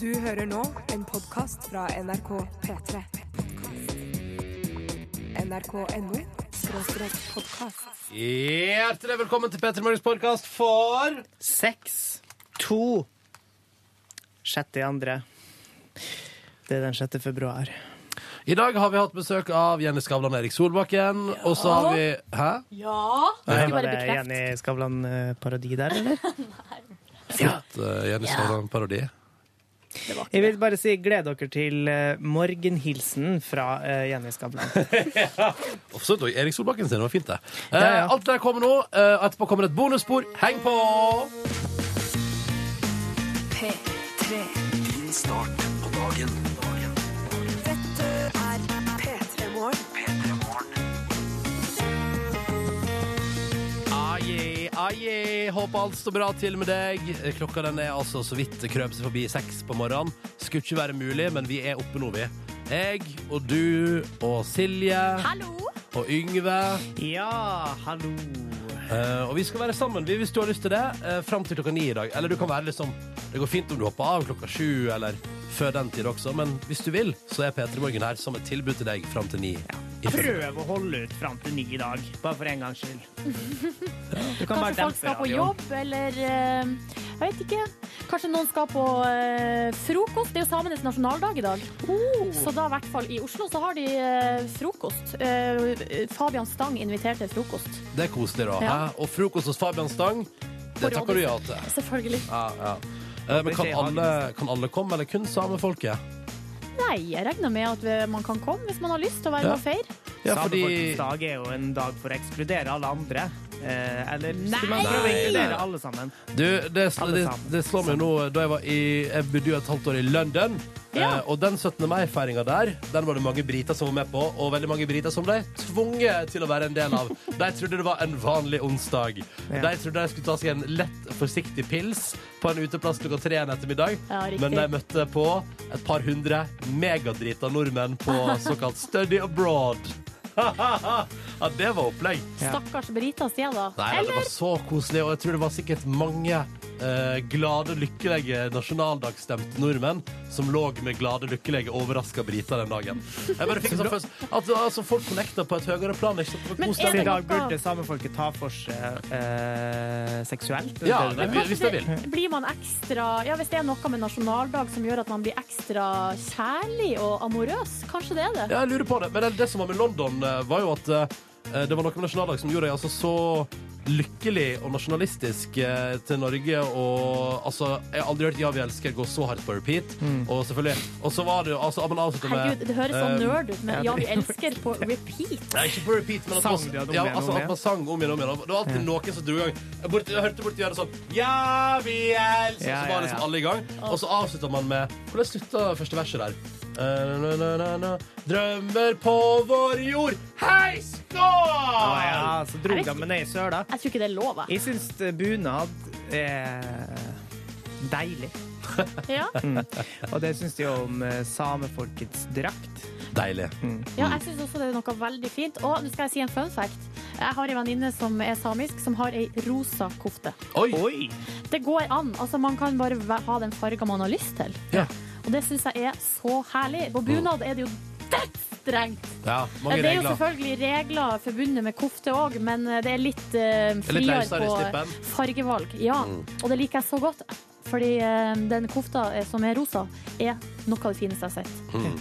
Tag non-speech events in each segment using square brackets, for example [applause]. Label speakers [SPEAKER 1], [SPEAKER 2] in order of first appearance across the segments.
[SPEAKER 1] Du hører nå en podkast fra NRK P3. NRK.no skråstrek podkast.
[SPEAKER 2] Hjertelig velkommen til Petter Morgens podkast for
[SPEAKER 3] Seks, to, sjette i andre. Det er den sjette februar.
[SPEAKER 2] I dag har vi hatt besøk av Jenny Skavlan og Erik Solbakken. Og så har vi Hæ?
[SPEAKER 4] Ja.
[SPEAKER 3] Var
[SPEAKER 4] Skulle bare
[SPEAKER 3] det
[SPEAKER 4] bekrefte.
[SPEAKER 3] Jenny Skavlan-parodi der,
[SPEAKER 4] [laughs]
[SPEAKER 3] eller?
[SPEAKER 2] Slutt, eh, Jenny Skavlan-parodi.
[SPEAKER 3] Jeg vil bare si gled dere til eh, morgenhilsen fra eh, Jenny Skavlan.
[SPEAKER 2] Og for så vidt også Erik Solbakken sin. Det var fint, det. Eh,
[SPEAKER 3] Ja, ja.
[SPEAKER 2] Alt det der kommer nå. Eh, etterpå kommer et bonusspor. Heng på!
[SPEAKER 1] P3.
[SPEAKER 5] Din start på dagen. dagen.
[SPEAKER 1] Dette er P3 Morgen.
[SPEAKER 5] P3 Morgen.
[SPEAKER 2] Aye, aye. Håper alt står bra til med deg. Eh, Klokka den er altså så vidt krøp seg forbi seks på morgenen. Skulle ikke være mulig, men vi er oppe nå, vi. Jeg og du og Silje
[SPEAKER 4] Hallo!
[SPEAKER 2] og Yngve.
[SPEAKER 3] Ja, hallo.
[SPEAKER 2] Eh, og vi skal være sammen vi, hvis du har lyst til det, uh, fram til klokka ni i dag. Eller du kan være liksom Det går fint om du hopper av klokka sju, eller før den tid også, men hvis du vil, så er P3 Morgen her som et tilbud til deg fram til ni. I februar.
[SPEAKER 3] Prøv å holde ut fram til ni i dag, bare for en gangs skyld. Du kan bare
[SPEAKER 4] Kanskje folk
[SPEAKER 3] dempe
[SPEAKER 4] skal på
[SPEAKER 3] radioen.
[SPEAKER 4] jobb, eller eh, jeg vet ikke. Kanskje noen skal på eh, frokost. Det er jo samenes nasjonaldag i dag.
[SPEAKER 2] Oh.
[SPEAKER 4] Så da i hvert fall i Oslo så har de eh, frokost. Eh, Fabian Stang inviterte til frokost.
[SPEAKER 2] Det er koselig, da.
[SPEAKER 4] Ja.
[SPEAKER 2] hæ? Og frokost hos Fabian Stang, det takker du ja til.
[SPEAKER 4] Selvfølgelig.
[SPEAKER 2] Ja, ja. Eh, men kan
[SPEAKER 3] Håper ikke
[SPEAKER 2] alle, kan alle komme, eller kun samefolket?
[SPEAKER 4] Nei, jeg regner med at eh, man kan komme hvis man har lyst til å være
[SPEAKER 2] Ja.
[SPEAKER 4] med og feire.
[SPEAKER 2] Ja, fordi
[SPEAKER 3] Samefolkets dag er jo en dag for å ekskludere alle andre. Eh, eller skal man
[SPEAKER 4] Nei!
[SPEAKER 3] prøve å inkludere alle sammen?
[SPEAKER 2] Du, det,
[SPEAKER 3] Alle
[SPEAKER 2] det,
[SPEAKER 3] sammen.
[SPEAKER 2] det slår meg jo nå Da jeg var i Jeg bodde jo et halvt år i London.
[SPEAKER 4] Ja.
[SPEAKER 2] Eh, og den 17. mai-feiringa der, den var det mange briter som var med på. Og veldig mange briter som ble tvunget til å være en del av. De trodde det var en vanlig onsdag.
[SPEAKER 3] Ja.
[SPEAKER 2] De trodde de skulle ta seg en lett, forsiktig pils på en uteplass klokka tre en ettermiddag.
[SPEAKER 4] Ja, riktig.
[SPEAKER 2] Men de møtte på et par hundre megadrita nordmenn på såkalt study abroad. [laughs] ja, det var opplegg.
[SPEAKER 3] Ja.
[SPEAKER 4] Stakkars Brita, sier jeg da.
[SPEAKER 2] Nei, nei, det var så koselig, og jeg tror det var sikkert mange eh, glade, lykkelige nasjonaldagsstemte nordmenn som lå med glade, lykkelige, overraska briter den dagen. Jeg bare fikk en sånn følelse at altså, folk connecta på et høyere plan. Ikke sant? Det var
[SPEAKER 4] Men
[SPEAKER 2] god
[SPEAKER 3] Så i
[SPEAKER 2] stemning.
[SPEAKER 3] dag burde samefolket ta for seg eh, seksuelt?
[SPEAKER 2] Ja,
[SPEAKER 3] Det er det.
[SPEAKER 2] det- hvis jeg vil.
[SPEAKER 4] blir man ekstra Ja, hvis det er noe med nasjonaldag som gjør at man blir ekstra kjærlig og amorøs, kanskje det er det.
[SPEAKER 2] Ja, jeg lurer på det. Men det, det som var med London, eh, var jo at eh, det var noe med nasjonaldag som gjorde deg altså så lykkelig og nasjonalistisk eh, til Norge. Og altså, jeg har aldri hørt 'Ja, vi elsker' gå så hardt på repeat. Og selvfølgelig Og så var det jo altså, man avslutta med
[SPEAKER 4] Herregud, det høres så
[SPEAKER 2] eh,
[SPEAKER 4] nerd ut, men ja, vi elsker på repeat.
[SPEAKER 2] Nei, ikke på repeat, men at man,
[SPEAKER 3] Sang de om
[SPEAKER 2] ja,
[SPEAKER 3] igjen,
[SPEAKER 2] altså,
[SPEAKER 3] om
[SPEAKER 2] at
[SPEAKER 3] igjen?
[SPEAKER 2] man sang om igjen og om igjen. Det var alltid noen som dro i gang. Jeg, bort, jeg hørte borti gjøre sånn Ja, vi elsker
[SPEAKER 3] Ja,
[SPEAKER 2] Så
[SPEAKER 3] ja,
[SPEAKER 2] var liksom
[SPEAKER 3] ja.
[SPEAKER 2] alle i gang. Og så avslutta man med Hvordan slutta første verset der? Eh, na, na, na, na. Drømmer på vår jord. Hei, skål!
[SPEAKER 3] Å ja, så dro
[SPEAKER 4] Jeg vet
[SPEAKER 3] de meg ned i søla.
[SPEAKER 4] Jeg tror ikke det er lov, jeg.
[SPEAKER 3] Jeg syns bunad er deilig.
[SPEAKER 4] [laughs]
[SPEAKER 3] Mm.
[SPEAKER 4] Ja,
[SPEAKER 3] Og det syns de jo om eh, samefolkets drakt. Mm.
[SPEAKER 2] Deilig.
[SPEAKER 4] ja jeg syns også det er noe veldig fint. Og nå skal jeg si en fun fact. Jeg har en venninne som er samisk, som har ei rosa kofte.
[SPEAKER 2] Oi.
[SPEAKER 3] Oi!
[SPEAKER 4] Det går an. Altså, man kan bare væ- ha den fargen man har lyst til.
[SPEAKER 2] Ja.
[SPEAKER 4] Og det syns jeg er så herlig. På bunad er det jo dødsstrengt.
[SPEAKER 2] ja
[SPEAKER 4] Ja,
[SPEAKER 2] mange
[SPEAKER 4] det er jo
[SPEAKER 2] regler.
[SPEAKER 4] selvfølgelig regler forbundet med kofte òg, men det er litt eh, friere
[SPEAKER 2] løsere i
[SPEAKER 4] på
[SPEAKER 2] slippen.
[SPEAKER 4] fargevalg. Ja, Og det liker jeg så godt, fordi eh, den kofta eh, som er rosa, er noe av det fineste jeg har sett.
[SPEAKER 2] Mm.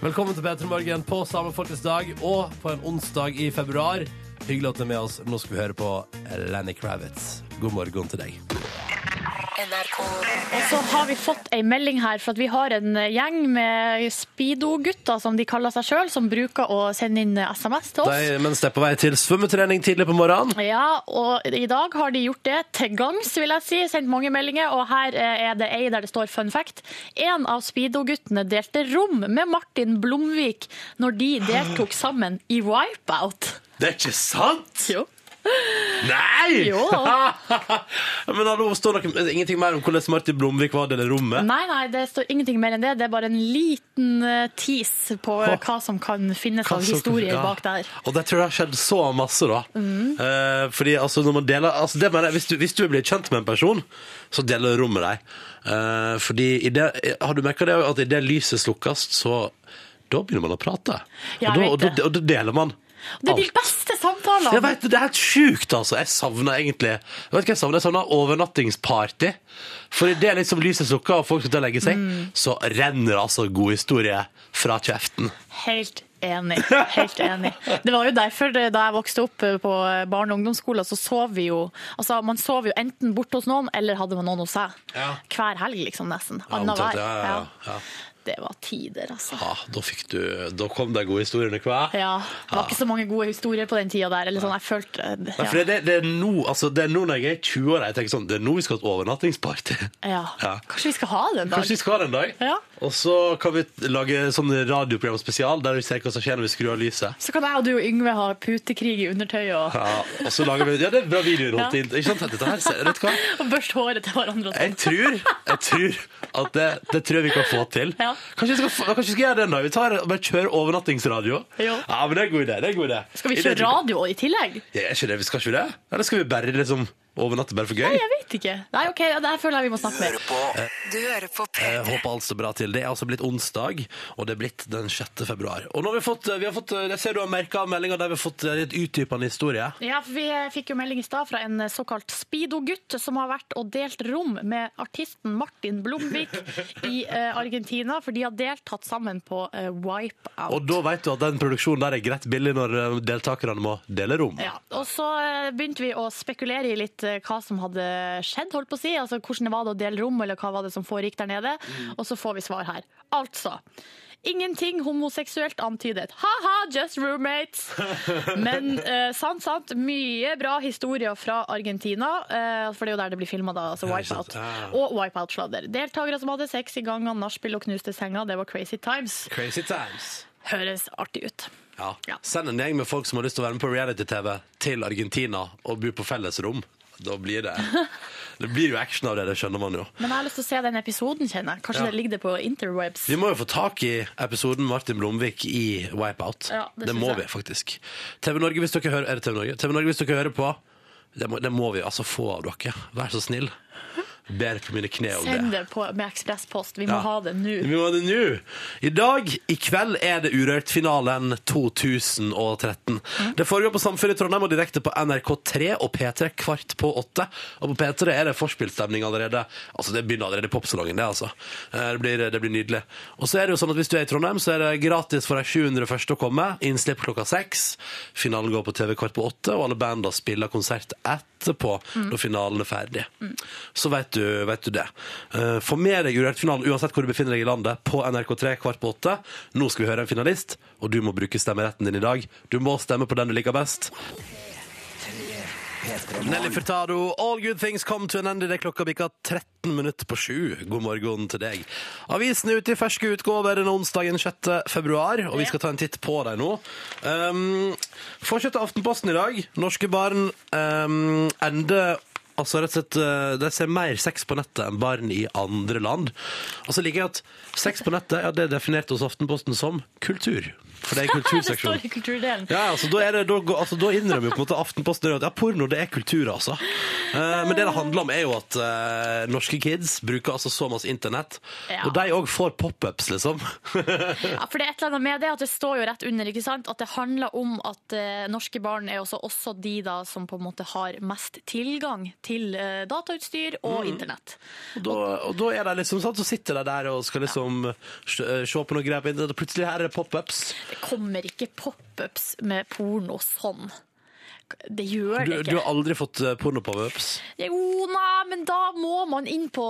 [SPEAKER 2] Velkommen til P3 Morgen på Samefolkets dag og på en onsdag i februar. Hyggelig at du er med oss. Nå skal vi høre på Lenny Kravitz. God morgen til deg.
[SPEAKER 4] Og så har vi fått ei melding her, for at vi har en eh, gjeng med speedo-gutter, som de kaller seg sjøl, som bruker å sende inn eh, SMS til oss.
[SPEAKER 2] De, mens det er på vei til svømmetrening tidlig på morgenen.
[SPEAKER 4] Ja, og i dag har de gjort det til gangs, vil jeg si. Sendt mange meldinger, og her eh, er det ei der det står fun fact. En av Speedo-guttene delte rom med Martin Blomvik når de deltok sammen i Wipeout.
[SPEAKER 2] Det er ikke sant!
[SPEAKER 4] Jo.
[SPEAKER 2] Nei!
[SPEAKER 4] Jo da.
[SPEAKER 2] [laughs] Men hallo, står det ingenting mer om hvordan Martin Blomvik var i det rommet?
[SPEAKER 4] Nei, nei, det står ingenting mer enn det. Det er bare en liten eh, tease på eh, hva som kan finnes
[SPEAKER 2] Hva
[SPEAKER 4] av
[SPEAKER 2] som-
[SPEAKER 4] historier
[SPEAKER 2] ja.
[SPEAKER 4] bak der.
[SPEAKER 2] Og det tror jeg har skjedd så masse, da.
[SPEAKER 4] Mm.
[SPEAKER 2] Eh, fordi altså, når man deler altså, det mener jeg, hvis, du, hvis du vil bli kjent med en person, så deler du rom med deg. Eh, fordi i det, har du merka det at idet lyset slukkes, så da begynner man å prate.
[SPEAKER 4] Ja,
[SPEAKER 2] og, da,
[SPEAKER 4] jeg
[SPEAKER 2] og,
[SPEAKER 4] vet
[SPEAKER 2] da, og da deler man.
[SPEAKER 4] Det er de
[SPEAKER 2] alt.
[SPEAKER 4] beste samtalene!
[SPEAKER 2] Jeg vet, det, det er helt sjukt, altså. Jeg savner egentlig Jeg vet hva jeg savner? Jeg savner overnattingsparty. For idet liksom lyset slukker og folk skal til å legge seg,
[SPEAKER 4] Mm.
[SPEAKER 2] så renner altså god historie fra kjeften.
[SPEAKER 4] Helt enig. helt enig. Det var jo derfor det, da jeg vokste opp eh, på barne- og ungdomsskolen, så sov vi jo altså Man sov jo enten borte hos noen, eller hadde man noen hos seg.
[SPEAKER 2] Ja.
[SPEAKER 4] Hver helg, liksom, nesten.
[SPEAKER 2] Ja, omtrent,
[SPEAKER 4] Annenhver.
[SPEAKER 2] ja, ja, ja, ja.
[SPEAKER 4] Det var tider, altså.
[SPEAKER 2] Ja, da, fikk du, da kom de gode historiene hva?
[SPEAKER 4] Ja, det var ikke så mange gode historier på den tida der. Eller sånn, jeg følte
[SPEAKER 2] Nei, for
[SPEAKER 4] ja.
[SPEAKER 2] det, det, det, er nå, altså, det er nå når jeg er 20 år, jeg tenker sånn, det er nå vi skal ha et overnattingsparty. [laughs]
[SPEAKER 4] Ja.
[SPEAKER 2] Ja.
[SPEAKER 4] Kanskje vi skal ha det en dag?
[SPEAKER 2] Kanskje vi skal ha det en dag?
[SPEAKER 4] Ja.
[SPEAKER 2] Og så kan vi lage sånn radioprogram spesial, der vi ser hva som skjer når vi skrur av lyset.
[SPEAKER 4] Så kan jeg og du og Yngve ha putekrig i undertøy og,
[SPEAKER 2] Ja, og så lager vi, ja, det er bra videoer rundt
[SPEAKER 4] Ja.
[SPEAKER 2] inn. Ikke sant, dette her, ser- vet du hva?
[SPEAKER 4] [laughs] og børste håret til hverandre. Og
[SPEAKER 2] Jeg
[SPEAKER 4] sånn.
[SPEAKER 2] tror, jeg tror at det, det tror jeg vi kan få til.
[SPEAKER 4] Ja.
[SPEAKER 2] Kanskje vi skal, få- kanskje vi skal gjøre det en dag, vi tar, bare kjører overnattingsradio.
[SPEAKER 4] Jo.
[SPEAKER 2] Ja, men det er en god idé, det er en god idé.
[SPEAKER 4] Skal vi
[SPEAKER 2] I det-
[SPEAKER 4] kjøre radio i tillegg?
[SPEAKER 2] Ja, er ikke det, vi skal ikke det? Eller skal vi bare liksom overnatte bare for gøy?
[SPEAKER 4] Jeg vet ikke. Nei, ok, ja, det her føler jeg vi må snakke med.
[SPEAKER 2] Eh.
[SPEAKER 1] Du hører på
[SPEAKER 2] Jeg håper alt står bra til. Det er altså blitt onsdag, og det er blitt den 6. februar. Og nå har vi fått, vi har fått jeg ser du har merket av meldingen der vi har fått litt utdypende historie.
[SPEAKER 4] Ja, for Vi fikk jo melding i stad fra en såkalt speedo-gutt som har vært og delt rom med artisten Martin Blomvik i eh, Argentina, for de har deltatt sammen på eh, Wipeout.
[SPEAKER 2] Og da vet du at den produksjonen der er greit billig når eh, deltakerne må dele rom.
[SPEAKER 4] Ja, og så eh, begynte vi å spekulere i litt eh, hva som hadde skjedd, holdt på å si. Altså hvordan det var det å dele rom, eller hva var det som foregikk der nede. Og så får vi svar her. Altså. Ingenting homoseksuelt antydet. Ha-ha, just roommates! Men eh, sant, sant. Mye bra historier fra Argentina. eh, for det er jo der det blir filma, da. Altså
[SPEAKER 2] Ja, ikke sant.
[SPEAKER 4] Wipeout.
[SPEAKER 2] Ja.
[SPEAKER 4] Og Wipeout-sladder. Deltakere som hadde sex i gangene, nachspiel og knuste senga. Det var crazy times.
[SPEAKER 2] Crazy times.
[SPEAKER 4] Høres artig ut.
[SPEAKER 2] Ja.
[SPEAKER 4] Ja.
[SPEAKER 2] Send en gjeng med folk som har lyst til å være med på reality-TV til Argentina og bo på fellesrom. Da blir det, det blir jo action av det, det skjønner man jo.
[SPEAKER 4] Men jeg har lyst til å se den episoden, kjenner jeg. Kanskje
[SPEAKER 2] Ja.
[SPEAKER 4] det ligger det på interwebs.
[SPEAKER 2] Vi må jo få tak i episoden Martin Blomvik i Wipeout.
[SPEAKER 4] Ja,
[SPEAKER 2] det
[SPEAKER 4] det synes
[SPEAKER 2] må
[SPEAKER 4] jeg.
[SPEAKER 2] vi faktisk. TV Norge, hvis dere hører, er det TV Norge? TV Norge, hvis dere hører på, det må, det må vi altså få av dere. Vær så snill. Ber på mine kne om
[SPEAKER 4] Send
[SPEAKER 2] det.
[SPEAKER 4] det på, med ekspresspost. Vi må
[SPEAKER 2] Ja.
[SPEAKER 4] ha det
[SPEAKER 2] Vi
[SPEAKER 4] nå.
[SPEAKER 2] må ha det nå. I dag, i kveld, er det Urørt-finalen 2013. Det foregår på Samfunnet i Trondheim og direkte på NRK3 og P3 kvart på åtte. Og på P3 er det forspillstemning allerede. Altså, det begynner allerede i popsalongen, det, altså. Eh, Det blir, det blir nydelig. Og så er det jo sånn at hvis du er i Trondheim, så er det gratis for de 700 første å komme. Innslipp klokka seks. Finalen går på TV kvart på åtte, og alle banda spiller konsert etterpå, når finalen er ferdig. Så vet du, vet du det. Eh, Få med deg Urørt-finalen uansett hvor du befinner deg i landet, på NRK3 kvart på åtte. Nå skal vi høre en finalist, og du må bruke stemmeretten din i dag. Du må stemme på den du liker best. Nelly Furtado, All Good Things Come to an End. Det er klokka bikka 13 minutter på sju. God morgen til deg. Avisen er ute i ferske utgaver denne onsdagen 6. februar, og vi skal ta en titt på dem nå. Um, Fortsett av Aftenposten i dag. Norske barn um, ender Altså rett og slett, uh, De ser mer sex på nettet enn barn i andre land. Og så liker jeg at sex på nettet ja, det er definert hos Aftenposten som kultur. For det er
[SPEAKER 4] Det
[SPEAKER 2] kulturseksjonen.
[SPEAKER 4] står i kulturdelen.
[SPEAKER 2] Ja, altså da, er det, da, går- altså, da innrømmer jo på en måte Aftenposten at ja, porno det er kultur, altså. Eh, men det det handler om, er jo at eh, norske kids bruker altså så masse internett.
[SPEAKER 4] Ja.
[SPEAKER 2] Og de òg får pop-ups, liksom.
[SPEAKER 4] Ja, for det er et eller annet med det at det står jo rett under, ikke sant? At det handler om at eh, norske barn er også, også de da som på en måte har mest tilgang til eh, datautstyr og internett.
[SPEAKER 2] [laughs] Og da, og da er de liksom sånn, så sitter de der og skal liksom se se på noe greier på internett, og plutselig her er det pop-ups.
[SPEAKER 4] Det kommer ikke pop-ups med porno sånn. Det gjør
[SPEAKER 2] Du,
[SPEAKER 4] det
[SPEAKER 2] du
[SPEAKER 4] ikke.
[SPEAKER 2] har aldri fått eh, porno-pop-ups.
[SPEAKER 4] Jo, nei, men da må man inn på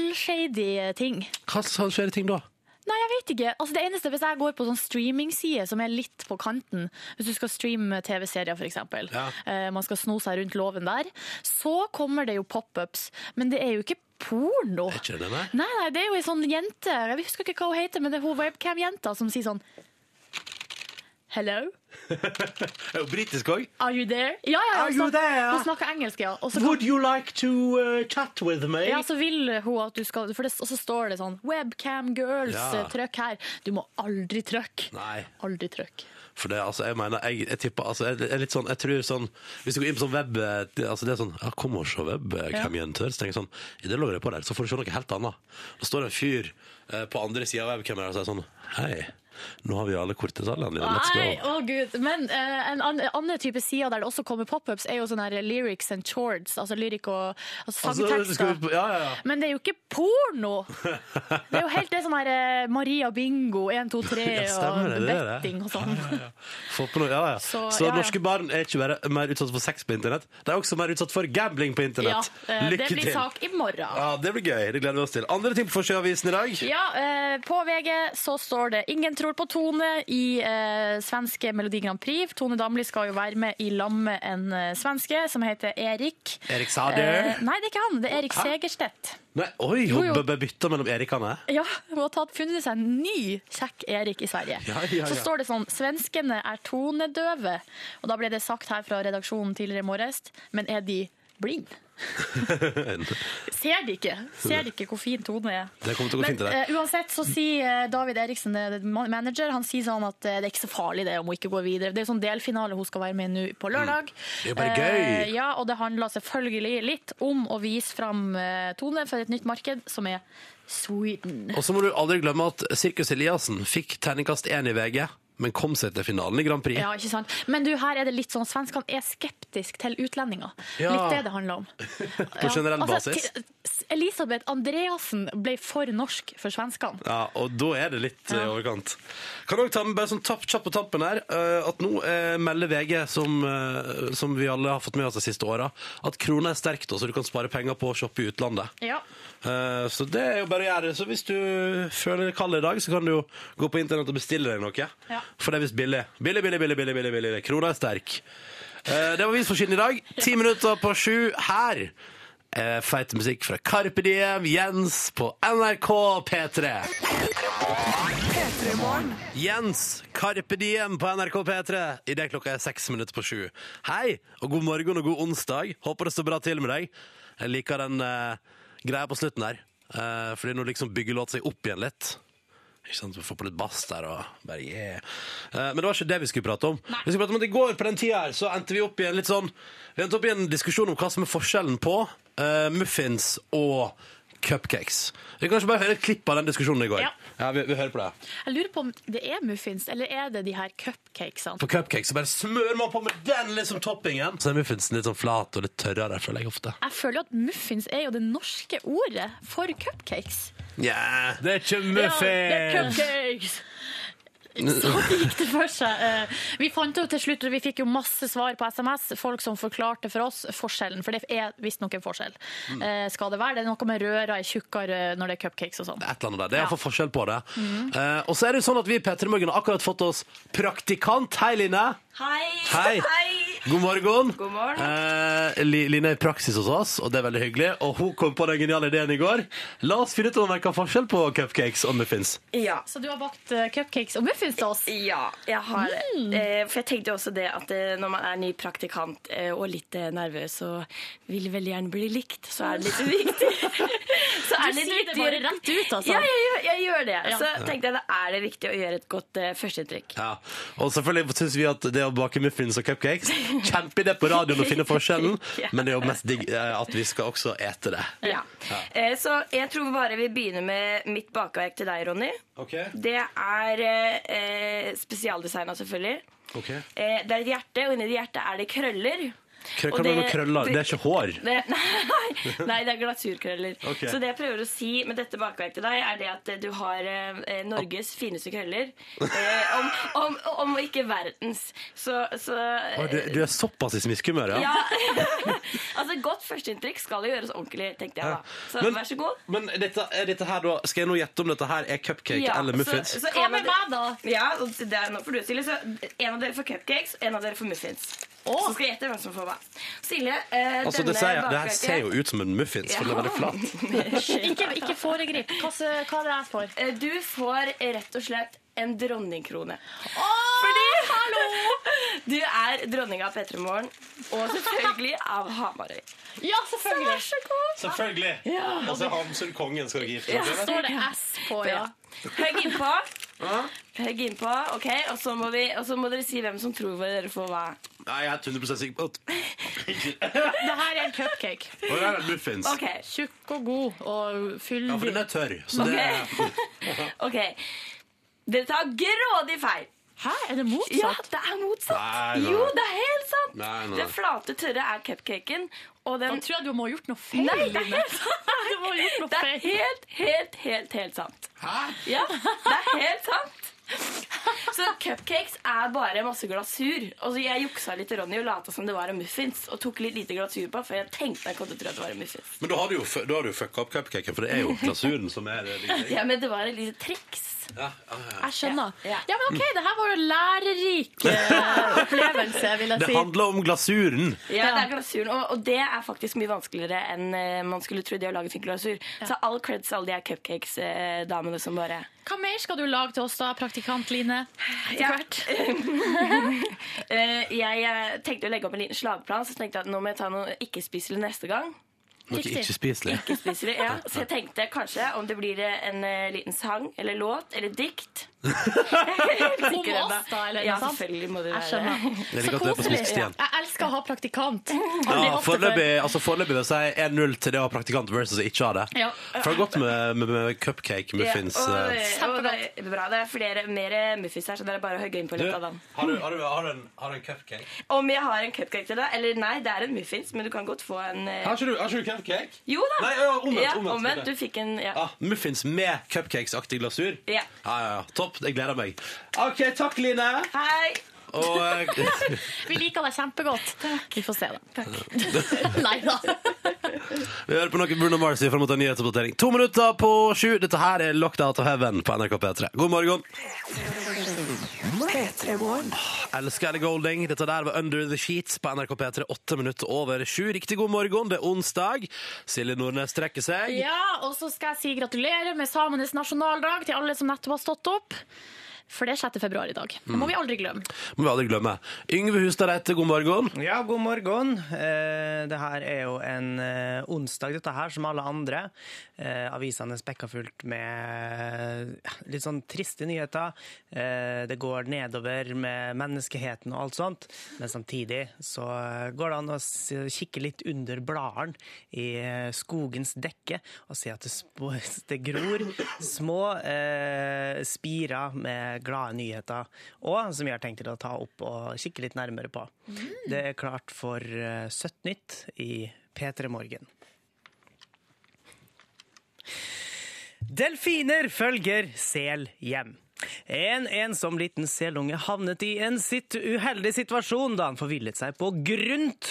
[SPEAKER 4] halvshady ting.
[SPEAKER 2] Hva hva skjer i ting
[SPEAKER 6] [laughs]
[SPEAKER 2] da?
[SPEAKER 4] Nei, jeg vet ikke. Altså, det eneste Hvis jeg går på sånn streamingside som er litt på kanten, hvis du skal streame TV-serier f.eks.,
[SPEAKER 2] Ja.
[SPEAKER 4] eh, man skal sno seg rundt loven der, så kommer det jo pop-ups. Men det er jo ikke porno.
[SPEAKER 2] Er ikke det, nei?
[SPEAKER 4] Nei, nei, det er jo ei sånn jente, jeg husker ikke hva hun heter, men det er hun webcam-jenta som sier sånn Hello?
[SPEAKER 2] Er jo britisk òg.
[SPEAKER 4] Are you there? Ja, ja, ja,
[SPEAKER 6] Are
[SPEAKER 4] hun
[SPEAKER 6] you
[SPEAKER 4] snak-
[SPEAKER 6] there?
[SPEAKER 4] Hun snakker engelsk, ja. Og så, kan,
[SPEAKER 6] Would you like to uh, chat with me?
[SPEAKER 4] ja, så vil hun at du skal for det, Og så står det sånn Webcam girls,
[SPEAKER 2] Ja.
[SPEAKER 4] eh, trykk her. Du må aldri trykke.
[SPEAKER 2] Nei.
[SPEAKER 4] Aldri trykk.
[SPEAKER 2] For det, altså, jeg mener, jeg, jeg tipper altså, jeg, jeg, er litt sånn, jeg tror sånn Hvis du går inn på sånn web eh, det- altså, Det er sånn ja, 'Kom og se web, eh, hvem jenter?' Så tenker jeg sånn I det logger jeg på der, så får du se noe helt annet. Da står det en fyr eh, på andre sida av webkameraet og sier sånn 'Hei, nå har vi alle kortdetaljene dine. Let's
[SPEAKER 4] Nei,
[SPEAKER 2] go'.
[SPEAKER 4] å gud. Men eh, en an annen type sider der det også kommer pop-ups, er jo sånne her lyrics and chords, altså lyrikk og altså
[SPEAKER 2] Altså, skal
[SPEAKER 4] sangtekster.
[SPEAKER 2] vi på- ja, ja, ja.
[SPEAKER 4] Men det er jo ikke porno! Det er jo helt det sånn her eh, Maria Bingo, 1, 2, 3
[SPEAKER 2] Ja, stemmer det,
[SPEAKER 4] og
[SPEAKER 2] det er det.
[SPEAKER 4] betting og sånn.
[SPEAKER 2] Få på noe, ja, ja. Så,
[SPEAKER 4] Så, ja, ja.
[SPEAKER 2] norske barn er ikke bare mer utsatt for sex på internett, de er også mer utsatt for gambling på
[SPEAKER 4] Ja,
[SPEAKER 2] internett.
[SPEAKER 4] eh, det
[SPEAKER 2] Lykke til!
[SPEAKER 4] blir sak i morgen.
[SPEAKER 2] Ja, det blir gøy. Det gleder vi oss til. Andre ting på Forsøavisen i dag.
[SPEAKER 4] Ja, eh, på VG så står det 'Ingen tror på Tone' i eh, svenske Melodi Grand Prix. Tone Damli skal jo være med i lag med en eh, svenske som heter Erik.
[SPEAKER 2] Erik Sader.
[SPEAKER 4] Eh, nei, det er ikke han. Det er Erik Segerstedt.
[SPEAKER 2] Nei, oi,
[SPEAKER 4] Jo, jo.
[SPEAKER 2] hun ble bytta mellom Erikene.
[SPEAKER 4] Ja, hun har tatt, funnet seg en ny kjekk Erik i Sverige.
[SPEAKER 2] Ja, ja, ja.
[SPEAKER 4] Så står det sånn Svenskene er tonedøve. Og da ble det sagt her fra redaksjonen tidligere i morges, men er de blind?
[SPEAKER 2] [laughs]
[SPEAKER 4] Ser de ikke? Ser de ikke hvor fin tone er?
[SPEAKER 2] Det kommer til å gå
[SPEAKER 4] Men
[SPEAKER 2] fint. det der.
[SPEAKER 4] eh, uansett så sier eh, David Eriksen, eh, man- manager, han sier sånn at eh, det er ikke så farlig det om hun ikke går videre. Det er jo sånn delfinale hun skal være med i nå på lørdag.
[SPEAKER 2] Mm. Det er jo bare
[SPEAKER 4] Eh,
[SPEAKER 2] gøy.
[SPEAKER 4] ja, og det handler selvfølgelig litt om å vise fram eh, Tone for et nytt marked, som er Sweden.
[SPEAKER 2] Og så må du aldri glemme at Sirkus Eliassen fikk terningkast én i VG, men kom seg til finalen i Grand Prix.
[SPEAKER 4] Ja, ikke sant? Men du, her er det litt sånn svenskene er skeptiske til utlendinger.
[SPEAKER 2] Ja.
[SPEAKER 4] Litt det det handler om.
[SPEAKER 2] [laughs]
[SPEAKER 4] På
[SPEAKER 2] generell
[SPEAKER 4] Altså,
[SPEAKER 2] basis.
[SPEAKER 4] Elisabeth Andreassen ble for norsk for svenskene.
[SPEAKER 2] Ja, og da er det litt eh, i overkant. Kan også ta med bare sånn tapp, kjapp på tampen her, eh, at nå eh, melder VG, som, eh, som vi alle har fått med oss de siste åra, at krona er sterk, da, så du kan spare penger på å shoppe i utlandet.
[SPEAKER 4] Ja.
[SPEAKER 2] Eh, Så det er jo bare å gjøre. Så hvis du føler det kaldt i dag, så kan du jo gå på internett og bestille deg noe.
[SPEAKER 4] Ja.
[SPEAKER 2] For det er visst billig. Billig, billig, billig, billig, billig, billig. Krona er sterk. Eh, Det var vist for siden i dag. Ti minutter på sju her. eh, Feit musikk fra Carpe Diem, Jens på NRK P3. Jens, Carpe Diem på NRK P3 i det klokka er seks minutter på sju. Hei, og god morgen og god onsdag. Håper det står bra til med deg. Jeg liker den eh, greia på slutten her, eh, fordi nå liksom bygger låt seg opp igjen litt. Ikke sant, Vi får på litt bass der og bare yeah. Eh, men det var ikke det vi skulle prate om. Vi skulle prate om at I går på den tida her så endte vi opp i en litt sånn Vi endte opp i en diskusjon om hva som er forskjellen på eh, muffins og cupcakes. Vi kan ikke bare høre et klipp av den diskusjonen i går.
[SPEAKER 4] Ja.
[SPEAKER 2] vi, vi hører på det.
[SPEAKER 4] Jeg lurer på om det er muffins, eller er det de her cupcakesene?
[SPEAKER 2] På cupcakes så bare smører man på med den liksom toppingen. Så er muffinsen litt sånn flat og litt tørrere, føler jeg ofte.
[SPEAKER 4] Jeg føler jo at muffins er jo det norske ordet for cupcakes.
[SPEAKER 2] Yeah. Det er ikke
[SPEAKER 4] Ja, det er cupcakes! Så gikk det for seg. Eh, Vi fant jo til slutt, vi fikk jo masse svar på SMS, folk som forklarte for oss forskjellen, for det er visstnok en forskjell.
[SPEAKER 2] Mm.
[SPEAKER 4] Eh, Skal det være? Det er noe med røra er tjukkere når det er cupcakes og sånn.
[SPEAKER 2] [laughs]
[SPEAKER 4] Mm.
[SPEAKER 2] Et eller annet der. Det er iallfall forskjell på det. Eh, og så er det jo sånn at vi i P3 Morgen har akkurat fått oss praktikant. Hei, Line.
[SPEAKER 7] Hei.
[SPEAKER 2] Hei. God morgen.
[SPEAKER 7] God morgen.
[SPEAKER 2] Eh, Li- Line er i praksis hos oss, og det er veldig hyggelig. Og hun kom på den geniale ideen i går. La oss finne ut om det er forskjell på cupcakes og muffins.
[SPEAKER 7] Ja.
[SPEAKER 4] Så du har bakt eh, cupcakes og muffins til oss? Mm.
[SPEAKER 7] Ja, jeg har eh, For jeg tenkte jo også det at eh, når man er ny praktikant eh, og litt eh, nervøs og vil veldig gjerne bli likt, så er det litt
[SPEAKER 4] [laughs]
[SPEAKER 7] viktig. så
[SPEAKER 4] Du sier det bare rett ut, altså.
[SPEAKER 7] Ja, jeg, gjør- jeg gjør det.
[SPEAKER 4] Ja.
[SPEAKER 7] Så tenkte jeg da er det viktig å gjøre et godt eh, førsteinntrykk.
[SPEAKER 2] Ja. Og selvfølgelig syns vi at det å bake muffins og cupcakes Kjempeidé på radioen å finne
[SPEAKER 7] [laughs]
[SPEAKER 2] forskjellen, men det er jo mest digg eh, at vi skal også ete det.
[SPEAKER 7] Ja. Eh, så jeg tror bare vi begynner med mitt bakeverk til deg, Ronny. Det er eh, eh, spesialdesigna, selvfølgelig. Eh, det er et hjerte, og inni det hjertet er det krøller.
[SPEAKER 2] Krø-
[SPEAKER 7] Og
[SPEAKER 2] Hva med
[SPEAKER 7] det-
[SPEAKER 2] krøller? Det er ikke hår.
[SPEAKER 7] Det, [laughs] nei, nei, det er glasurkrøller.
[SPEAKER 2] Ok.
[SPEAKER 7] Så det jeg prøver å si med dette bakverket til deg, er det at du har eh, Norges fineste krøller. Eh, om, om, om ikke verdens. Så, så
[SPEAKER 2] Å, Du, du er såpass i smiskehumør, ja?
[SPEAKER 7] ja. altså, godt førsteinntrykk skal jo gjøres ordentlig, tenkte jeg da. Så
[SPEAKER 2] Men-
[SPEAKER 7] vær så god.
[SPEAKER 2] Men dette, er dette her da, skal jeg nå gjette om dette her er cupcake
[SPEAKER 7] Ja,
[SPEAKER 2] eller muffins?
[SPEAKER 7] så- så en
[SPEAKER 4] Hva
[SPEAKER 7] av
[SPEAKER 4] med
[SPEAKER 7] de-
[SPEAKER 4] meg, da?
[SPEAKER 7] Ja, og det er nå for du, Silje. Så en av dere får cupcakes, en av dere får muffins. Så skal jeg gjette hvem som får hva. Silje, eh,
[SPEAKER 2] altså, det,
[SPEAKER 7] denne
[SPEAKER 2] ser, det her
[SPEAKER 7] bakverket-
[SPEAKER 2] ser jo ut som en muffins, for den er veldig
[SPEAKER 7] [laughs]
[SPEAKER 2] flat.
[SPEAKER 4] Ikke, ikke foregrip. Hva, hva er det jeg får?
[SPEAKER 7] Eh, Du får rett og slett en dronningkrone.
[SPEAKER 4] Fordi
[SPEAKER 7] [laughs] Du er dronninga av P3 Morgen, og selvfølgelig av Hamarøy.
[SPEAKER 4] Ja, selvfølgelig!
[SPEAKER 2] Selvfølgelig. Og så Hamsun-kongen skal dere gifte dere med.
[SPEAKER 4] Står det S på, ja.
[SPEAKER 7] Hugg innpå. Hugg innpå, ok, og så, må vi, og så må dere si hvem som tror hva dere får hva.
[SPEAKER 2] Nei, jeg er 100 sikker på at
[SPEAKER 7] [laughs]
[SPEAKER 4] Det her er en cupcake.
[SPEAKER 2] Og her er muffins.
[SPEAKER 7] Ok,
[SPEAKER 4] Tjukk og god og
[SPEAKER 2] Ja, for
[SPEAKER 4] fyldig.
[SPEAKER 2] den er tørr. Så det
[SPEAKER 7] ok. Dere tar grådig feil.
[SPEAKER 4] Hæ, er det
[SPEAKER 7] Ja,
[SPEAKER 4] motsatt?
[SPEAKER 7] det er motsatt.
[SPEAKER 2] Nei, nei.
[SPEAKER 7] Jo, det er helt sant.
[SPEAKER 2] Nei, nei.
[SPEAKER 7] Det flate, tørre er cupcaken, og
[SPEAKER 4] Da
[SPEAKER 7] den
[SPEAKER 4] tror jeg du må ha gjort noe feil.
[SPEAKER 7] Nei, det er
[SPEAKER 4] Line.
[SPEAKER 7] helt sant.
[SPEAKER 4] Du må ha gjort noe
[SPEAKER 7] Det er
[SPEAKER 4] feil.
[SPEAKER 7] helt, helt, helt, helt sant.
[SPEAKER 2] Hæ?
[SPEAKER 7] Ja, det er helt sant. Så cupcakes er bare masse glasur. Og så jeg juksa litt til Ronny og lata som det var en muffins. Og tok litt lite glasur på før jeg tenkte jeg kom til å tro at det var en muffins.
[SPEAKER 2] Men da har du jo, f- da har du jo fucka opp cupcaken, for det er jo glasuren som er det. viktige.
[SPEAKER 7] Ja, men det var et lite triks.
[SPEAKER 2] Ja, ja, ja.
[SPEAKER 4] Jeg skjønner.
[SPEAKER 7] Ja, ja.
[SPEAKER 4] Ja, men ok, det her var jo en
[SPEAKER 2] [laughs]
[SPEAKER 4] lærerik eh, opplevelse, vil jeg
[SPEAKER 2] Det
[SPEAKER 4] si.
[SPEAKER 2] handler om glasuren.
[SPEAKER 7] Ja, det er glasuren, og, og det er faktisk mye vanskeligere enn eh, man skulle tro det å lage fin glasur. Så all creds til alle de her cupcakes-damene som bare
[SPEAKER 4] Hva mer skal du lage til oss da, praktikant Line?
[SPEAKER 7] Ja. [laughs] Eh, jeg eh, tenkte å legge opp en liten slagplan, så tenkte jeg at nå må jeg ta noe ikke-spiselig neste gang.
[SPEAKER 2] Noe
[SPEAKER 4] Riktig.
[SPEAKER 2] ikke-spiselig.
[SPEAKER 7] Spiser du? Ja. Så jeg tenkte kanskje om det blir en eh, liten sang eller låt eller
[SPEAKER 4] [laughs]
[SPEAKER 7] dikt.
[SPEAKER 4] Om oss, da, eller
[SPEAKER 7] Ja,
[SPEAKER 4] noe sånt?
[SPEAKER 7] selvfølgelig må det
[SPEAKER 4] Jeg
[SPEAKER 7] være
[SPEAKER 4] [laughs]
[SPEAKER 7] det.
[SPEAKER 4] skjønner.
[SPEAKER 2] Jeg liker at det er på smisk igjen.
[SPEAKER 4] Jeg elsker å ha praktikant.
[SPEAKER 2] Ja,
[SPEAKER 4] ofte
[SPEAKER 2] foreløpig altså foreløpig vil jeg si 1-0 til det å ha praktikant versus å ikke ha det.
[SPEAKER 4] Ja.
[SPEAKER 2] For det er godt med, med, med cupcake muffins.
[SPEAKER 7] Ja, og,
[SPEAKER 2] eh.
[SPEAKER 7] og det er bra. Det er flere, mer muffins her, så dere bare hogger innpå
[SPEAKER 2] Du,
[SPEAKER 7] litt av den.
[SPEAKER 2] har du, har du, har du en, har du en cupcake?
[SPEAKER 7] Om jeg har en cupcake til deg? Eller nei, det er en muffins, men du kan godt få en eh,
[SPEAKER 2] Har ikke du, har ikke du cupcake?
[SPEAKER 7] Jo da!
[SPEAKER 2] Nei, ja, omvendt,
[SPEAKER 7] ja,
[SPEAKER 2] omvendt,
[SPEAKER 7] omvendt.
[SPEAKER 2] sorry.
[SPEAKER 7] Du fikk en ja.
[SPEAKER 2] Ah, muffins med cupcakesaktig glasur?
[SPEAKER 7] Ja.
[SPEAKER 2] Ja, ja, ja. Topp. Jeg gleder meg. OK, takk, Line.
[SPEAKER 7] Hei!
[SPEAKER 2] Og eh,
[SPEAKER 7] [laughs]
[SPEAKER 4] Vi liker deg kjempegodt. Vi får se, da. Nei da.
[SPEAKER 2] vi hører på noe Bruno Mars fram mot en nyhetsoppdatering. To minutter på sju. Dette her er Locked Out of Heaven på NRK P3. God morgen.
[SPEAKER 8] P3 Morgen.
[SPEAKER 2] Elsker Ellie Golding. Dette der var Under the Sheets på NRK P3. Åtte minutter over sju. Riktig god morgen, det er onsdag. Silje Nordnes trekker seg.
[SPEAKER 4] Ja, og så skal jeg si gratulerer med samenes nasjonaldag til alle som nettopp har stått opp. For det er 6. februar i dag. Det må vi aldri glemme.
[SPEAKER 2] Må vi aldri glemme. Yngve Hustad Reite, god morgen.
[SPEAKER 3] [laughs] Ja, god morgen. Eh, det her er jo en eh, onsdag, dette her, som alle andre. Eh, avisene er spekka fullt med eh, litt sånn triste nyheter. Eh, det går nedover med menneskeheten og alt sånt. Men samtidig så eh, går det an å s- kikke litt under bladene i eh, skogens dekke og se at det, sp [laughs] det gror små eh, spirer med glade nyheter. Og som vi har tenkt til å ta opp og kikke litt nærmere på. Det er klart for eh, Søtt nytt i P3 Morgen. Delfiner følger sel hjem. En ensom liten selunge havnet i en sitt uheldig situasjon da han forvillet seg på grunt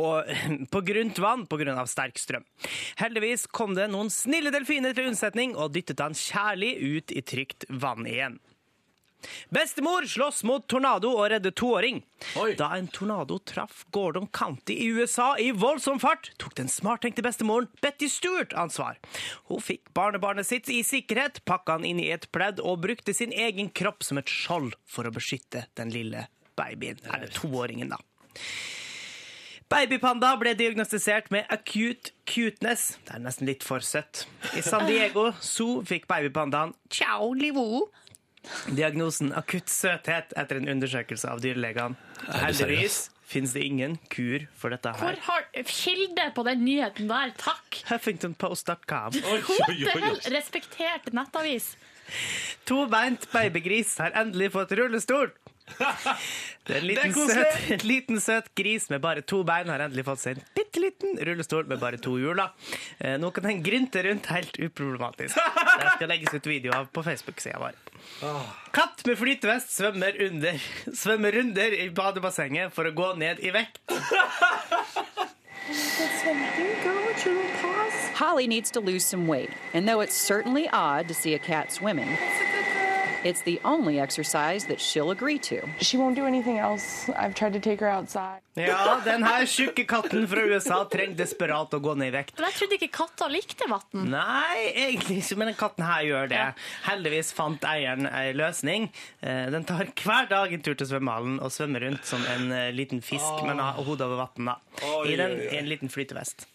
[SPEAKER 3] og [laughs] på grunt vann pga. sterk strøm. Heldigvis kom det noen snille delfiner til unnsetning og dyttet han kjærlig ut i trygt vann igjen. Bestemor slåss mot tornado og redder toåring.
[SPEAKER 2] Oi.
[SPEAKER 3] Da en tornado traff Gordon County i USA i voldsom fart, tok den smarttenkte bestemoren Betty Stewart ansvar. Hun fikk barnebarnet sitt i sikkerhet, pakka han inn i et pledd og brukte sin egen kropp som et skjold for å beskytte den lille babyen. Eller toåringen, da. Babypanda ble diagnostisert med acute cuteness. Det er nesten litt for søtt. I San Diego Zoo fikk babypandaen Ciao Livo diagnosen akutt søthet etter en undersøkelse av dyrlegene.
[SPEAKER 2] Er du
[SPEAKER 3] Heldigvis finnes det ingen kur for dette
[SPEAKER 4] Hvor
[SPEAKER 3] her.
[SPEAKER 4] har kilde på den nyheten der? Takk!
[SPEAKER 3] Huffingtonpost.com.
[SPEAKER 4] What the hell? Respektert nettavis.
[SPEAKER 3] Tobeint babygris har endelig fått rullestol. Det er en liten, søt, [laughs] en liten søt gris med bare to bein har endelig fått seg en bitte liten rullestol med bare to hjul. da. Eh, Nå kan den grynte rundt helt uproblematisk. Det skal legges ut video av på Facebook-sida vår. Katt med flytevest svømmer, under, [laughs] svømmer runder i badebassenget for å gå ned i vekt.
[SPEAKER 9] Holly needs to lose some weight, and though it's certainly odd to see a cat swimming, It's the only exercise that she'll agree to.
[SPEAKER 10] She won't do anything else. I've tried to take her outside.
[SPEAKER 3] Ja, den her tjukke katten fra USA trenger desperat å gå ned i vekt.
[SPEAKER 4] Men jeg trodde ikke katter likte vann.
[SPEAKER 3] Nei, egentlig ikke, men den katten her gjør det. Heldigvis fant eieren ei løsning. Eh, Den tar hver dag en tur til svømmehallen og svømmer rundt som en eh, liten fisk, men
[SPEAKER 2] Ah.
[SPEAKER 3] har hodet over vann, da. I den, i en liten flytevest.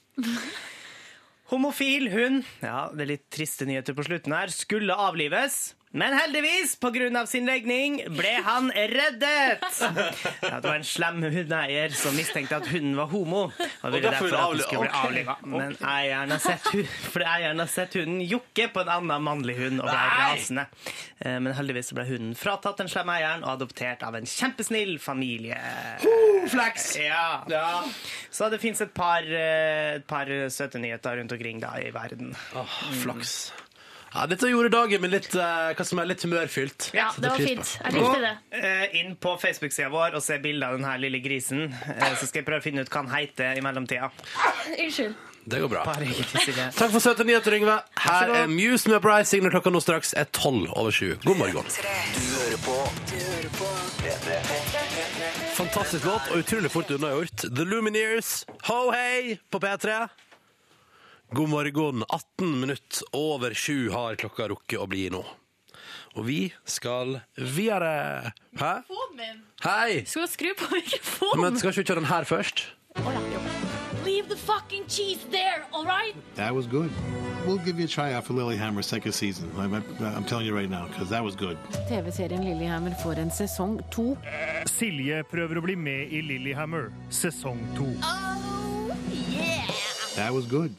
[SPEAKER 3] Homofil hund, ja, det er litt triste nyheter på slutten her, skulle avlives. Men heldigvis, pga. sin legning, ble han reddet! Ja, det var en slem hundeeier som mistenkte at hunden var homo. Og ville
[SPEAKER 2] derfor
[SPEAKER 3] derfor at den skulle bli
[SPEAKER 2] avli-
[SPEAKER 3] avliva. Men eieren har sett, hu- fordi eieren har sett hunden jokke på en annen mannlig hund og ble rasende. Eh, Men heldigvis ble hunden fratatt den slemme eieren og adoptert av en kjempesnill familie. Flaks! Ja. Så det fins et, par, eh, et par søte nyheter rundt omkring da i verden. Mm.
[SPEAKER 2] Flaks. Ja, dette gjorde dagen min litt, eh, hva som er litt humørfylt.
[SPEAKER 4] Ja, det var
[SPEAKER 2] Setter pris
[SPEAKER 4] fint.
[SPEAKER 2] på.
[SPEAKER 4] Jeg
[SPEAKER 3] Gå
[SPEAKER 4] likte det.
[SPEAKER 3] eh, inn på Facebook-sida vår og se bilde av den her lille grisen. eh, Så skal jeg prøve å finne ut hva han heter i mellomtida.
[SPEAKER 4] Unnskyld.
[SPEAKER 2] Det går bra.
[SPEAKER 3] Bare ikke si det.
[SPEAKER 2] Takk for søte nyheter, Yngve. Her er Muse med Uprising når klokka nå straks er tolv over sju. God morgen. Fantastisk låt og utrolig fort unnagjort. The Lumineers, ho hei på P3. God morgen. 18 minutt over sju har klokka rukket å bli nå. Og vi skal videre. Hæ? Hei!
[SPEAKER 4] Skal du skru på
[SPEAKER 2] Men
[SPEAKER 4] mikrofonen?
[SPEAKER 2] skal ikke vi kjøre den her først?
[SPEAKER 4] Å, ja, jo. Leave the fucking cheese there, all right?
[SPEAKER 11] That was good. We'll give you a try out for Lilyhammer second season. I'm, I'm- I'm telling you right now, because that was good.
[SPEAKER 12] TV-serien Lillehammer får en sesong to.
[SPEAKER 13] Silje prøver å bli med i Lillehammer, sesong to.
[SPEAKER 4] Oh,
[SPEAKER 11] That was good.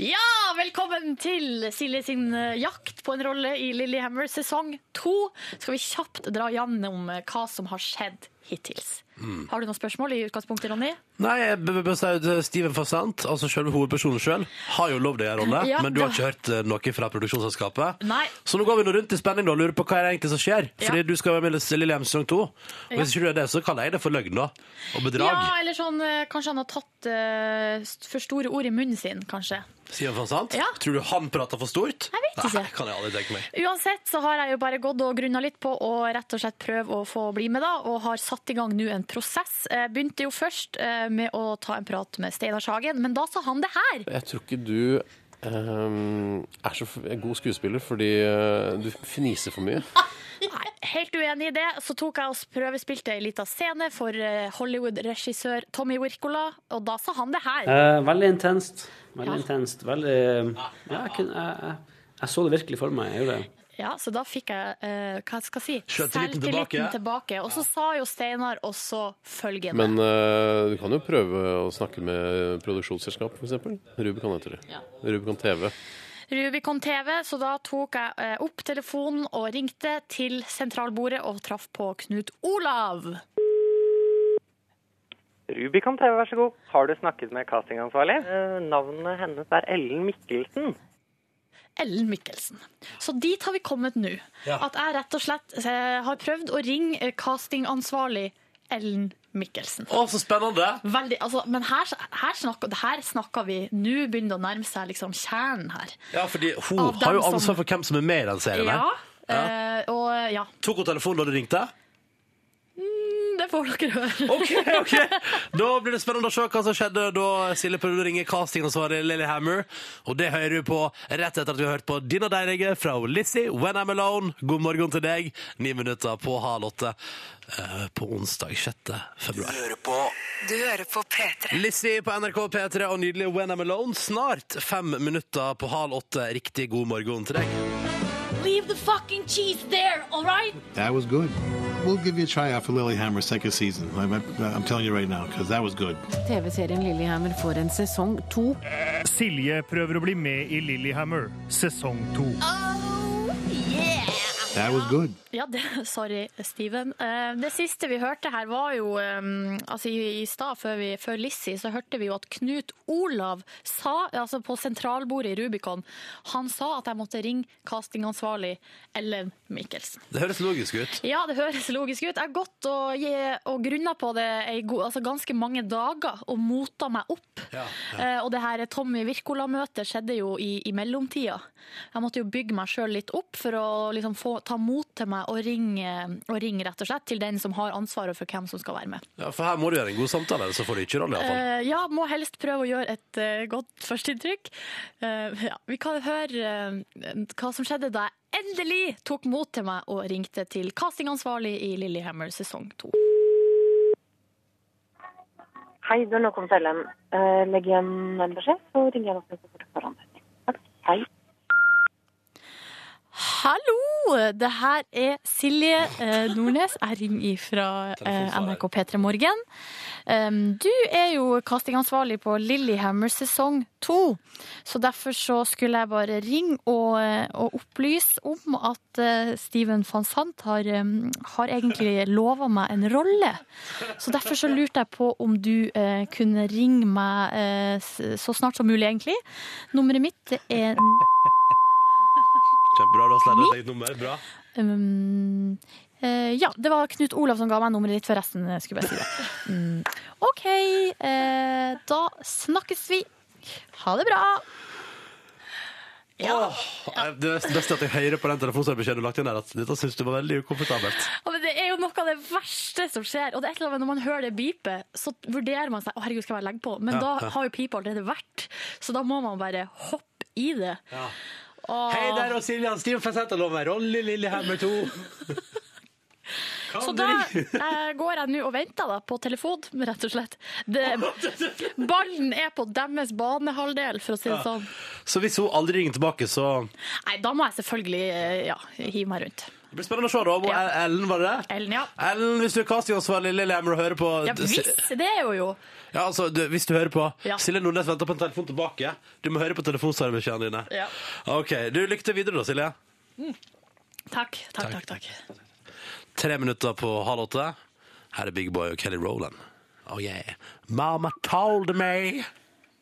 [SPEAKER 4] Ja, velkommen til Silje sin eh, jakt på en rolle i Lillehammer sesong to. Skal vi kjapt dra gjennom eh, hva som har skjedd hittils.
[SPEAKER 2] Mm.
[SPEAKER 4] Har du noen spørsmål i utgangspunktet, Ronny?
[SPEAKER 2] Nei, jeg b- b- bør si at eh, Steven Fossant, altså selve hovedpersonen sjøl, har jo lovd deg en rolle,
[SPEAKER 4] Ja,
[SPEAKER 2] men du har
[SPEAKER 4] da-
[SPEAKER 2] ikke hørt eh, noe fra produksjonsselskapet.
[SPEAKER 4] Nei.
[SPEAKER 2] Så nå går vi nå rundt i spenning da, og lurer på hva er det egentlig som skjer.
[SPEAKER 4] Ja.
[SPEAKER 2] Fordi du skal være med i Lillehammer sesong to. Og
[SPEAKER 4] Ja.
[SPEAKER 2] hvis ikke du er det, så kaller jeg det for løgn da. Og bedrag.
[SPEAKER 4] Ja, eller sånn eh, Kanskje han har tatt eh, st- for store ord i munnen sin, kanskje.
[SPEAKER 2] Steven Fossant,
[SPEAKER 4] Ja.
[SPEAKER 2] tror du han prater for stort? Jeg
[SPEAKER 4] vet ikke.
[SPEAKER 2] Nei, kan jeg aldri tenke meg.
[SPEAKER 4] Uansett så har jeg jo bare gått og grunna litt på å rett og slett prøve å få bli med, da, og har satt i gang nå en prosess. Eh, Begynte jo først eh, med å ta en prat med Steinar Sagen, men da sa han det her.
[SPEAKER 14] Jeg tror ikke du ehm, er så f- god skuespiller fordi eh, du fniser for mye.
[SPEAKER 4] Nei, helt uenig i det. Så tok jeg og prøvespilte ei lita scene for eh, Hollywood-regissør Tommy Wirkola, og da sa han det her.
[SPEAKER 15] Eh, veldig intenst. Veldig
[SPEAKER 4] Ja.
[SPEAKER 15] intenst. Veldig eh, Ja, jeg, kunne, jeg, jeg, jeg så det virkelig for meg. Jeg gjorde det.
[SPEAKER 4] Ja, så da fikk jeg eh, hva skal jeg si,
[SPEAKER 14] Selvtilliten tilbake.
[SPEAKER 4] tilbake. Og så sa jo Steinar også følgende.
[SPEAKER 14] Men eh, du kan jo prøve å snakke med produksjonsselskap, f.eks. Rubicon heter det.
[SPEAKER 4] Ja.
[SPEAKER 14] Rubicon TV.
[SPEAKER 4] Rubicon TV, så da tok jeg eh, opp telefonen og ringte til sentralbordet og traff på Knut Olav.
[SPEAKER 8] Rubicon TV, vær så god. Har du snakket med castingansvarlig? Eh, navnet hennes er Ellen Mikkelsen.
[SPEAKER 4] Ellen Mikkelsen. Så dit har vi kommet nå. At jeg rett og slett eh, har prøvd å ringe eh, castingansvarlig Ellen Mikkelsen.
[SPEAKER 2] Å, så spennende!
[SPEAKER 4] Veldig, altså, men her, her, snakker, her snakker vi Nå begynner det å nærme seg liksom kjernen her.
[SPEAKER 2] Ja, fordi hun
[SPEAKER 4] Av dem
[SPEAKER 2] har jo
[SPEAKER 4] som-
[SPEAKER 2] ansvar for hvem som er med i den serien.
[SPEAKER 4] Ja.
[SPEAKER 2] her. Ja.
[SPEAKER 4] eh, og ja,
[SPEAKER 2] Tok hun telefonen da du
[SPEAKER 4] [laughs]
[SPEAKER 2] ringte?
[SPEAKER 4] Mm, det får dere høre.
[SPEAKER 2] Da blir det spennende å se hva som skjedde da Silje prøvde å ringe castingansvarlig Lily Hammer. Og det hører du på rett etter at vi har hørt på Dina Deirege fra Lizzie, When I'm Alone. God morgen til deg. Ni minutter på halv åtte eh, på onsdag 6. februar.
[SPEAKER 16] Du hører på P3.
[SPEAKER 2] Lizzie på NRK P3 og nydelig When I'm Alone. Snart fem minutter på halv åtte. Riktig god morgen til deg.
[SPEAKER 4] [laughs] Leave the fucking cheese there, all right?
[SPEAKER 11] That was good. We'll give you a try out for Lilyhammer second season. I'm, I'm- I'm telling you right now, because that was good.
[SPEAKER 12] TV-serien Lillehammer får en sesong to.
[SPEAKER 13] Silje prøver å bli med i Lillehammer, sesong to.
[SPEAKER 4] Oh,
[SPEAKER 11] That was good.
[SPEAKER 4] Ja, det, sorry, Steven. Eh, Det siste vi hørte her var jo eh, altså I, i stad, før, vi- før Lissi, så hørte vi jo at Knut Olav sa, altså på sentralbordet i Rubicon, han sa at jeg måtte ringe castingansvarlig Ellen Mikkelsen.
[SPEAKER 2] Det høres logisk ut.
[SPEAKER 4] Ja, det høres logisk ut. Jeg har gått og, gi- og grunna på det i go- altså ganske mange dager og mota meg opp. Eh, og det her Tommy Wirkola-møtet skjedde jo i, i mellomtida. Jeg måtte jo bygge meg sjøl litt opp for å liksom få, ta mot til meg og ringe, og ringe rett og slett til den som har ansvaret for hvem som skal være med.
[SPEAKER 2] Ja, for her må du gjøre en god samtale, ellers så får du ikke rolle, iallfall.
[SPEAKER 4] Eh, ja, må helst prøve å gjøre et eh, godt førsteinntrykk. Eh, ja, vi kan høre eh, hva som skjedde da jeg endelig tok mot til meg og ringte til castingansvarlig i Lillehammer sesong to.
[SPEAKER 17] Hei, du har nå kommet til Ellen. Eh, Legg igjen en beskjed, så ringer jeg nok neste fort foran deg. Takk. Hei.
[SPEAKER 4] Hallo! Det her er Silje eh, Nordnes. Jeg ringer fra eh, NRK P3 Morgen. Um, du er jo castingansvarlig på Lillehammer sesong to. Så derfor så skulle jeg bare ringe og, eh, og opplyse om at eh, Steven van Sant har, um, har egentlig lova meg en rolle. Så derfor så lurte jeg på om du eh, kunne ringe meg eh, s- så snart som mulig, egentlig. Nummeret mitt er Eh,
[SPEAKER 2] Kjempebra, du har slettet et eget nummer. Bra.
[SPEAKER 4] Um, eh, ja, det var Knut Olav som ga meg nummeret ditt for resten, eh, skulle jeg si. [laughs] det. Mm, OK, eh, da snakkes vi. Ha det bra.
[SPEAKER 2] Åh, jeg- det er nesten best at jeg hører på den telefonsvarebeskjeden du lagt inn der, at dette syns du var veldig ukomfortabelt.
[SPEAKER 4] Ja, men det er jo noe av det verste som skjer. Og det er et eller annet, når man hører det pipe, så vurderer man seg Å, herregud, skal jeg bare legge på? Men
[SPEAKER 2] Ja, ja.
[SPEAKER 4] da har jo pipa allerede vært, så da må man bare hoppe i det. Åh.
[SPEAKER 18] Hei der, og Siljan. Steven Fensetta lover rolle i Lillehammer 2.
[SPEAKER 4] Så da [laughs] eh, går jeg nå og venter da, på telefon, rett og slett. Det,
[SPEAKER 2] [laughs]
[SPEAKER 4] ballen er på deres banehalvdel, for å si [laughs] det
[SPEAKER 2] Ja.
[SPEAKER 4] sånn.
[SPEAKER 2] Så hvis hun aldri ringer tilbake, så
[SPEAKER 4] Nei, da må jeg selvfølgelig eh, ja, hive meg rundt.
[SPEAKER 2] Det blir spennende å se, da. Om Ellen, var det det?
[SPEAKER 4] Ellen, ja.
[SPEAKER 2] Ellen, hvis du er castingansvarlig i Lillehammer og hører på
[SPEAKER 4] Ja visst, det er jo jo.
[SPEAKER 2] Ja, altså, du, hvis du hører på
[SPEAKER 4] Ja.
[SPEAKER 2] Silje Nordnes venter på en telefon tilbake. Du må høre på telefonsvarebeskjedene dine.
[SPEAKER 4] Ja.
[SPEAKER 2] OK. Du, lykke til videre, da, Silje.
[SPEAKER 4] Takk, takk, takk. takk.
[SPEAKER 2] Tre minutter på halv åtte. Her er Big Boy og Kelly Rowland. Oh yeah. Mama told me.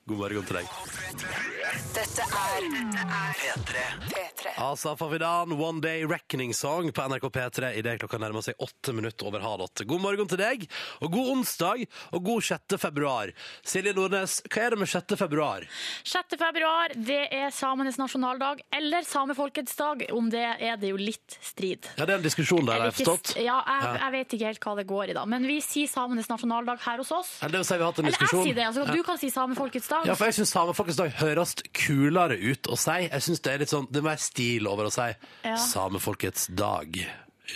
[SPEAKER 2] God morgen til deg.
[SPEAKER 8] Dette er P3.
[SPEAKER 2] Asaf Avidan, One Day Reckoning Song på NRK P3 i det klokka nærmer seg åtte minutter over halv åtte. God morgen til deg, og god onsdag, og god 6. februar. Silje Nordnes, hva er det med 6. februar?
[SPEAKER 4] 6. februar, det er samenes nasjonaldag, eller samefolkets dag. Om det er det jo litt strid.
[SPEAKER 2] Ja, det er en diskusjon der, har jeg
[SPEAKER 4] Ikke-
[SPEAKER 2] forstått.
[SPEAKER 4] Ja, jeg,
[SPEAKER 2] Ja.
[SPEAKER 4] jeg vet ikke helt hva det går i, da. Men vi sier samenes nasjonaldag her hos oss.
[SPEAKER 2] Eller det vil si vi har hatt en
[SPEAKER 4] Eller jeg
[SPEAKER 2] diskusjon.
[SPEAKER 4] sier det, altså,
[SPEAKER 2] Ja.
[SPEAKER 4] du kan si samefolkets dag.
[SPEAKER 2] Ja, for jeg syns samefolkets dag høres kulere ut å si. Jeg synes Det er litt sånn, det må være stil over å si
[SPEAKER 4] Ja.
[SPEAKER 2] samefolkets dag.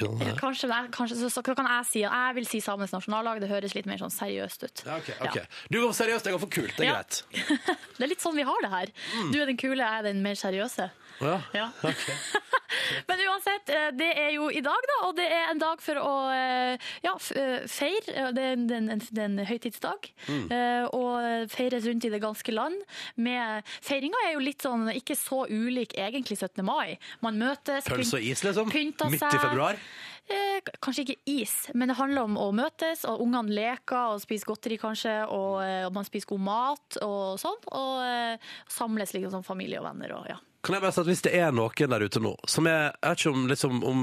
[SPEAKER 4] Ja, kanskje, det er- kanskje så, så kan jeg si jeg vil si samenes nasjonaldag. Det høres litt mer sånn seriøst ut.
[SPEAKER 2] Ja, ok, ok. Du går for seriøst, jeg går for kult. Det er
[SPEAKER 4] Ja.
[SPEAKER 2] greit.
[SPEAKER 4] Det er litt sånn vi har det her.
[SPEAKER 2] Mm.
[SPEAKER 4] Du er den kule, jeg er den mer seriøse.
[SPEAKER 2] Ja.
[SPEAKER 4] Ja. Men uansett, eh, det er jo i dag, da, og det er en dag for å eh, ja, f- eh, feire. Eh, Det er en, en, en, det er en høytidsdag,
[SPEAKER 7] Mm.
[SPEAKER 4] eh, og feires rundt i det ganske land. Med, feiringa er jo litt sånn ikke så ulik egentlig 17. mai. Man møtes,
[SPEAKER 2] Pølse og
[SPEAKER 4] pynt-
[SPEAKER 2] is, liksom.
[SPEAKER 4] pynter
[SPEAKER 2] Midt i
[SPEAKER 4] seg.
[SPEAKER 2] februar.
[SPEAKER 4] Eh, k- Kanskje ikke is, men det handler om å møtes, og ungene leker og spiser godteri kanskje, og, eh, og man spiser god mat og sånn, og eh, samles liksom som familie og venner og ja.
[SPEAKER 2] Kan jeg bare si at Hvis det er noen der ute nå som er, Jeg vet ikke om, liksom, om,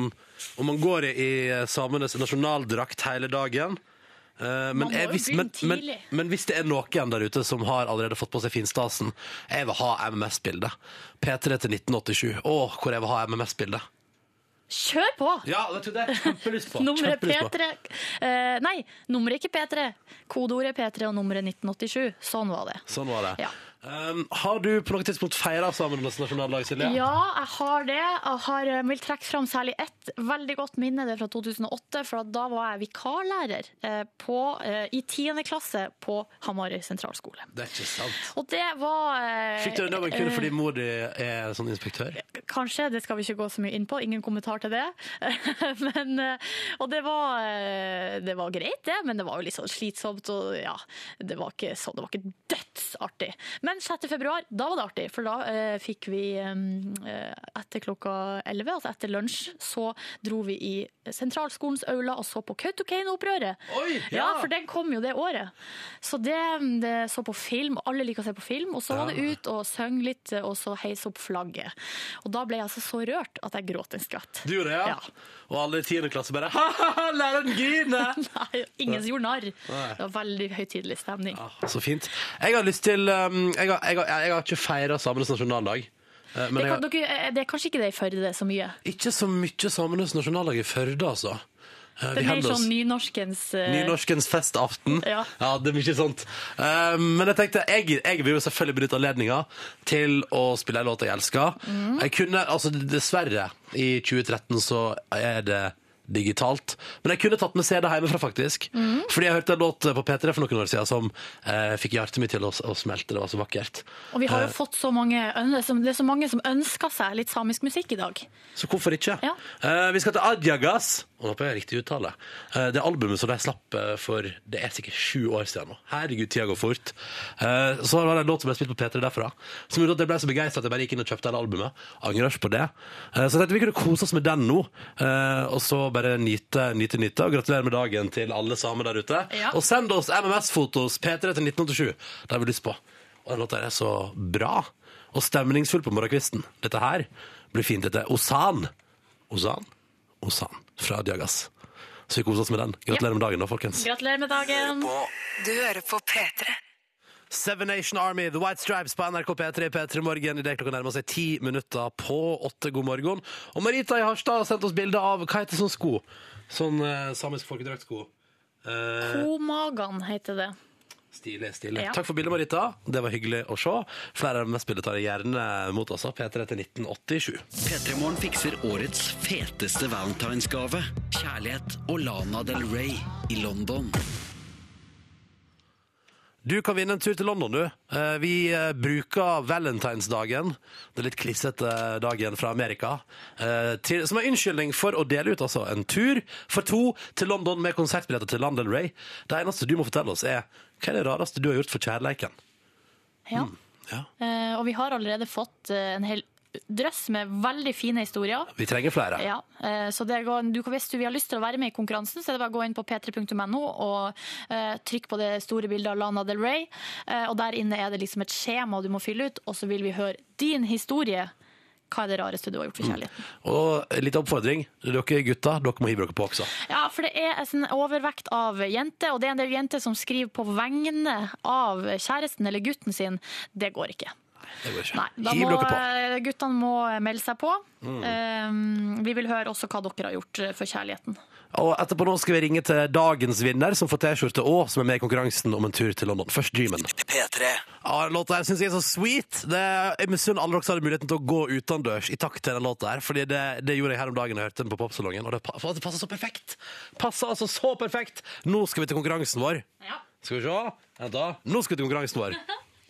[SPEAKER 2] om man går i, i samenes nasjonaldrakt hele dagen eh, men,
[SPEAKER 4] Man må
[SPEAKER 2] jeg,
[SPEAKER 4] jo
[SPEAKER 2] hvis,
[SPEAKER 4] begynne
[SPEAKER 2] men, men,
[SPEAKER 4] tidlig.
[SPEAKER 2] men hvis det er noen der ute som har allerede fått på seg finstasen Jeg vil ha MMS-bildet. P3 til 1987. Å, hvor jeg vil ha MMS-bildet.
[SPEAKER 4] Kjør på!
[SPEAKER 2] Ja, vet du, det har jeg kjempelyst på.
[SPEAKER 4] Nummeret
[SPEAKER 2] Kjempelyst på.
[SPEAKER 4] P3 eh, Nei, nummeret ikke P3. Kodeordet P3 og nummeret 1987. Sånn var det.
[SPEAKER 2] Sånn var det.
[SPEAKER 4] Ja.
[SPEAKER 2] Um, har du på noe tidspunkt feira samenes nasjonaldag, Silje?
[SPEAKER 4] Ja, jeg har det. Jeg har, eh, vil trekke fram særlig ett veldig godt minne. Det er fra 2008, for da var jeg vikarlærer eh, på, eh, i 10. klasse på Hamarøy sentralskole.
[SPEAKER 2] Det er ikke sant.
[SPEAKER 4] Og det var eh,
[SPEAKER 2] Fikk du den jobben kun
[SPEAKER 4] eh,
[SPEAKER 2] fordi mor di er sånn inspektør?
[SPEAKER 4] Kanskje, det skal vi ikke gå så mye inn på. Ingen kommentar til det. [laughs] men, eh, og det var, eh, det var greit, det, men det var jo litt sånn slitsomt. Og ja, det var ikke, så, det var ikke dødsartig. Men 6. februar, da var det artig, for da eh, fikk vi eh, etter klokka 11, altså etter lunsj, så dro vi i sentralskolens aula og så på Kautokeino-opprøret. Ja,
[SPEAKER 7] ja.
[SPEAKER 4] for den kom jo det året. Så det, det så på film, og alle liker å se på film. Og så var det
[SPEAKER 7] Ja.
[SPEAKER 4] ut og søng litt, og så heise opp flagget. Og da ble jeg altså så rørt at jeg gråt en skvatt.
[SPEAKER 2] Du gjorde det, ja? Og alle i tiende klasse bare ha-ha, læreren griner!
[SPEAKER 4] [laughs] Nei, ingen som gjorde narr.
[SPEAKER 2] Nei.
[SPEAKER 4] Det var veldig høytidelig stemning.
[SPEAKER 2] ehm, Så fint. Jeg har lyst til um, Jeg har, jeg har, jeg har ikke feira samenes nasjonaldag. Eh,
[SPEAKER 4] det,
[SPEAKER 2] Men
[SPEAKER 4] kan,
[SPEAKER 2] jeg,
[SPEAKER 4] dere, eh, det er kanskje ikke det i Førde så mye.
[SPEAKER 2] ikke så mye Samenes nasjonaldag i Førde, altså. Eh,
[SPEAKER 4] Det er
[SPEAKER 2] vi
[SPEAKER 4] mer
[SPEAKER 2] holder oss-
[SPEAKER 4] sånn nynorskens eh,
[SPEAKER 2] Nynorskens festaften.
[SPEAKER 4] Ja.
[SPEAKER 2] det er mye sånt. Eh, men jeg tenkte, jeg, jeg vil jo selvfølgelig benytte anledninga til å spille en låt jeg elsker.
[SPEAKER 11] Mhm.
[SPEAKER 2] Jeg kunne, altså Dessverre, i 2013 så er det digitalt. Men jeg kunne tatt med CD hjemmefra, faktisk.
[SPEAKER 4] Mhm.
[SPEAKER 2] Fordi jeg hørte en låt på P3 for noen år siden som eh, fikk hjertet mitt til å, å smelte. Det var så vakkert.
[SPEAKER 4] Og vi har jo
[SPEAKER 2] Eh,
[SPEAKER 4] fått så mange, øn- som- det er så mange som ønsker seg litt samisk musikk i dag.
[SPEAKER 2] Så hvorfor ikke? Eh, vi skal til Adjagas. Og håper jeg har riktig uttale. Eh, det albumet som de slapp eh, for det er sikkert sju år siden nå. Herregud, tida går fort. Eh, så var det en låt som ble spilt på P3 derfra, som gjorde at jeg ble så begeistra at jeg bare gikk inn og kjøpte hele albumet. Angrer på det. Eh, så jeg tenkte vi kunne kose oss med den nå, eh, og så bare nyte, nyte, nyte. Og gratulerer med dagen til alle samer der ute.
[SPEAKER 11] Ja.
[SPEAKER 2] Og send oss MMS-fotos P3 til 1987. Det har vi lyst på. Og den låta her er så bra og stemningsfull på morgenkvisten. Dette her blir fint. Dette er Osan. Osan? Osan fra Diagas. Så vi koser oss med den. Gratulerer med dagen, da, folkens.
[SPEAKER 4] Gratulerer med dagen.
[SPEAKER 19] Du hører på P3.
[SPEAKER 2] Seven Nation Army, The White Stripes på NRK P3 P3 Morgen. I det klokka nærmer seg ti minutter på åtte. God morgen. Og Marita i Harstad har sendt oss bilde av hva heter sånn sko? Sånn eh, samisk folkedraktsko. Eh,
[SPEAKER 4] Komagan heter det.
[SPEAKER 2] Stilig. stilig.
[SPEAKER 4] Ja.
[SPEAKER 2] Takk for bildet, Marita. Det var hyggelig å se. Flere av de mest bildet tar jeg gjerne mot også. P3 til 1987.
[SPEAKER 8] P3 Morgen fikser årets feteste valentinsgave. Kjærlighet og Lana Del Rey i London.
[SPEAKER 2] Du kan vinne en tur til London, du. Eh, Vi eh, bruker valentinsdagen, den litt klissete dagen fra Amerika, eh, til, som en unnskyldning for å dele ut altså, en tur for to til London med konsertbilletter til Lana Del Rey. Det eneste du må fortelle oss, er hva er det rareste du har gjort for kjærleiken?
[SPEAKER 4] Ja.
[SPEAKER 2] ja.
[SPEAKER 4] Eh, og vi har allerede fått eh, en hel drøss med veldig fine historier.
[SPEAKER 2] Vi trenger flere.
[SPEAKER 4] Ja, eh, så det går, du, kan- Hvis du vil ha lyst til å være med i konkurransen, så er det bare å gå inn på p3.no og eh, trykk på det store bildet av Lana Del Rey. Eh, og Der inne er det liksom et skjema du må fylle ut, og så vil vi høre din historie. Hva er det rareste du har gjort
[SPEAKER 2] Mm.
[SPEAKER 4] for kjærligheten?
[SPEAKER 2] Og en liten oppfordring. Dere gutter, dere må hive dere på også.
[SPEAKER 4] Ja, for det er en sånn overvekt av jenter, og det er en del jenter som skriver på vegne av kjæresten eller gutten sin. Det går ikke.
[SPEAKER 2] Det går ikke.
[SPEAKER 4] Nei, da
[SPEAKER 2] hiv
[SPEAKER 4] må,
[SPEAKER 2] dere på.
[SPEAKER 4] eh, guttene må melde seg på.
[SPEAKER 2] Mm.
[SPEAKER 4] Eh, vi vil høre også hva dere har gjort eh, for kjærligheten.
[SPEAKER 2] Og etterpå nå skal vi ringe til dagens vinner, som får T-skjorte og som er med i konkurransen om en tur til London. Først Dreamen.
[SPEAKER 8] P3.
[SPEAKER 2] Ja, den låta her synes jeg er så sweet. Det, jeg misunner alle dere som hadde muligheten til å gå utendørs i takt til den låta her, fordi det, det gjorde jeg her om dagen da jeg hørte den på popsalongen, og det, pa- det passer så perfekt. Passer altså så perfekt. Nå skal vi til konkurransen vår. Skal vi se. Vent da. Nå skal vi til konkurransen vår.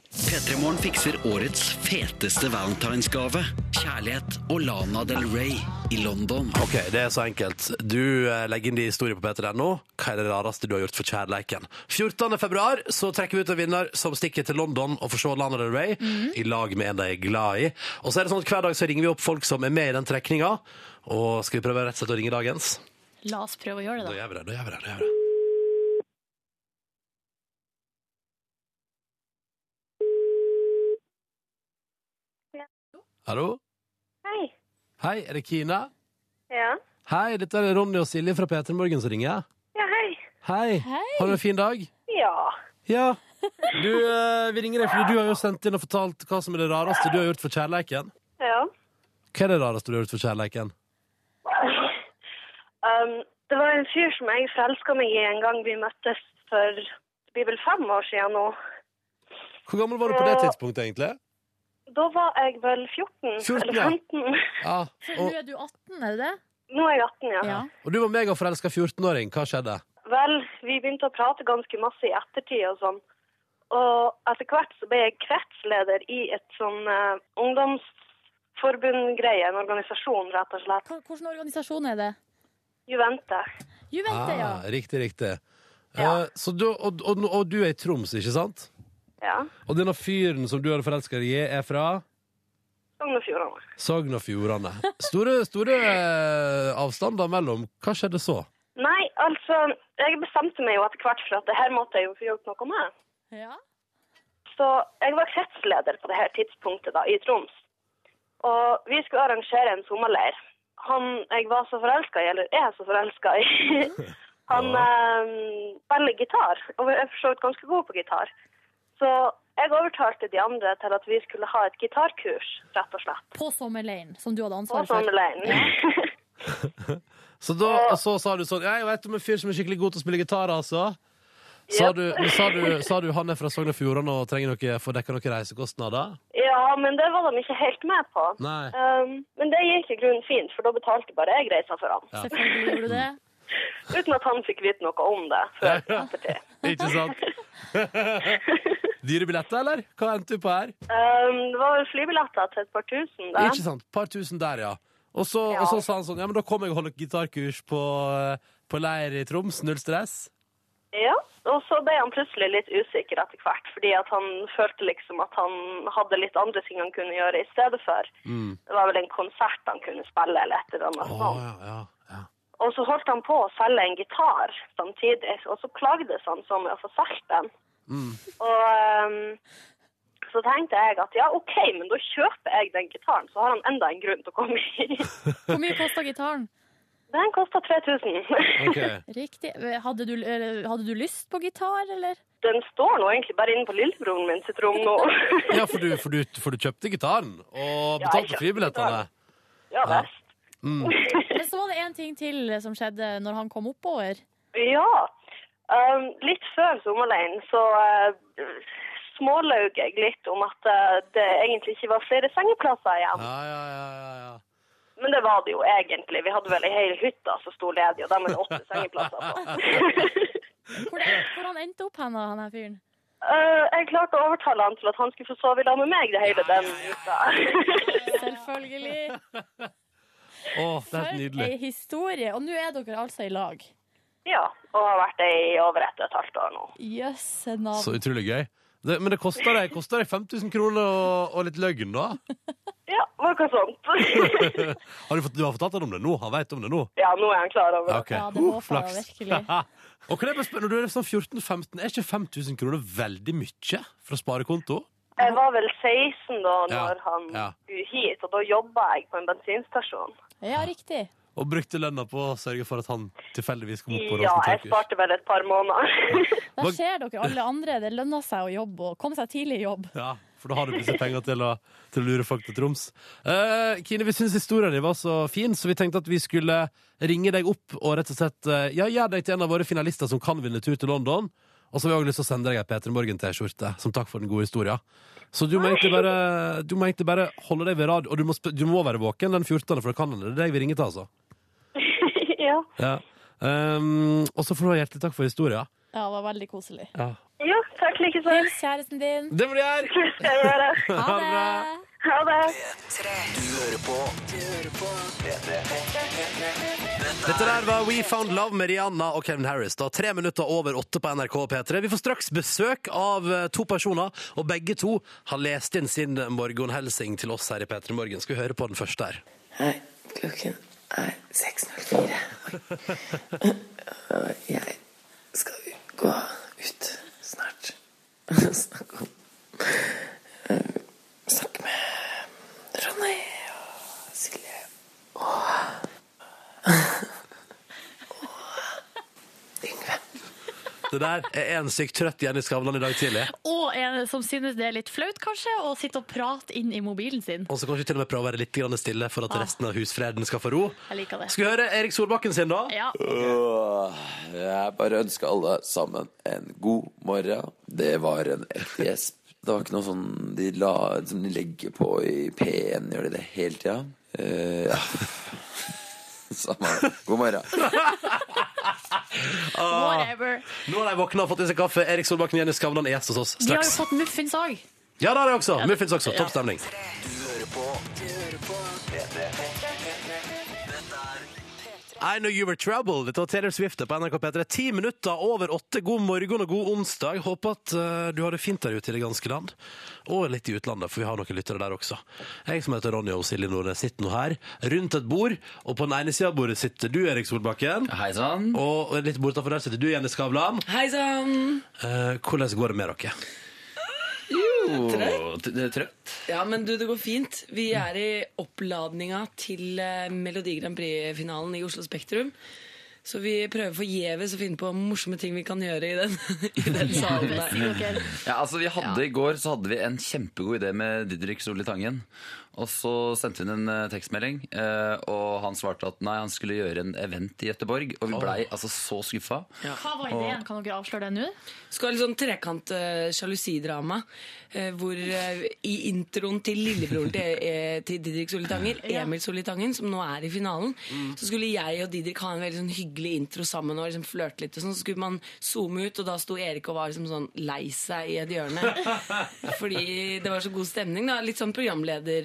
[SPEAKER 8] P3 Morgen fikser årets feteste valentinsgave. Kjærlighet og Lana Del Rey i London.
[SPEAKER 2] Ok, det er så enkelt. Du eh, legger inn de historier på p3.no. Hva er det rareste du har gjort for kjærleiken? 14. februar så trekker vi ut en vinner som stikker til London og får se Lana Del Rey i lag med en de er glad i. Og så er det sånn at hver dag så ringer vi opp folk som er med i den trekninga. Og skal vi prøve rett og slett å ringe dagens?
[SPEAKER 4] La oss prøve å gjøre
[SPEAKER 2] Da
[SPEAKER 4] det, da.
[SPEAKER 2] gjør vi det, da gjør vi det. Da gjør vi det. Hallo?
[SPEAKER 17] Hei.
[SPEAKER 2] Hei, er det Kina?
[SPEAKER 17] Ja.
[SPEAKER 2] Hei, dette er Ronny og Silje fra P3 Morgen som ringer.
[SPEAKER 17] Ja, hei.
[SPEAKER 2] Hei. Har du en fin dag?
[SPEAKER 17] Ja.
[SPEAKER 2] Ja. Du, eh, vi ringer deg fordi du har jo sendt inn og fortalt hva som er det rareste du har gjort for kjærleiken.
[SPEAKER 17] Ja.
[SPEAKER 2] Hva er det rareste du har gjort for kjærleiken?
[SPEAKER 17] Um, det var en fyr som jeg forelska meg i en gang vi møttes for det blir vel fem år siden nå.
[SPEAKER 2] Hvor gammel var du på det tidspunktet, egentlig?
[SPEAKER 17] Da var jeg vel 14,
[SPEAKER 2] 14,
[SPEAKER 17] eller
[SPEAKER 2] ja.
[SPEAKER 17] 15.
[SPEAKER 2] Ja. Og,
[SPEAKER 4] er du 18, er du det?
[SPEAKER 17] Nå er jeg 18, ja.
[SPEAKER 2] og du var megaforelska 14-åring. Hva skjedde?
[SPEAKER 17] Vel, vi begynte å prate ganske masse i ettertid og sånn. Og etter hvert så ble jeg kretsleder i et sånn eh, ungdomsforbund-greie, en organisasjon, rett og slett.
[SPEAKER 4] Hvilken organisasjon er det?
[SPEAKER 17] Juvente.
[SPEAKER 4] Juvente, ja.
[SPEAKER 2] Ah, riktig, riktig. Eh, så du, og, og, og du er i Troms, ikke sant?
[SPEAKER 17] Ja.
[SPEAKER 2] Og denne fyren som du hadde forelska deg i, er fra
[SPEAKER 17] Sogn og Fjordane.
[SPEAKER 2] Sogn og Fjordane. Store, store eh, avstander mellom. Hva skjedde så?
[SPEAKER 17] Nei, altså, jeg bestemte meg jo etter hvert for at det her måtte jeg jo få gjort noe med. Så jeg var kretsleder på det her tidspunktet da, i Troms. Og vi skulle arrangere en sommerleir. Han jeg var så forelska i, eller er så forelska i, ehm, han eh, spiller gitar. Og er for så vidt ganske god på gitar. Så jeg overtalte de andre til at vi skulle ha et gitarkurs, rett og slett.
[SPEAKER 4] På sommerleiren, som du hadde
[SPEAKER 17] På
[SPEAKER 4] ansvaret for.
[SPEAKER 17] sommerleiren.
[SPEAKER 2] Så da, og så sa du sånn Jeg vet om en fyr som er skikkelig god til å spille gitar, altså. Sa
[SPEAKER 17] Jep.
[SPEAKER 2] du, men sa du, sa du han er fra Sogn og Fjordane og trenger noe, får dekka noen reisekostnader?
[SPEAKER 17] Ja, men det var de ikke helt med på.
[SPEAKER 2] Nei.
[SPEAKER 17] Um, men det gikk i grunnen fint, for da betalte bare jeg reisa for han.
[SPEAKER 2] Ja.
[SPEAKER 4] Selvfølgelig gjorde du det.
[SPEAKER 17] [laughs] Uten at han fikk vite noe om det.
[SPEAKER 2] [laughs] Ikke sant? [laughs] Dyre billetter, eller? Hva endte du på her?
[SPEAKER 17] Um, det var vel flybilletter til et par tusen, det.
[SPEAKER 2] Ikke sant? Par tusen der, ja. Og så, og så sa han sånn Ja, men da kommer jeg og holder gitarkurs på, eh, på leir i Troms. Null stress.
[SPEAKER 17] Ja, og så ble han plutselig litt usikker etter hvert, fordi at han følte liksom at han hadde litt andre ting han kunne gjøre i stedet for. Det var vel en konsert han kunne spille eller et eller annet sånt. Og så holdt han på å selge en gitar samtidig, og så klagdes han så med å få solgt den.
[SPEAKER 20] Mm.
[SPEAKER 17] Og ehm, så tenkte jeg at ja, OK, men da kjøper jeg den gitaren, så har han enda en grunn til å komme hit.
[SPEAKER 4] Hvor
[SPEAKER 17] [laughs]
[SPEAKER 4] mye kosta gitaren?
[SPEAKER 17] Den kosta 3000. [laughs]
[SPEAKER 4] Riktig. Hadde du, eller, hadde du lyst på gitar, eller?
[SPEAKER 17] Den står nå egentlig bare inne på lillebroren min sitt rom nå. [laughs]
[SPEAKER 2] Ja, for du, for du, for du kjøpte gitaren og
[SPEAKER 17] Ja, jeg
[SPEAKER 2] betalte
[SPEAKER 17] kjøpte
[SPEAKER 2] fribillettene.
[SPEAKER 17] Ja, best.
[SPEAKER 2] Mm.
[SPEAKER 17] [laughs]
[SPEAKER 4] Men så var det en ting til eh, som skjedde når han kom oppover.
[SPEAKER 17] Ja. Ehm, litt før sommerleiren så uh, smålaug jeg litt om at eh, det egentlig ikke var flere sengeplasser igjen. Men det var det jo egentlig. Vi hadde vel ei hel hytte som sto ledig, og dem er det åtte sengeplasser på.
[SPEAKER 4] Hvor, hvor han endte opp hen, da, han her fyren?
[SPEAKER 17] Eh, jeg klarte å overtale han til at han skulle få sove i lag med meg det hele den uka.
[SPEAKER 4] [laughs] Selvfølgelig.
[SPEAKER 2] Å, det er helt
[SPEAKER 4] For
[SPEAKER 2] nydelig.
[SPEAKER 4] ei historie. Og nå er dere altså i lag.
[SPEAKER 17] ja, [laughs] og har vært det i over et og et halvt år nå.
[SPEAKER 4] Jøsse navn.
[SPEAKER 2] Så utrolig gøy. Det, men det koster deg, koster deg 5000 kroner og, og litt løgn, da? [laughs]
[SPEAKER 17] Ja, noe sånt.
[SPEAKER 2] Har du, fått, du har fortalt han om det nå? Han vet om det nå?
[SPEAKER 17] ja, nå er han klar over
[SPEAKER 2] Ja, ok. Uh, flaks. [laughs] og kan jeg bare spørre, når du er sånn 14-15, er ikke 5000 kroner veldig mye fra sparekonto?
[SPEAKER 17] Jeg var vel 16 da
[SPEAKER 2] Ja,
[SPEAKER 17] når han
[SPEAKER 2] ja.
[SPEAKER 17] skulle hit, og da jobba jeg på en bensinstasjon.
[SPEAKER 4] Ja, riktig.
[SPEAKER 2] Og brukte lønna på å sørge for at han tilfeldigvis kom opp på
[SPEAKER 17] Ja, jeg sparte vel et par måneder.
[SPEAKER 4] Der ser dere alle andre. Det lønner seg å jobbe og komme seg tidlig i jobb.
[SPEAKER 2] Ja, for da har du plutselig penger til å, til å lure folk til Troms. Eh, Kine, vi syns historien din var så fin, så vi tenkte at vi skulle ringe deg opp og rett og slett eh, ja, gjøre deg til en av våre finalister som kan vinne tur til London. Og så har vi også lyst til å sende deg ei Peter Morgen-T-skjorte som takk for den gode historien. Så du må egentlig bare, du må egentlig bare holde deg ved radio, og du må, sp- du må være våken den 14., for da kan hende det er deg vi ringer til, altså.
[SPEAKER 17] [laughs] ja.
[SPEAKER 2] Ja. Ehm, og så får du ha hjertelig takk for historien.
[SPEAKER 4] Ja, det var veldig koselig.
[SPEAKER 2] Ja.
[SPEAKER 17] Ja, takk like så.
[SPEAKER 4] Hils kjæresten din.
[SPEAKER 2] Det må du gjøre!
[SPEAKER 17] Det må
[SPEAKER 2] [laughs]
[SPEAKER 17] jeg gjøre.
[SPEAKER 4] Ha det.
[SPEAKER 17] Ha det.
[SPEAKER 20] Du hører på
[SPEAKER 8] Dette
[SPEAKER 2] Dette der var We Found Love med Rihanna og Kevin Harris. da Tre minutter over åtte på NRK P3. Vi får straks besøk av eh, to personer, og begge to har lest inn sin morgenhelsing til oss her i P3 Morgen. Skal vi høre på den første her?
[SPEAKER 21] Hei, klokken er 6.04. Og jeg skal gå ut snart og snakke om eh, Snakke med Ronny og Silje
[SPEAKER 2] Det der er en sykt trøtt Jenny Skavlan i dag tidlig.
[SPEAKER 4] Og en som synes det er litt flaut, kanskje, å sitte og prate inn i mobilen sin.
[SPEAKER 2] Og så kanskje til og med prøve å være litt grann stille for at
[SPEAKER 4] Ah.
[SPEAKER 2] resten av husfreden skal få ro.
[SPEAKER 4] Jeg liker det.
[SPEAKER 2] Skal vi høre Erik Solbakken sin, da?
[SPEAKER 4] Ja.
[SPEAKER 22] Åh, Jeg bare ønsker alle sammen en god morgen. Det var en ekte gjesp. Det var ikke noe sånn de la, som de legger på i P1, gjør de det hele tida? Eh, ja. [laughs] Samme. God morgen.
[SPEAKER 2] [laughs] Ah.
[SPEAKER 4] Whatever.
[SPEAKER 2] Nå har de våkna og fått i seg kaffe. Erik Solbakken og Jenny Skavlan er gjest hos oss
[SPEAKER 4] De har jo
[SPEAKER 2] straks.
[SPEAKER 4] fått muffins òg.
[SPEAKER 2] Ja, det har de også. Muffins også.
[SPEAKER 4] Ja.
[SPEAKER 2] Topp stemning. I Know You Were Trouble. Dette var Taylor Swift på NRK P3. Ti minutter over åtte. God morgen og god onsdag. Håper at eh, du har det fint der ute i det ganske land. Og litt i utlandet, for vi har noen lyttere der også. Jeg som heter Ronny og Silje Nordnes sitter nå her rundt et bord. Og på den ene sida av bordet sitter du, Erik Solbakken. Og litt bortafor der sitter du, Jenny Skavlan.
[SPEAKER 21] Hei sann!
[SPEAKER 2] Eh, hvordan går det med dere?
[SPEAKER 21] Trøtt.
[SPEAKER 2] Det er trøtt.
[SPEAKER 21] Ja, men du, det går fint. Vi er i oppladninga til eh, Melodi Grand Prix-finalen i Oslo Spektrum. Så vi prøver forgjeves å finne på morsomme ting vi kan gjøre i den, [laughs] i den salen der.
[SPEAKER 23] Ja, altså vi hadde I går så hadde vi en kjempegod idé med Didrik Solli Tangen. Og så sendte hun en eh, tekstmelding, eh, og han svarte at nei, han skulle gjøre en event i Gøteborg. Og vi blei altså så skuffa.
[SPEAKER 4] Hva var ideen? Kan dere avsløre det nå?
[SPEAKER 21] Skal ha litt sånn trekant eh, sjalusidrama, eh, hvor eh, i introen til lillebroren til, eh, til Didrik Solitanger,
[SPEAKER 4] Ja.
[SPEAKER 21] Emil Solitangen, som nå er i finalen,
[SPEAKER 4] Mm.
[SPEAKER 21] så skulle jeg og Didrik ha en veldig sånn hyggelig intro sammen og liksom flørte litt. og sånn, Så skulle man zoome ut, og da sto Erik og var liksom sånn lei seg i
[SPEAKER 4] [laughs]
[SPEAKER 21] et hjørne. Fordi det var så god stemning. da, Litt sånn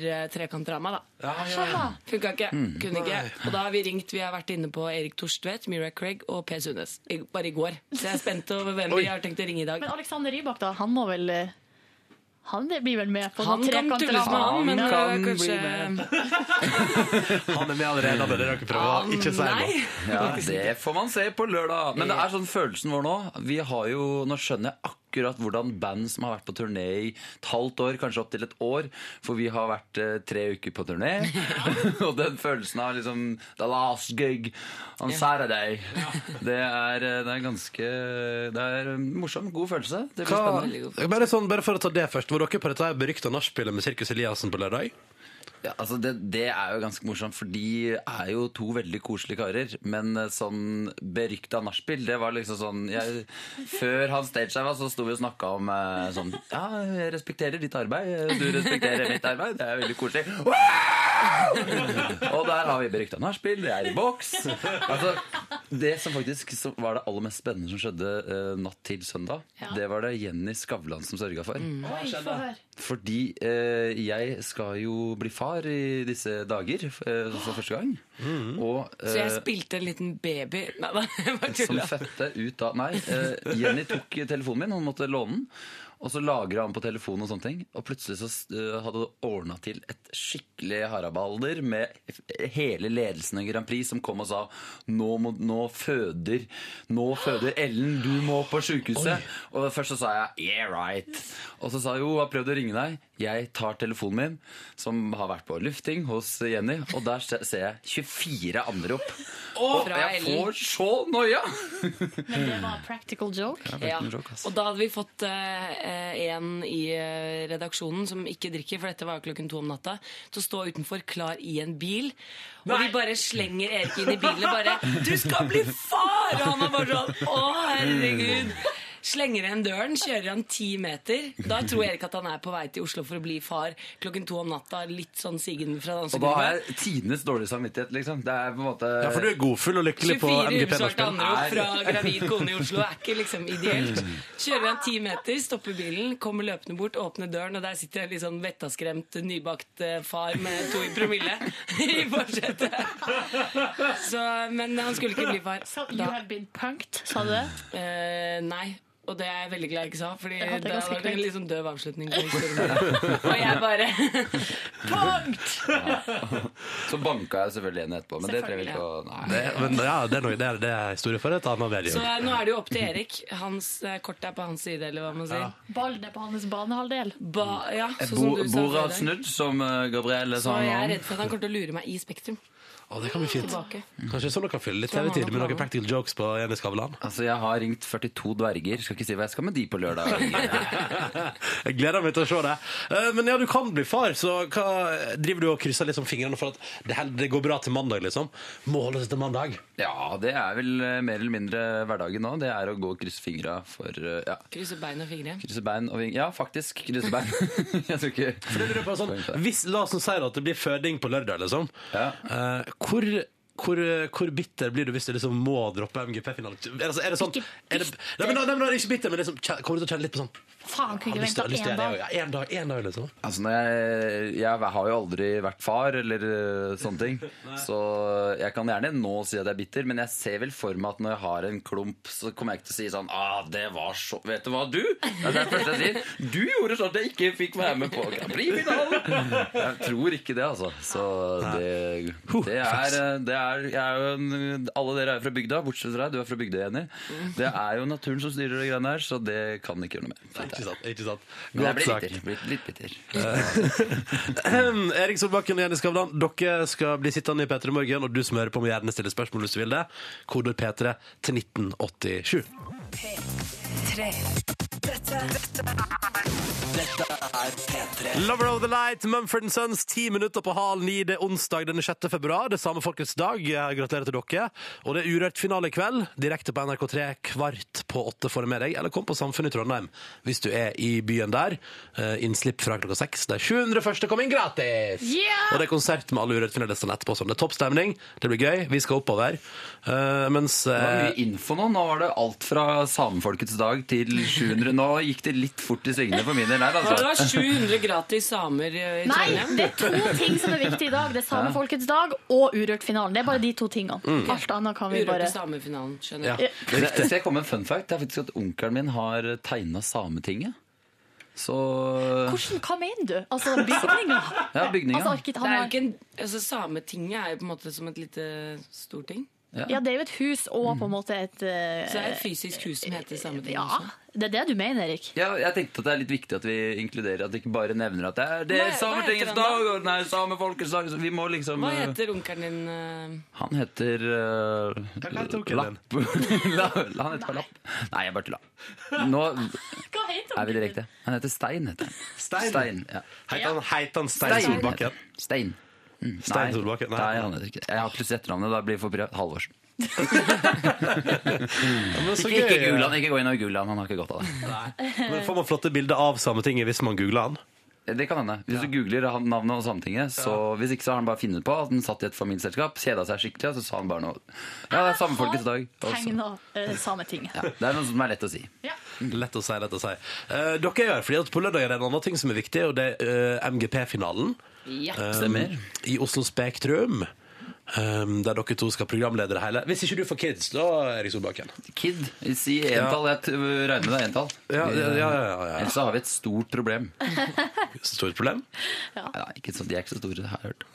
[SPEAKER 21] programleder-trekantdrama, da.
[SPEAKER 4] ja, ja. Skjønner.
[SPEAKER 21] Funka ikke.
[SPEAKER 4] Mm.
[SPEAKER 21] Kunne ikke.
[SPEAKER 4] Nei.
[SPEAKER 21] Og da har vi ringt. Vi har vært inne på Erik Torstvedt, Mira Craig og Per Sundnes. I- Bare i går. Så jeg er spent over hvem vi har tenkt å ringe i dag.
[SPEAKER 4] Men Alexander Rybak, da, han må vel eh, Han blir vel med på
[SPEAKER 21] Han
[SPEAKER 4] noen
[SPEAKER 21] kan
[SPEAKER 4] trekanter?
[SPEAKER 21] tulles med, han, men
[SPEAKER 4] Han
[SPEAKER 21] øh,
[SPEAKER 4] kan bli
[SPEAKER 21] kanskje
[SPEAKER 4] med.
[SPEAKER 23] [laughs]
[SPEAKER 2] Han er med allerede, han bør dere prøve å ikke si noe.
[SPEAKER 23] Ja, det får man se på lørdag. Men det er sånn følelsen vår nå. Vi har jo, Nå skjønner jeg akkurat hvordan band som har vært på turné i et halvt år, kanskje opptil et år For vi har vært eh, tre uker på turné.
[SPEAKER 2] [laughs]
[SPEAKER 23] [laughs] og den følelsen av liksom The last gig on Saturday. Det, er, eh, det er ganske Det er en morsom, god følelse. Det blir spennende.
[SPEAKER 2] Hva, bare, sånn, bare for å ta det først, var dere på dette her berykta nachspielet med Sirkus Eliassen på lørdag?
[SPEAKER 23] Ja, altså det, det er jo ganske morsomt, for de er jo to veldig koselige karer. Men eh, sånn berykta nachspiel, det var liksom sånn jeg, Før han stagehiva, så sto vi og snakka om eh, sånn Ja, jeg respekterer ditt arbeid, eh, du respekterer mitt arbeid. Det er veldig koselig. Og der har vi berykta nachspiel, det er i boks. Altså, det som faktisk så var det aller mest spennende som skjedde eh, natt til søndag,
[SPEAKER 4] Ja. Mm.
[SPEAKER 23] det var det Jenny Skavlan som sørga for.
[SPEAKER 4] Oi, få høre.
[SPEAKER 23] Fordi eh, jeg skal jo bli far i disse dager eh, for første gang. Og,
[SPEAKER 21] Mm. Så jeg
[SPEAKER 23] eh,
[SPEAKER 21] spilte en liten baby. Nei da, [laughs] jeg bare
[SPEAKER 23] som
[SPEAKER 21] tulla.
[SPEAKER 23] fødte ut av Nei, eh, Jenny tok telefonen min, hun måtte låne den. Og så lagra han på telefonen og sånne ting. Og plutselig så eh, hadde hun ordna til et skikkelig harabalder med f- hele ledelsen i Grand Prix som kom og sa nå, må, nå føder Nå føder Ellen, du må på sjukehuset. Og først så sa jeg yeah right. Og så sa jeg jo, jeg har prøvd å ringe deg. Jeg tar telefonen min, som har vært på lufting hos Jenny, og der se- ser jeg 24 anrop.
[SPEAKER 21] Og
[SPEAKER 23] Og
[SPEAKER 21] fra
[SPEAKER 23] jeg
[SPEAKER 21] Ellen.
[SPEAKER 23] får så noia!
[SPEAKER 4] Men det var practical joke.
[SPEAKER 23] Ja,
[SPEAKER 21] Ja.
[SPEAKER 23] practical joke, ass.
[SPEAKER 21] Og da hadde vi fått eh, eh, en i eh, redaksjonen som ikke drikker, for dette var klokken to om natta, til å stå utenfor klar i en bil. Og vi bare slenger Erik inn i bilen og bare 'Du skal bli far!' Og han var bare sånn 'Å, herregud'. Slenger igjen døren, kjører han ti meter. Da tror Erik at han er på vei til Oslo for å bli far klokken to om natta. Litt sånn sigen fra
[SPEAKER 23] Og da har
[SPEAKER 21] dansegulvet.
[SPEAKER 23] jeg tidenes dårlige samvittighet, liksom. Det er på en måte
[SPEAKER 2] Ja, for du er godfull og lykkelig på
[SPEAKER 21] 24
[SPEAKER 2] MGP
[SPEAKER 21] ubesvarte
[SPEAKER 2] nachspiel.
[SPEAKER 21] anrop fra gravid kone i Oslo er ikke liksom ideelt. Kjører han ti meter, stopper bilen, kommer løpende bort, åpner døren, og der sitter en litt sånn vettaskremt, nybakt eh, far med to i promille [laughs] i forsetet. Så, men han skulle ikke bli far.
[SPEAKER 4] So you have been punked, sa du det?
[SPEAKER 21] Eh, nei. Og det er jeg veldig glad jeg ikke sa, Fordi
[SPEAKER 4] Ja, det er
[SPEAKER 21] da
[SPEAKER 4] ganske
[SPEAKER 21] var det en
[SPEAKER 4] kleint.
[SPEAKER 21] litt sånn døv avslutning. På historien. og jeg bare [laughs] Punkt!
[SPEAKER 23] [laughs] Så banka jeg selvfølgelig igjen etterpå, men det prøver jeg ikke å Nei.
[SPEAKER 2] Det, men ja, det er, noe, det er, det er historie for et annet
[SPEAKER 21] Så
[SPEAKER 2] medium.
[SPEAKER 21] eh, nå er det jo opp til Erik. Hans eh, kort er på hans side, eller hva man sier.
[SPEAKER 23] Ja. Eh,
[SPEAKER 4] Ballen er på hans banehalvdel.
[SPEAKER 21] Ba, ja, sånn som
[SPEAKER 23] Bo,
[SPEAKER 21] du sa
[SPEAKER 23] Bordet
[SPEAKER 21] før i
[SPEAKER 23] har
[SPEAKER 21] dag.
[SPEAKER 23] snudd, som eh, Gabrielle
[SPEAKER 21] Så
[SPEAKER 23] sa
[SPEAKER 21] jeg
[SPEAKER 23] nå.
[SPEAKER 21] er redd for at han kommer til å lure meg i Spektrum.
[SPEAKER 2] Å, det kan bli fint.
[SPEAKER 21] Tilbake.
[SPEAKER 2] Kanskje sånn dere kan fylle litt
[SPEAKER 21] Tror han har
[SPEAKER 2] TV-tid med
[SPEAKER 21] noen
[SPEAKER 2] noen practical jokes på Jenny Skavlan?
[SPEAKER 23] Altså, jeg har ringt 42 dverger. Skal ikke si hva jeg skal med de på lørdag.
[SPEAKER 2] Jeg gleder meg til å se det. Eh, Men ja, du kan bli far, så hva driver du og krysser liksom fingrene for at [laughs] det, her, det går bra til mandag, liksom? Må holde seg til mandag.
[SPEAKER 23] Ja, det er vel eh, mer eller mindre hverdagen nå. Det er å gå og krysse fingra for eh, ja.
[SPEAKER 21] Krysse bein og fingre.
[SPEAKER 23] Krysse bein og ving... Ja, faktisk. Krysse bein. [laughs] jeg tror ikke
[SPEAKER 2] sånn, Hvis, la oss nå si da at det blir føding på lørdag, liksom. Eh, hvor, hvor, hvor bitter blir du hvis du liksom må droppe MGP-finalen? Er, det- er det sånn er det, nei, men, nei, men, nei, Ikke bitter, men liksom, kje- kommer du til å kjenne litt på sånn
[SPEAKER 4] Faen, kunne
[SPEAKER 2] lyst til-
[SPEAKER 4] ikke
[SPEAKER 2] lyst til å
[SPEAKER 4] venta én dag.
[SPEAKER 2] gjøre det, ja, ja, en dag. En dag, liksom.
[SPEAKER 23] Altså, når jeg, jeg har jo aldri vært far eller eh, sånne
[SPEAKER 2] [laughs]
[SPEAKER 23] ting. Så jeg kan gjerne nå si at jeg er bitter, men jeg ser vel for meg at når jeg har en klump, så kommer jeg ikke til å si sånn ah, det var så Vet du hva, du? Det er det første jeg sier. Du gjorde sånn at jeg ikke fikk være med på
[SPEAKER 2] [laughs]
[SPEAKER 23] Grand Prix-finalen! Jeg tror ikke det, altså. Så det, det, er, eh, det er, jeg er jo en, alle dere er jo fra bygda, bortsett fra deg. Du er fra bygda, Jenny.
[SPEAKER 2] Mm.
[SPEAKER 23] Det er jo naturen som styrer de greiene her, så det kan ikke gjøre noe med.
[SPEAKER 2] Ikke sant, ikke sant.
[SPEAKER 23] Men jeg
[SPEAKER 2] Godt
[SPEAKER 23] blir
[SPEAKER 2] sagt.
[SPEAKER 23] bitter. Blir litt bitter.
[SPEAKER 2] Ahem, Eh, [clears throat] Erik Solbakken og Jenny Skavlan, dere skal bli sittende i P3 Morgen, og du som hører på må gjerne stille spørsmål hvis du vil det. Kodord P3 til 1987.
[SPEAKER 5] P3. Dette, dette er Dette er P3.
[SPEAKER 2] Lover of the Light, Mumford Sons, ti minutter på hal ni. Det er onsdag den 6. februar. Det er samme folkets dag. Jeg Gratulerer til dere. Og det er Urørt finale i kveld, direkte på NRK3 kvart på åtte får du med deg. Eller kom på Samfunnet i Trondheim hvis du er i byen der. Eh, Innslipp fra klokka seks. De 700 første kom inn gratis!
[SPEAKER 4] Yeah!
[SPEAKER 2] Og det er konsert med alle Urørt finalistene etterpå. Sånn. Det er topp stemning. Det blir gøy. Vi skal oppover. Eh, mens
[SPEAKER 23] Det var
[SPEAKER 2] eh,
[SPEAKER 23] mye info nå. Nå var det alt fra samefolkets dag til 700 Nå gikk det litt fort i svingene for min del her,
[SPEAKER 21] Det var
[SPEAKER 23] altså.
[SPEAKER 21] 700 gratis samer eh, i
[SPEAKER 4] Nei,
[SPEAKER 21] Trondheim.
[SPEAKER 4] det er to ting som er viktig i dag. Det er Samefolkets dag og Urørt-finalen. Det er bare de to tingene.
[SPEAKER 23] Mm.
[SPEAKER 4] Alt annet kan vi bare
[SPEAKER 21] Urørte samefinalen,
[SPEAKER 23] Ja.
[SPEAKER 21] skjønner
[SPEAKER 23] Men
[SPEAKER 21] jeg.
[SPEAKER 23] Jeg jeg skal komme med en fun fact. Det er faktisk at onkelen min har tegna Sametinget. Så
[SPEAKER 4] Hvordan, Hva mener du? Altså bygninga?
[SPEAKER 23] Ja, bygninga.
[SPEAKER 4] Altså, arkitekt- han
[SPEAKER 21] Det er
[SPEAKER 4] har-
[SPEAKER 21] jo ikke en, altså, Sametinget er jo på en måte som et lite storting.
[SPEAKER 4] Ja. det er jo et hus og på en måte et eh,
[SPEAKER 21] Så det er et fysisk hus som heter liksom. Sametinget
[SPEAKER 4] Ja,
[SPEAKER 21] også.
[SPEAKER 4] det er det du mener, Erik.
[SPEAKER 23] Ja, jeg tenkte at det er litt viktig at vi inkluderer, at vi ikke bare nevner at det er, det
[SPEAKER 21] Hva-
[SPEAKER 23] er
[SPEAKER 21] hva heter
[SPEAKER 23] Sametingets
[SPEAKER 21] han
[SPEAKER 23] dag og nei, samefolkets dag. Så Vi må liksom
[SPEAKER 21] Hva heter onkelen din? eh?
[SPEAKER 23] Han heter eh,
[SPEAKER 21] heter
[SPEAKER 23] Lapp.
[SPEAKER 21] onkelen
[SPEAKER 23] Lapp. [laughs] Han heter bare Lapp. Nei, jeg bare tulla. Nå
[SPEAKER 4] Hva heter
[SPEAKER 23] er vi direkte. Han heter Stein, heter han.
[SPEAKER 2] Stein?
[SPEAKER 23] ja.
[SPEAKER 2] Heit han- heit han Stein Solbakken?
[SPEAKER 23] heter han. Stein. Mm,
[SPEAKER 2] Stein Solbakken,
[SPEAKER 23] Nei.
[SPEAKER 2] nei.
[SPEAKER 23] nei, han heter ikke det. Jeg har plutselig etternavnet. Da blir jeg forvirra.
[SPEAKER 2] [laughs]
[SPEAKER 23] Halvorsen.
[SPEAKER 2] men så
[SPEAKER 23] ikke, ikke
[SPEAKER 2] gøy.
[SPEAKER 23] Gulan. Ikke gå inn over Gulan. Han har ikke godt av det.
[SPEAKER 2] Men får man flotte bilder av Sametinget hvis man googler han?
[SPEAKER 23] Det kan hende. Hvis du googler han- navnet og Sametinget, så hvis ikke så har han bare funnet på at han satt i et familieselskap, kjeda seg skikkelig, og så sa han bare noe. Ja, det er samefolkets dag. Altså. Og så-
[SPEAKER 4] Tegna eh, Sametinget.
[SPEAKER 23] Ja, det er noe som er lett å si.
[SPEAKER 2] Lett å si, lett å si. Eh, dere gjør fordi at på lørdag er det en annen ting som er viktig, og det er eh, MGP-finalen.
[SPEAKER 21] Ja.
[SPEAKER 2] Eh, I Oslo Spektrum. eh, der dere to skal programlede det hele. Hvis ikke du får kids, da, Erik Solbakken.
[SPEAKER 23] Kid? Si entall. Jeg t- regner med det er entall.
[SPEAKER 2] Ja, ja, ja, ja, ja.
[SPEAKER 23] Ellers så har vi et stort problem.
[SPEAKER 2] [laughs] Stort problem?
[SPEAKER 23] Nei, ikke så, de er ikke så store, det har jeg hørt.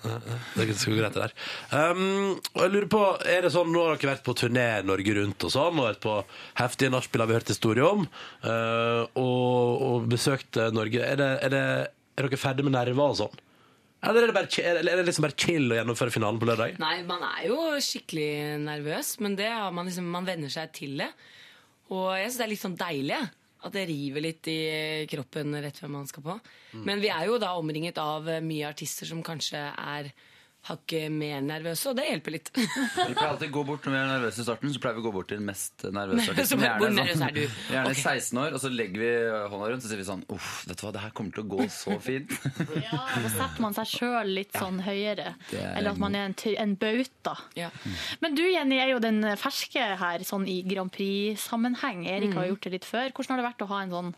[SPEAKER 2] Det skal gå greit, det der. Um, og jeg lurer på, er det sånn, Nå har dere vært på turné Norge rundt og sånn, og vært på heftige nachspiel har vi hørt historie om, eh, og, og besøkt eh, Norge. Er, det, er, det, er dere ferdig med nerver og sånn? Eller er det, bare, chi- eller er det liksom bare chill å gjennomføre finalen på lørdag?
[SPEAKER 21] Nei, man er jo skikkelig nervøs, men det har man liksom, man venner seg til det. Og jeg synes det er litt sånn deilig jeg, at det river litt i kroppen rett før man skal på.
[SPEAKER 24] Mm.
[SPEAKER 21] Men vi er jo da omringet av eh, mye artister som kanskje er hakket mer nervøse, og det hjelper litt. [laughs]
[SPEAKER 23] Vi pleier alltid å gå bort Når vi er nervøse i starten, så pleier vi å gå bort til den mest
[SPEAKER 21] [laughs]
[SPEAKER 23] nervøse artisten.
[SPEAKER 21] Som er, hvor
[SPEAKER 23] Gjerne
[SPEAKER 21] nervøs
[SPEAKER 23] sånn-
[SPEAKER 21] er du?
[SPEAKER 23] Gjerne
[SPEAKER 21] Ok.
[SPEAKER 23] 16 år, og så legger vi hånda rundt og sier vi sånn Uff, vet du hva, det her kommer til å gå så fint.
[SPEAKER 4] Da setter man seg sjøl litt sånn høyere.
[SPEAKER 23] Det er-
[SPEAKER 4] Eller at man er en, ty- en bauta. Men du Jenny er jo den ferske her sånn i Grand Prix-sammenheng. Erik har
[SPEAKER 21] Mm.
[SPEAKER 4] gjort det litt før. Hvordan har det vært å ha en sånn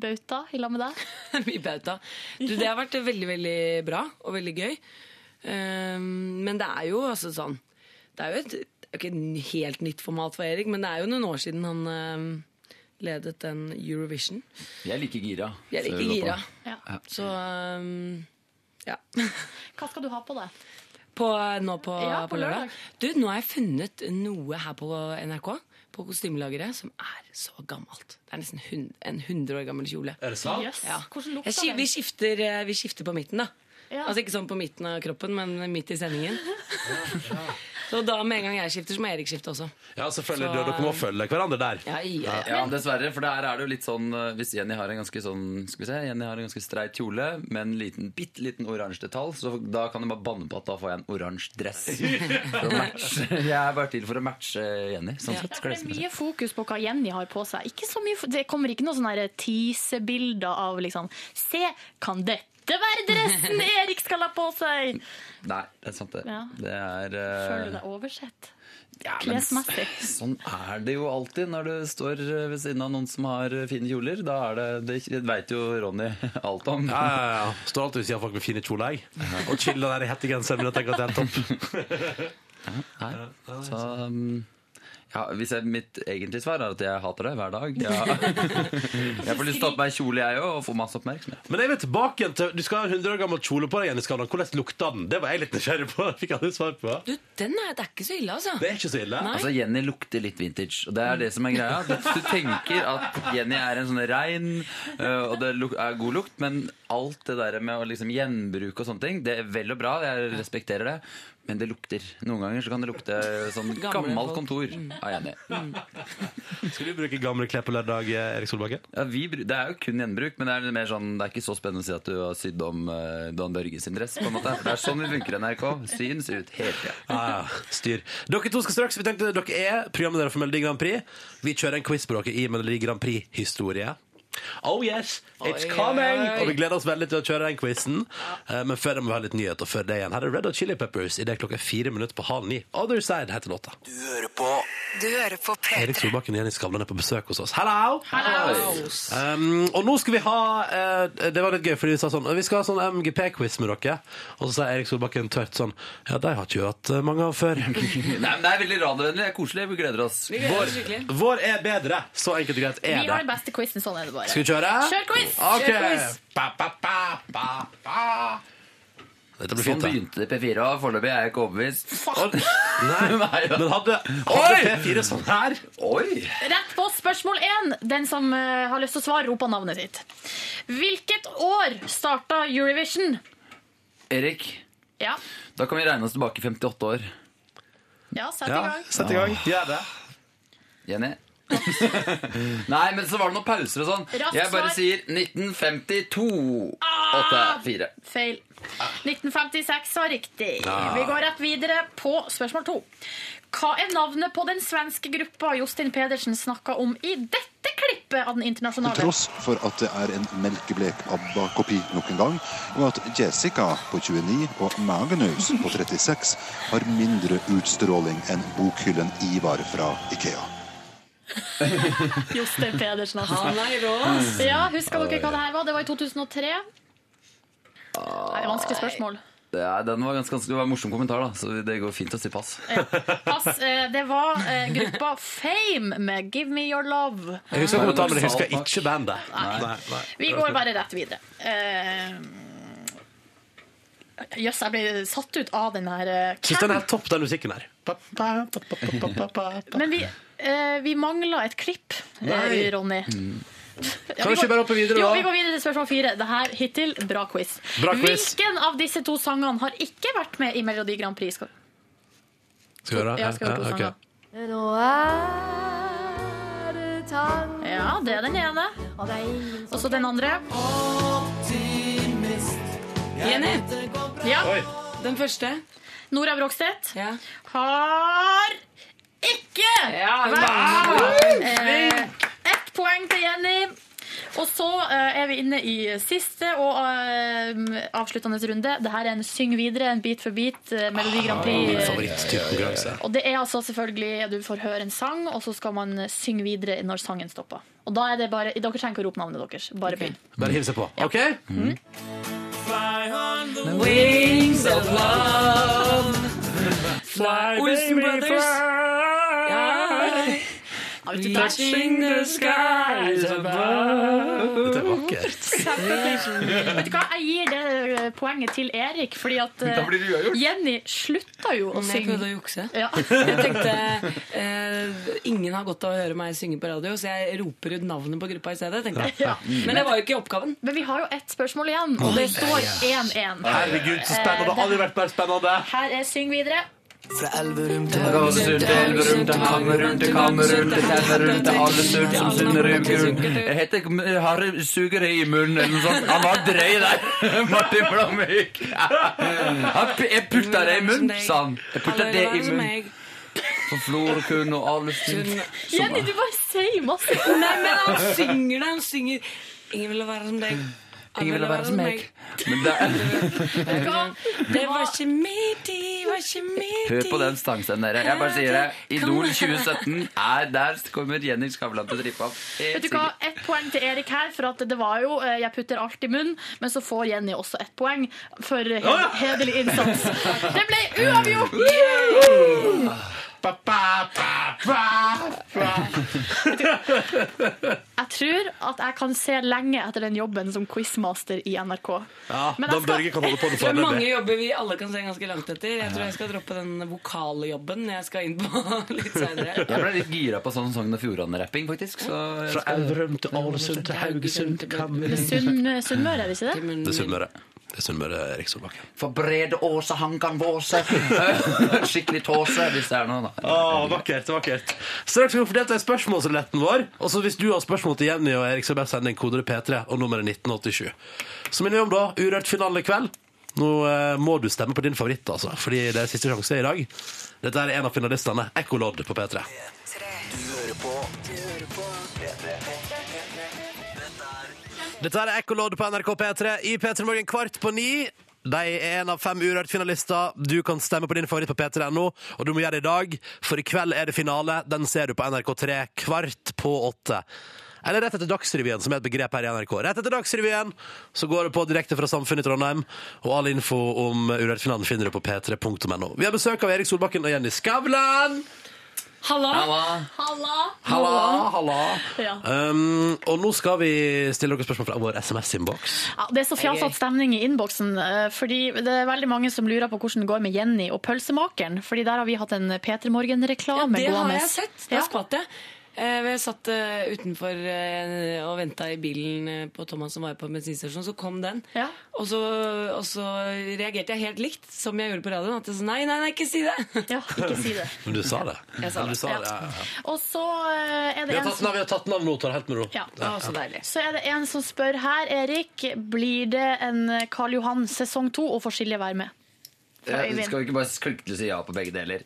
[SPEAKER 4] bauta i lag med deg?
[SPEAKER 21] Mye bauta. Du, det har vært veldig, veldig bra og veldig gøy. Ehm, men det er jo altså sånn Det er jo et, det er jo ikke et helt nytt format for Erik, men det er jo noen år siden han ehm, ledet den Eurovision.
[SPEAKER 23] Vi er like gira.
[SPEAKER 21] Jeg er
[SPEAKER 23] Så vi
[SPEAKER 21] like
[SPEAKER 23] går på
[SPEAKER 21] gira.
[SPEAKER 23] det.
[SPEAKER 21] Ja. Så ehm, ja.
[SPEAKER 4] Hva skal du ha på deg?
[SPEAKER 21] På, nå på,
[SPEAKER 4] Ja, på
[SPEAKER 21] på lørdag.
[SPEAKER 4] lørdag.
[SPEAKER 21] Du, nå har jeg funnet noe her på NRK, på kostymelageret, som er så gammelt. Det er nesten hun, en 100 år gammel kjole.
[SPEAKER 2] Er det sant?
[SPEAKER 21] Ja.
[SPEAKER 2] Jøss,
[SPEAKER 4] hvordan lukter
[SPEAKER 21] Jeg skif-
[SPEAKER 4] den?
[SPEAKER 21] Vi skifter, eh, vi skifter på midten, da.
[SPEAKER 4] Ja.
[SPEAKER 21] Altså ikke sånn på midten av kroppen, men midt i
[SPEAKER 4] [laughs]
[SPEAKER 21] sendingen. Så da med en gang jeg skifter, så må Erik skifte også.
[SPEAKER 2] Ja, selvfølgelig.
[SPEAKER 21] Så,
[SPEAKER 2] dere- dere må følge hverandre der.
[SPEAKER 21] Ja, ja, ja.
[SPEAKER 23] Ja, dessverre, for der er det jo litt sånn eh, Hvis Jenny har en ganske sånn, skal vi se Jenny har en ganske streit kjole med en liten, bitte liten oransje detalj, så da kan du bare banne på at da får jeg en oransje
[SPEAKER 4] [laughs]
[SPEAKER 23] dress. For å matche. Jeg er bare til for å matche Jenny. Sånn
[SPEAKER 4] Ja,
[SPEAKER 23] sett,
[SPEAKER 4] for det er mye fokus på hva Jenny har på seg. Ikke så mye, fo- det kommer ikke noen sånne her teasebilder av liksom Se, kan dette være dressen Erik skal ha på seg?
[SPEAKER 23] Nei, det er sant, det.
[SPEAKER 4] Ja.
[SPEAKER 23] Det er eh,
[SPEAKER 4] Føler du deg oversett?
[SPEAKER 23] ja, men s-
[SPEAKER 4] Klesmessig.
[SPEAKER 23] Sånn er det jo alltid når du står eh, ved siden av noen som har eh, fine kjoler. Da er det Det, det veit jo Ronny [laughs] alt om.
[SPEAKER 2] Ja, ja, ja. Står alltid ved siden av folk med fine kjoler, jeg. Og chiller der i hettegenseren min og tenker at det er helt topp.
[SPEAKER 23] Nei. Så um, Ja, hvis jeg, mitt egentlige svar er at jeg hater det hver dag. Ja.
[SPEAKER 2] [laughs]
[SPEAKER 23] [laughs] Jeg får lyst til å ta på meg kjole, jeg òg, og få masse oppmerksomhet.
[SPEAKER 2] Men jeg vil tilbake igjen til Du skal ha en 100 år gammel kjole på deg igjen i Skavlan. Hvordan lukta den? Det var jeg litt nysgjerrig på. [laughs] Fikk aldri svar på.
[SPEAKER 21] Du, den er, det er ikke så ille, altså.
[SPEAKER 2] Det er ikke så ille.
[SPEAKER 21] Nei.
[SPEAKER 23] Altså, Jenny lukter litt vintage, og det er det som er greia. Du, du tenker at Jenny er en sånn rein, øh, og det luk- er god lukt, men alt det der med å liksom gjenbruke og sånne ting, det er vel og bra, jeg respekterer det, men det lukter. Noen ganger så kan det lukte sånn
[SPEAKER 2] Gamle folk. Mm.
[SPEAKER 23] gammelt kontor av Jenny.
[SPEAKER 2] Skal du bruke gamle klær på lørdag, Erik Solbakken?
[SPEAKER 23] Ja, vi, bru- det er jo kun gjenbruk, men det er, mer sånn, det er ikke så spennende å si at du har sydd om eh, Dan Børge sin dress. på en måte. Det er sånn vi funker i NRK. Syns ut hele tida.
[SPEAKER 2] Ah, styr. Dere to skal straks, vi tenkte dere er programledere for Melodi Grand Prix. Vi kjører en quiz på dere i Melodi Grand Prix-historie. [laughs] Oh yes, it's
[SPEAKER 25] Oi,
[SPEAKER 2] coming!
[SPEAKER 25] oi, oi.
[SPEAKER 2] Og vi gleder oss veldig til å kjøre den quizen. Eh, Men før det må vi ha litt nyhet, og før det igjen. Her er Red Hot Chili Peppers i det er klokka fire minutter på halv ni. Other Side heter låta.
[SPEAKER 8] Du hører på Du hører på P3.
[SPEAKER 2] Erik Solbakken og Jenny Skavlan er på besøk hos oss. Hello!
[SPEAKER 8] Hello!
[SPEAKER 2] Um, og nå skal vi ha eh, Det var litt gøy, fordi vi sa sånn Vi skal ha sånn MGP-quiz med dere. Og så sa Erik Solbakken tørt sånn Ja, de har ikke hatt eh, mange av
[SPEAKER 4] [laughs]
[SPEAKER 2] før.
[SPEAKER 23] Nei, men Det er veldig radiovennlig. Det er koselig. Vi gleder oss.
[SPEAKER 4] Vi gleder oss skikkelig.
[SPEAKER 2] vår er bedre. Så enkelt og greit
[SPEAKER 4] Vi
[SPEAKER 2] er
[SPEAKER 4] har den
[SPEAKER 2] det.
[SPEAKER 4] beste quizen, sånn er det bare.
[SPEAKER 2] Skal vi kjøre?
[SPEAKER 4] Kjør quiz!
[SPEAKER 2] Ok.
[SPEAKER 4] Kjør quiz.
[SPEAKER 2] Ba, ba, ba, ba, ba. Dette blir
[SPEAKER 23] sånn
[SPEAKER 2] fint,
[SPEAKER 23] begynte
[SPEAKER 2] da.
[SPEAKER 23] P4, og foreløpig er jeg ikke overbevist. [laughs]
[SPEAKER 2] Nei,
[SPEAKER 23] da.
[SPEAKER 2] men hadde,
[SPEAKER 23] Oi!
[SPEAKER 2] hadde P4 sånn her
[SPEAKER 23] Oi!
[SPEAKER 4] Rett på spørsmål én. Den som eh, har lyst til å svare, roper navnet sitt. Hvilket år starta Eurovision?
[SPEAKER 23] Erik,
[SPEAKER 4] Ja,
[SPEAKER 23] da kan vi regne oss tilbake 58 år.
[SPEAKER 4] ja sett i gang.
[SPEAKER 2] sett i gang. Gjør det.
[SPEAKER 23] Jenny? [laughs] Nei, men så var det noen pauser og sånn.
[SPEAKER 4] Raskt
[SPEAKER 23] Jeg
[SPEAKER 4] svar.
[SPEAKER 23] bare
[SPEAKER 4] Ah!
[SPEAKER 23] sier 1952. 84.
[SPEAKER 4] Feil. 1956 var riktig.
[SPEAKER 23] Ja.
[SPEAKER 4] Vi går rett videre på spørsmål to. Hva er navnet på den svenske gruppa Jostein Pedersen snakka om i dette klippet av den
[SPEAKER 24] Til
[SPEAKER 4] internasjonale?
[SPEAKER 24] tross for at det er en melkeblek ABBA-kopi nok en gang, og at Jessica på 29 og Magnus på 36 har mindre utstråling enn bokhyllen Ivar fra Ikea.
[SPEAKER 4] Jostein Pedersen, altså.
[SPEAKER 21] Han er rå, ass.
[SPEAKER 4] Ja, Husker dere hva det her var? Det var i 2003. Det er vanskelig spørsmål.
[SPEAKER 23] [laughs] Det er, den var ganske, ganske, det var en morsom kommentar, da, så det går fint å si pass. [laughs]
[SPEAKER 4] Pass, eh, det var eh, gruppa Fame med 'Give Me Your Love'.
[SPEAKER 2] Jeg husker kommentaren, men jeg husker ikke bandet.
[SPEAKER 4] Nei. Vi går bare rett videre. Eh, Jøss, jeg ble satt ut av den her eh,
[SPEAKER 2] Syns den er helt topp, den musikken her. Ba, ba, ba, ba, ba, ba, ba.
[SPEAKER 4] Men vi, eh, vi mangla et klipp,
[SPEAKER 2] Nei. Mm.
[SPEAKER 4] eh, Ronny. Ja,
[SPEAKER 2] Kan vi ikke bare hoppe videre,
[SPEAKER 4] jo,
[SPEAKER 2] da?
[SPEAKER 4] vi går videre til spørsmål fire. Det her hittil, bra quiz.
[SPEAKER 2] Bra quiz.
[SPEAKER 4] Hvilken av disse to sangene har ikke vært med i Melodi Grand Prix? Skal-
[SPEAKER 2] Skal vi høre?
[SPEAKER 4] Ja, skal vi høre to
[SPEAKER 2] ok.
[SPEAKER 4] sanger. Ja, det er den ene. Og så den andre.
[SPEAKER 21] Jenny.
[SPEAKER 4] Ja.
[SPEAKER 21] Den første.
[SPEAKER 4] Nora Brogstedt har ikke vært med. Eh, Ett poeng til Jenny. Og så eh, er vi inne i siste og eh, avsluttende runde. Dette er en syng videre, en bit for bit, eh, Melodi
[SPEAKER 21] Ah,
[SPEAKER 4] Grand
[SPEAKER 2] Min
[SPEAKER 4] Prix.
[SPEAKER 2] favoritttype konkurranse.
[SPEAKER 4] Og det er altså selvfølgelig Du får høre en sang, og så skal man synge videre når sangen stopper. Og da er det bare Dere trenger ikke å rope navnet deres. Bare begynn.
[SPEAKER 2] Bare hiv seg på. OK?
[SPEAKER 21] Wings of love.
[SPEAKER 2] Fly,
[SPEAKER 21] Olsen
[SPEAKER 2] baby,
[SPEAKER 21] Brothers.
[SPEAKER 2] fly.
[SPEAKER 21] Touching the skies above.
[SPEAKER 2] Dette er vakkert.
[SPEAKER 4] Vet du hva, Jeg gir det eh, poenget til Erik, fordi at eh,
[SPEAKER 21] Da blir det uavgjort.
[SPEAKER 4] Jenny slutta jo å
[SPEAKER 21] Men jeg
[SPEAKER 4] synge.
[SPEAKER 21] prøvde å jukse.
[SPEAKER 4] Ja.
[SPEAKER 21] Jeg tenkte eh, Ingen har godt av å høre meg synge på radio, så jeg roper ut navnet på gruppa i stedet. tenkte jeg.
[SPEAKER 4] Ja.
[SPEAKER 21] Men det var jo ikke oppgaven.
[SPEAKER 4] Men vi har jo ett spørsmål igjen, og det står 1-1.
[SPEAKER 2] Herregud, så spennende. Det har aldri vært mer spennende.
[SPEAKER 4] Her er Syng videre.
[SPEAKER 8] Fra Elverum til
[SPEAKER 23] Gåsehud til Elverum til Hammerun til Kammerun til Tennerun til alle surt som sunner ugrunn. Jeg heter ikke jeg har sugere i munnen eller noe sånt. Han var drøy der, [laughs] Martin Blomvik. [laughs] Han p- Jeg putta det i munnen, sa han. Jeg putta det i munnen. For Florkun og Alesund.
[SPEAKER 4] Jenny, du bare sier masse ord.
[SPEAKER 21] Nei, men han synger det. Han synger 'Ingen ville være som deg'.
[SPEAKER 23] Ingen ville være som meg. Men det
[SPEAKER 21] Vet
[SPEAKER 4] [laughs]
[SPEAKER 21] du hva? Det var ikke mitt, det var ikke mitt
[SPEAKER 23] Hør på den stangstemmen dere. Jeg bare sier det. Idol 2017 er der. kommer Jenny Skavlan til å trippe opp.
[SPEAKER 4] Vet
[SPEAKER 23] Helt
[SPEAKER 4] du hva,
[SPEAKER 23] sikkert.
[SPEAKER 4] Ett poeng til Erik her, for at det var jo eh, 'jeg putter alt i munnen', men så får Jenny også ett poeng for he
[SPEAKER 21] [laughs]
[SPEAKER 23] Ah.
[SPEAKER 4] hederlig innsats. Det ble uavgjort!
[SPEAKER 2] Ba, ba, ba,
[SPEAKER 4] Jeg tror at jeg kan se lenge etter den jobben som quizmaster i NRK.
[SPEAKER 2] Ja,
[SPEAKER 4] Men jeg
[SPEAKER 2] Dan
[SPEAKER 4] skal-
[SPEAKER 2] Børge kan holde på det
[SPEAKER 21] Det er mange
[SPEAKER 2] foreløpig.
[SPEAKER 21] jobber vi alle kan se ganske langt etter. Jeg tror jeg skal droppe den vokaljobben jeg skal inn på [laughs]
[SPEAKER 23] [laughs]
[SPEAKER 21] litt
[SPEAKER 23] Jeg
[SPEAKER 21] senere.
[SPEAKER 23] ble litt gira på sånn Sogn og Fjordane-rapping, faktisk. Så jeg
[SPEAKER 21] Fra
[SPEAKER 23] skal-
[SPEAKER 26] Elverum til Ålesund til Haugesund til
[SPEAKER 4] Med Sunn- Sunnmøre, er det ikke det?
[SPEAKER 2] Det er Sunnmøre. Det er Sunnmøre Erik Solbakken.
[SPEAKER 23] For Brede Åse, han kan våse. [laughs]
[SPEAKER 2] [laughs]
[SPEAKER 23] Skikkelig tåse, hvis det er noe, da.
[SPEAKER 2] Ah, vakkert, vakkert. Straks skal vi fordele deg spørsmålsletten vår. Og så Hvis du har spørsmål til Jenny og Erik, så bare send en kode til P3 og nummeret 1987. Så minner vi om da, urørt finale i kveld. Nå eh, må du stemme på din favoritt, altså, fordi det er siste sjanse i dag. Dette er en av finalistene. Ekkolodd på P3.
[SPEAKER 27] Du hører på Du hører på P3.
[SPEAKER 2] Dette er Ekkolodd på NRK P3 i P3 Morgen kvart på ni. De er en av fem Urørt-finalister. Du kan stemme på din favoritt på p3.no, og du må gjøre det i dag, for i kveld er det finale. Den ser du på NRK3 kvart på åtte. Eller rett etter Dagsrevyen, som er et begrep her i NRK. Rett etter Dagsrevyen så går det på direkte fra Samfunnet i Trondheim, og all info om Urørt-finalen finner du på p3.no. Vi har besøk av Erik Solbakken og Jenny Skavlan.
[SPEAKER 21] Halla!
[SPEAKER 2] Halla.
[SPEAKER 4] Halla!
[SPEAKER 2] Halla, halla.
[SPEAKER 4] Ja.
[SPEAKER 2] Um, og nå skal vi stille dere spørsmål fra vår SMS-innboks.
[SPEAKER 4] Ja, det er så fjasete stemning i innboksen. eh, Fordi det er veldig mange som lurer på hvordan det går med Jenny og pølsemakeren. Fordi der har vi hatt en Peter Morgen-reklame
[SPEAKER 21] Det har
[SPEAKER 4] gående.
[SPEAKER 21] jeg sett. Da skvatt jeg. Eh, Jeg satt eh, utenfor eh, og venta i bilen eh, på Thomas som var på bensinstasjonen. Så kom den. Og, så, og så reagerte jeg helt likt som jeg gjorde på radioen. At jeg sa nei, nei, nei, ikke si det.
[SPEAKER 4] [laughs] Ja,
[SPEAKER 2] [laughs]
[SPEAKER 4] ikke si det.
[SPEAKER 2] Men du sa det.
[SPEAKER 4] Jeg sa
[SPEAKER 2] Men du
[SPEAKER 4] det,
[SPEAKER 2] sa
[SPEAKER 4] ja.
[SPEAKER 2] det. Ja, ja, ja.
[SPEAKER 4] Og så eh, er
[SPEAKER 2] Vi
[SPEAKER 4] det
[SPEAKER 2] har
[SPEAKER 4] en
[SPEAKER 2] tatt, nei,
[SPEAKER 4] som
[SPEAKER 2] vi har tatt navn nå, tar det helt med ro.
[SPEAKER 4] ja.
[SPEAKER 2] ja.
[SPEAKER 4] Så er det en som spør her, Erik, blir det en Karl Johan sesong to, og får Silje være med? Fra
[SPEAKER 23] Eh,
[SPEAKER 4] Øyvind.
[SPEAKER 23] Skal vi ikke bare klikke si ja på begge deler?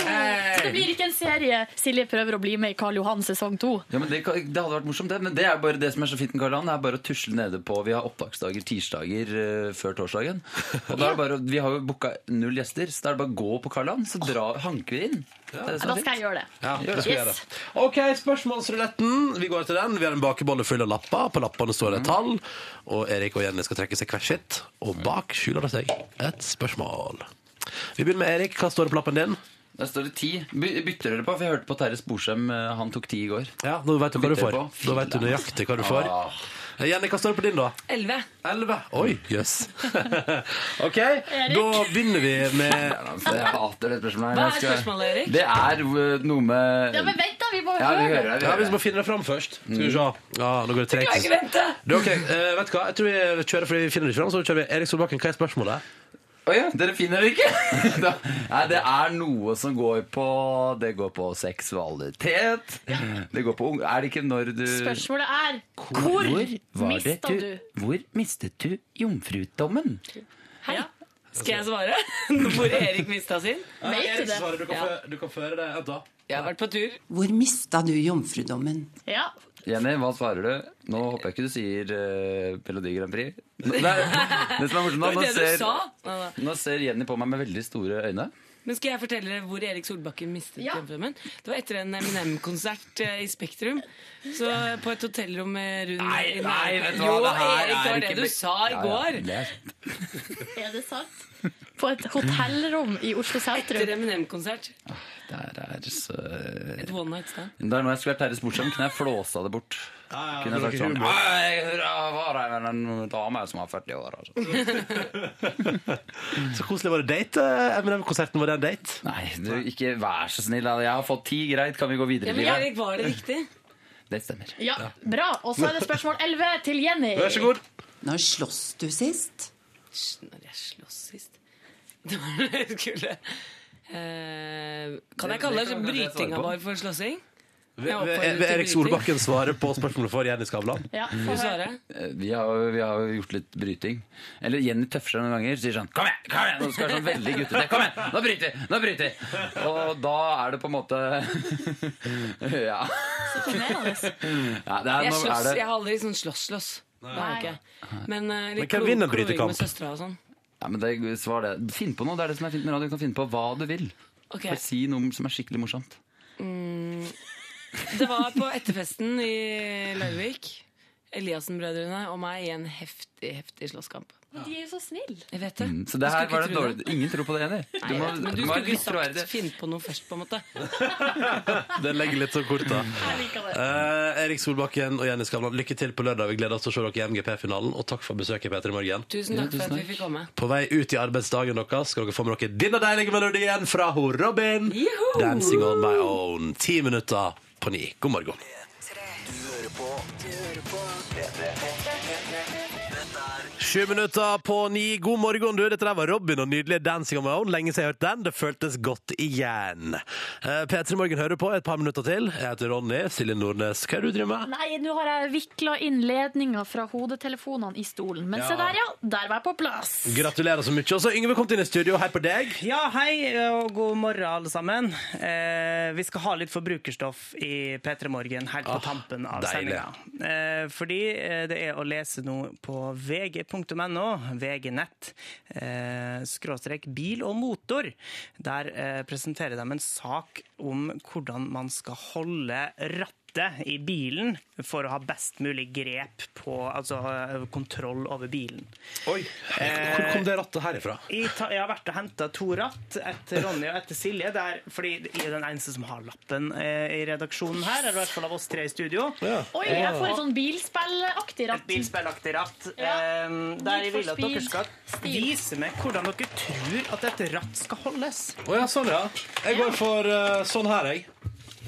[SPEAKER 4] Så det blir ikke en serie Silje prøver å bli med i Karl Johan sesong to.
[SPEAKER 23] Ja, men det, kan- det hadde vært morsomt, det. Men det er bare det som er så fint med Karl Johan. Det er bare å tusle nede på Vi har opptaksdager tirsdager eh, før torsdagen. Og da er det bare, å- Vi har jo booka null gjester, så da er det bare å gå på Karl Johan, så dra, hanker vi inn. Det er
[SPEAKER 4] Da
[SPEAKER 23] så fint.
[SPEAKER 4] skal jeg gjøre det.
[SPEAKER 2] Ja,
[SPEAKER 23] Gjør
[SPEAKER 2] det
[SPEAKER 23] det.
[SPEAKER 2] skal vi gjøre. OK, spørsmålsruletten. Vi går til den. Vi har en bakebolle full av lapper. På lappene står det et tall. Og Erik og Jenny skal trekke seg hvert sitt. Og bak skjuler det seg et spørsmål. Vi begynner med Erik. Hva står det på lappen din?
[SPEAKER 23] Der står det ti. By bytter dere på? For jeg hørte på Terje Sporsem, eh, han tok ti i går.
[SPEAKER 2] Ja, Nå vet du hva du
[SPEAKER 23] Bytter
[SPEAKER 2] får.
[SPEAKER 23] dere på?
[SPEAKER 2] Da vet du nøyaktig hva du får. Eh,
[SPEAKER 23] Ah.
[SPEAKER 2] Jenny, hva står det på din, da?
[SPEAKER 21] Elleve.
[SPEAKER 2] Elleve. Oi, jøss. OK, da begynner vi
[SPEAKER 23] [laughs]
[SPEAKER 2] med
[SPEAKER 23] altså, Jeg hater det spørsmålet.
[SPEAKER 2] Hva er
[SPEAKER 23] Jeg skal-
[SPEAKER 2] spørsmålet, Erik?
[SPEAKER 23] Det er eh, noe med
[SPEAKER 4] Ja, men vent, da! Vi må
[SPEAKER 23] Ja, vi
[SPEAKER 4] høre
[SPEAKER 23] hører Mm. det.
[SPEAKER 2] Ja, vi må finne det fram først. Skal vi se. Ja, nå går det
[SPEAKER 4] Jeg
[SPEAKER 2] tregt.
[SPEAKER 4] kan ikke vente.
[SPEAKER 2] Det er ok. Eh, vet du hva? Jeg tror vi kjører fordi vi finner det ikke fram. Så kjører vi Erik Solbakken, hva er spørsmålet?
[SPEAKER 23] Å ja, dere finner det ikke? [laughs] da, nei, det er noe som går på Det går på seksualitet. Det går på ung... Er det ikke når du
[SPEAKER 4] Spørsmålet er hvor,
[SPEAKER 23] Hvor var det
[SPEAKER 4] mista du?
[SPEAKER 23] Hvor mistet du jomfrudommen?
[SPEAKER 21] Hei. Skal jeg svare? [laughs] Hvor Erik mista sin?
[SPEAKER 2] Ja, Vet du Erik det? svarer, du kan
[SPEAKER 21] Ja.
[SPEAKER 2] fø- føre det. Vent, da.
[SPEAKER 21] Jeg har vært på tur.
[SPEAKER 23] Hvor mista du jomfrudommen?
[SPEAKER 4] Ja.
[SPEAKER 23] Jenny, hva svarer du? Nå håper jeg ikke du sier eh, Melodi Grand Prix. Nei, [laughs] det som er morsomt, da,
[SPEAKER 21] [laughs] Det var
[SPEAKER 23] nå
[SPEAKER 21] det du
[SPEAKER 23] ser,
[SPEAKER 21] sa. Nei,
[SPEAKER 23] nå ser Jenny på meg med veldig store øyne.
[SPEAKER 21] Men skal jeg fortelle dere hvor Erik Solbakken mistet
[SPEAKER 4] Ja.
[SPEAKER 21] jomfrudommen? Det var etter en Eminem-konsert eh, i Spektrum. Så på et hotellrom eh, rundt
[SPEAKER 23] Nei, nei, vet du hva,
[SPEAKER 21] Jo,
[SPEAKER 23] det her
[SPEAKER 21] Erik, det
[SPEAKER 23] er
[SPEAKER 21] var det
[SPEAKER 23] ikke
[SPEAKER 21] du
[SPEAKER 23] be-
[SPEAKER 21] sa
[SPEAKER 23] Ja,
[SPEAKER 21] i
[SPEAKER 23] ja,
[SPEAKER 21] går.
[SPEAKER 23] det er
[SPEAKER 4] Er det sant? På et hotellrom i Oslo sentrum.
[SPEAKER 21] Etter Eminem-konsert.
[SPEAKER 23] Der er så...
[SPEAKER 21] Et one night stand.
[SPEAKER 23] Men Da når jeg skulle vært Terje Sportsheim, kunne jeg flåsa det bort.
[SPEAKER 21] ja,
[SPEAKER 23] kunne jeg
[SPEAKER 21] det
[SPEAKER 23] sagt
[SPEAKER 21] var
[SPEAKER 23] sånn
[SPEAKER 21] ikke
[SPEAKER 23] Ja,
[SPEAKER 21] humor.
[SPEAKER 23] jeg var her med en dame som var 40 år, altså.
[SPEAKER 2] Så koselig. Var det date? eh, Eminem-konserten, var det en date?
[SPEAKER 23] Nei, du, ikke vær så snill. da. Jeg har fått ti, greit. Kan vi gå
[SPEAKER 4] Ja,
[SPEAKER 23] videre i
[SPEAKER 4] men
[SPEAKER 23] livet?
[SPEAKER 4] Erik, var det
[SPEAKER 21] riktig?
[SPEAKER 23] Det stemmer.
[SPEAKER 4] Ja, bra. Og så er det spørsmål 11 til Jenny.
[SPEAKER 2] god.
[SPEAKER 8] Når sloss du sist?
[SPEAKER 21] Når jeg slåss sist Det var det jeg skulle eh, Kan
[SPEAKER 23] Det- det
[SPEAKER 21] jeg kalle det
[SPEAKER 23] kan jeg svare
[SPEAKER 21] brytinga
[SPEAKER 23] på.
[SPEAKER 21] vår for slåssing?
[SPEAKER 2] Vil vil-
[SPEAKER 21] Jeg oppfordrer
[SPEAKER 2] vil
[SPEAKER 21] til
[SPEAKER 2] Eh, Erik
[SPEAKER 21] bryting.
[SPEAKER 2] Solbakken svare på spørsmålet for Jenny Skavlan?
[SPEAKER 21] Ja, få høre.
[SPEAKER 23] Eh, Vi har, jo- vi har jo gjort litt bryting. Eller Jenny tøffer seg noen ganger. Sier sånn Kom igjen! kom igjen Nå skal jeg være sånn veldig guttete. Kom igjen! Nå bryter vi! Nå bryter vi! Og da er det på en måte [laughs] Ja. ja det er,
[SPEAKER 21] Jeg
[SPEAKER 23] nå er
[SPEAKER 21] slåss,
[SPEAKER 23] det
[SPEAKER 21] jeg har aldri sånn slåss-slåss Det har jeg ikke Men, eh, litt
[SPEAKER 23] Men hvem vinner en
[SPEAKER 21] klo- kloring
[SPEAKER 23] brytekamp?
[SPEAKER 21] med søstra og sånn
[SPEAKER 23] Ja, men det, svar det. Finn på noe. Det er det som er fint med radio. Du kan finne på hva du vil.
[SPEAKER 21] Ok.
[SPEAKER 23] Bare si noe som er skikkelig morsomt.
[SPEAKER 21] mm, [laughs] Det var på etterfesten i Larvik Eliassen-brødrene og meg i en heftig, heftig slåsskamp
[SPEAKER 4] Men de er jo så snille.
[SPEAKER 21] Jeg vet det.
[SPEAKER 23] Mm, Så det
[SPEAKER 21] Jeg
[SPEAKER 23] her
[SPEAKER 21] skulle
[SPEAKER 23] var
[SPEAKER 21] ikke
[SPEAKER 23] det
[SPEAKER 21] tro
[SPEAKER 23] dårlig. Ingen tror på det, Jenny.
[SPEAKER 21] Nei, jeg vet, men du
[SPEAKER 23] må
[SPEAKER 21] skulle
[SPEAKER 23] være
[SPEAKER 21] ikke
[SPEAKER 23] litt troverdig.
[SPEAKER 21] sagt 'finn på noe først', på en
[SPEAKER 23] [laughs]
[SPEAKER 21] måte.
[SPEAKER 2] Den legger litt så kort,
[SPEAKER 21] [laughs]
[SPEAKER 2] da. Eh, Erik Solbakken og Jenny Skavlan, lykke til på lørdag. Vi gleder oss til å se dere i MGP-finalen. Og takk for besøket, Peter, i morgen.
[SPEAKER 21] Tusen takk for at vi fikk komme.
[SPEAKER 2] På vei ut i arbeidsdagen deres skal dere få med dere denne deilige melodien fra ho Robin. 'Dancing on my own'. Ti minutter på ni. God morgen. Sju minutter på ni. God morgen, du. Dette der var Robin og nydelige 'Dancing on my own'. Lenge siden jeg hørte den. Det føltes godt igjen. Eh, P3 Morgen hører på et par minutter til. Jeg heter Ronny. Silje Nordnes, hva er det du driver med?
[SPEAKER 4] Nei, nå har jeg vikla inn ledninga fra hodetelefonene i stolen. Men
[SPEAKER 2] Ja.
[SPEAKER 4] se der, ja. Der var jeg på plass.
[SPEAKER 2] Gratulerer så mye. Og så Yngve kom inn i studio. Hei på deg.
[SPEAKER 3] Ja, hei og god morgen, alle sammen. Eh, vi skal ha litt forbrukerstoff i P3 Morgen helt på tampen av
[SPEAKER 2] deilig.
[SPEAKER 3] sendinga. Eh, fordi eh, det er å lese noe på vg.no, VG-nett, eh, skråstrek bil og motor. Der eh, presenterer de en sak om hvordan man skal holde rattet i bilen for å ha best mulig grep på, altså eh, kontroll over bilen.
[SPEAKER 2] Oi, Hvor kom det rattet herifra?
[SPEAKER 3] Jeg, ta, jeg har vært og henta to ratt etter Ronny og etter Silje. Der, fordi jeg er den eneste som har lappen eh, i redaksjonen her. Eller i hvert fall av oss tre i studio.
[SPEAKER 4] Oi, jeg får et sånn bilspillaktig ratt.
[SPEAKER 3] Bilspillaktig ratt.
[SPEAKER 4] Ja.
[SPEAKER 3] Eh, der
[SPEAKER 4] Need
[SPEAKER 3] jeg
[SPEAKER 4] for
[SPEAKER 3] vil at dere
[SPEAKER 4] speed.
[SPEAKER 3] skal vise meg hvordan dere tror at et ratt skal holdes.
[SPEAKER 2] Å ja, sånn, ja. Jeg går for eh, sånn her, jeg.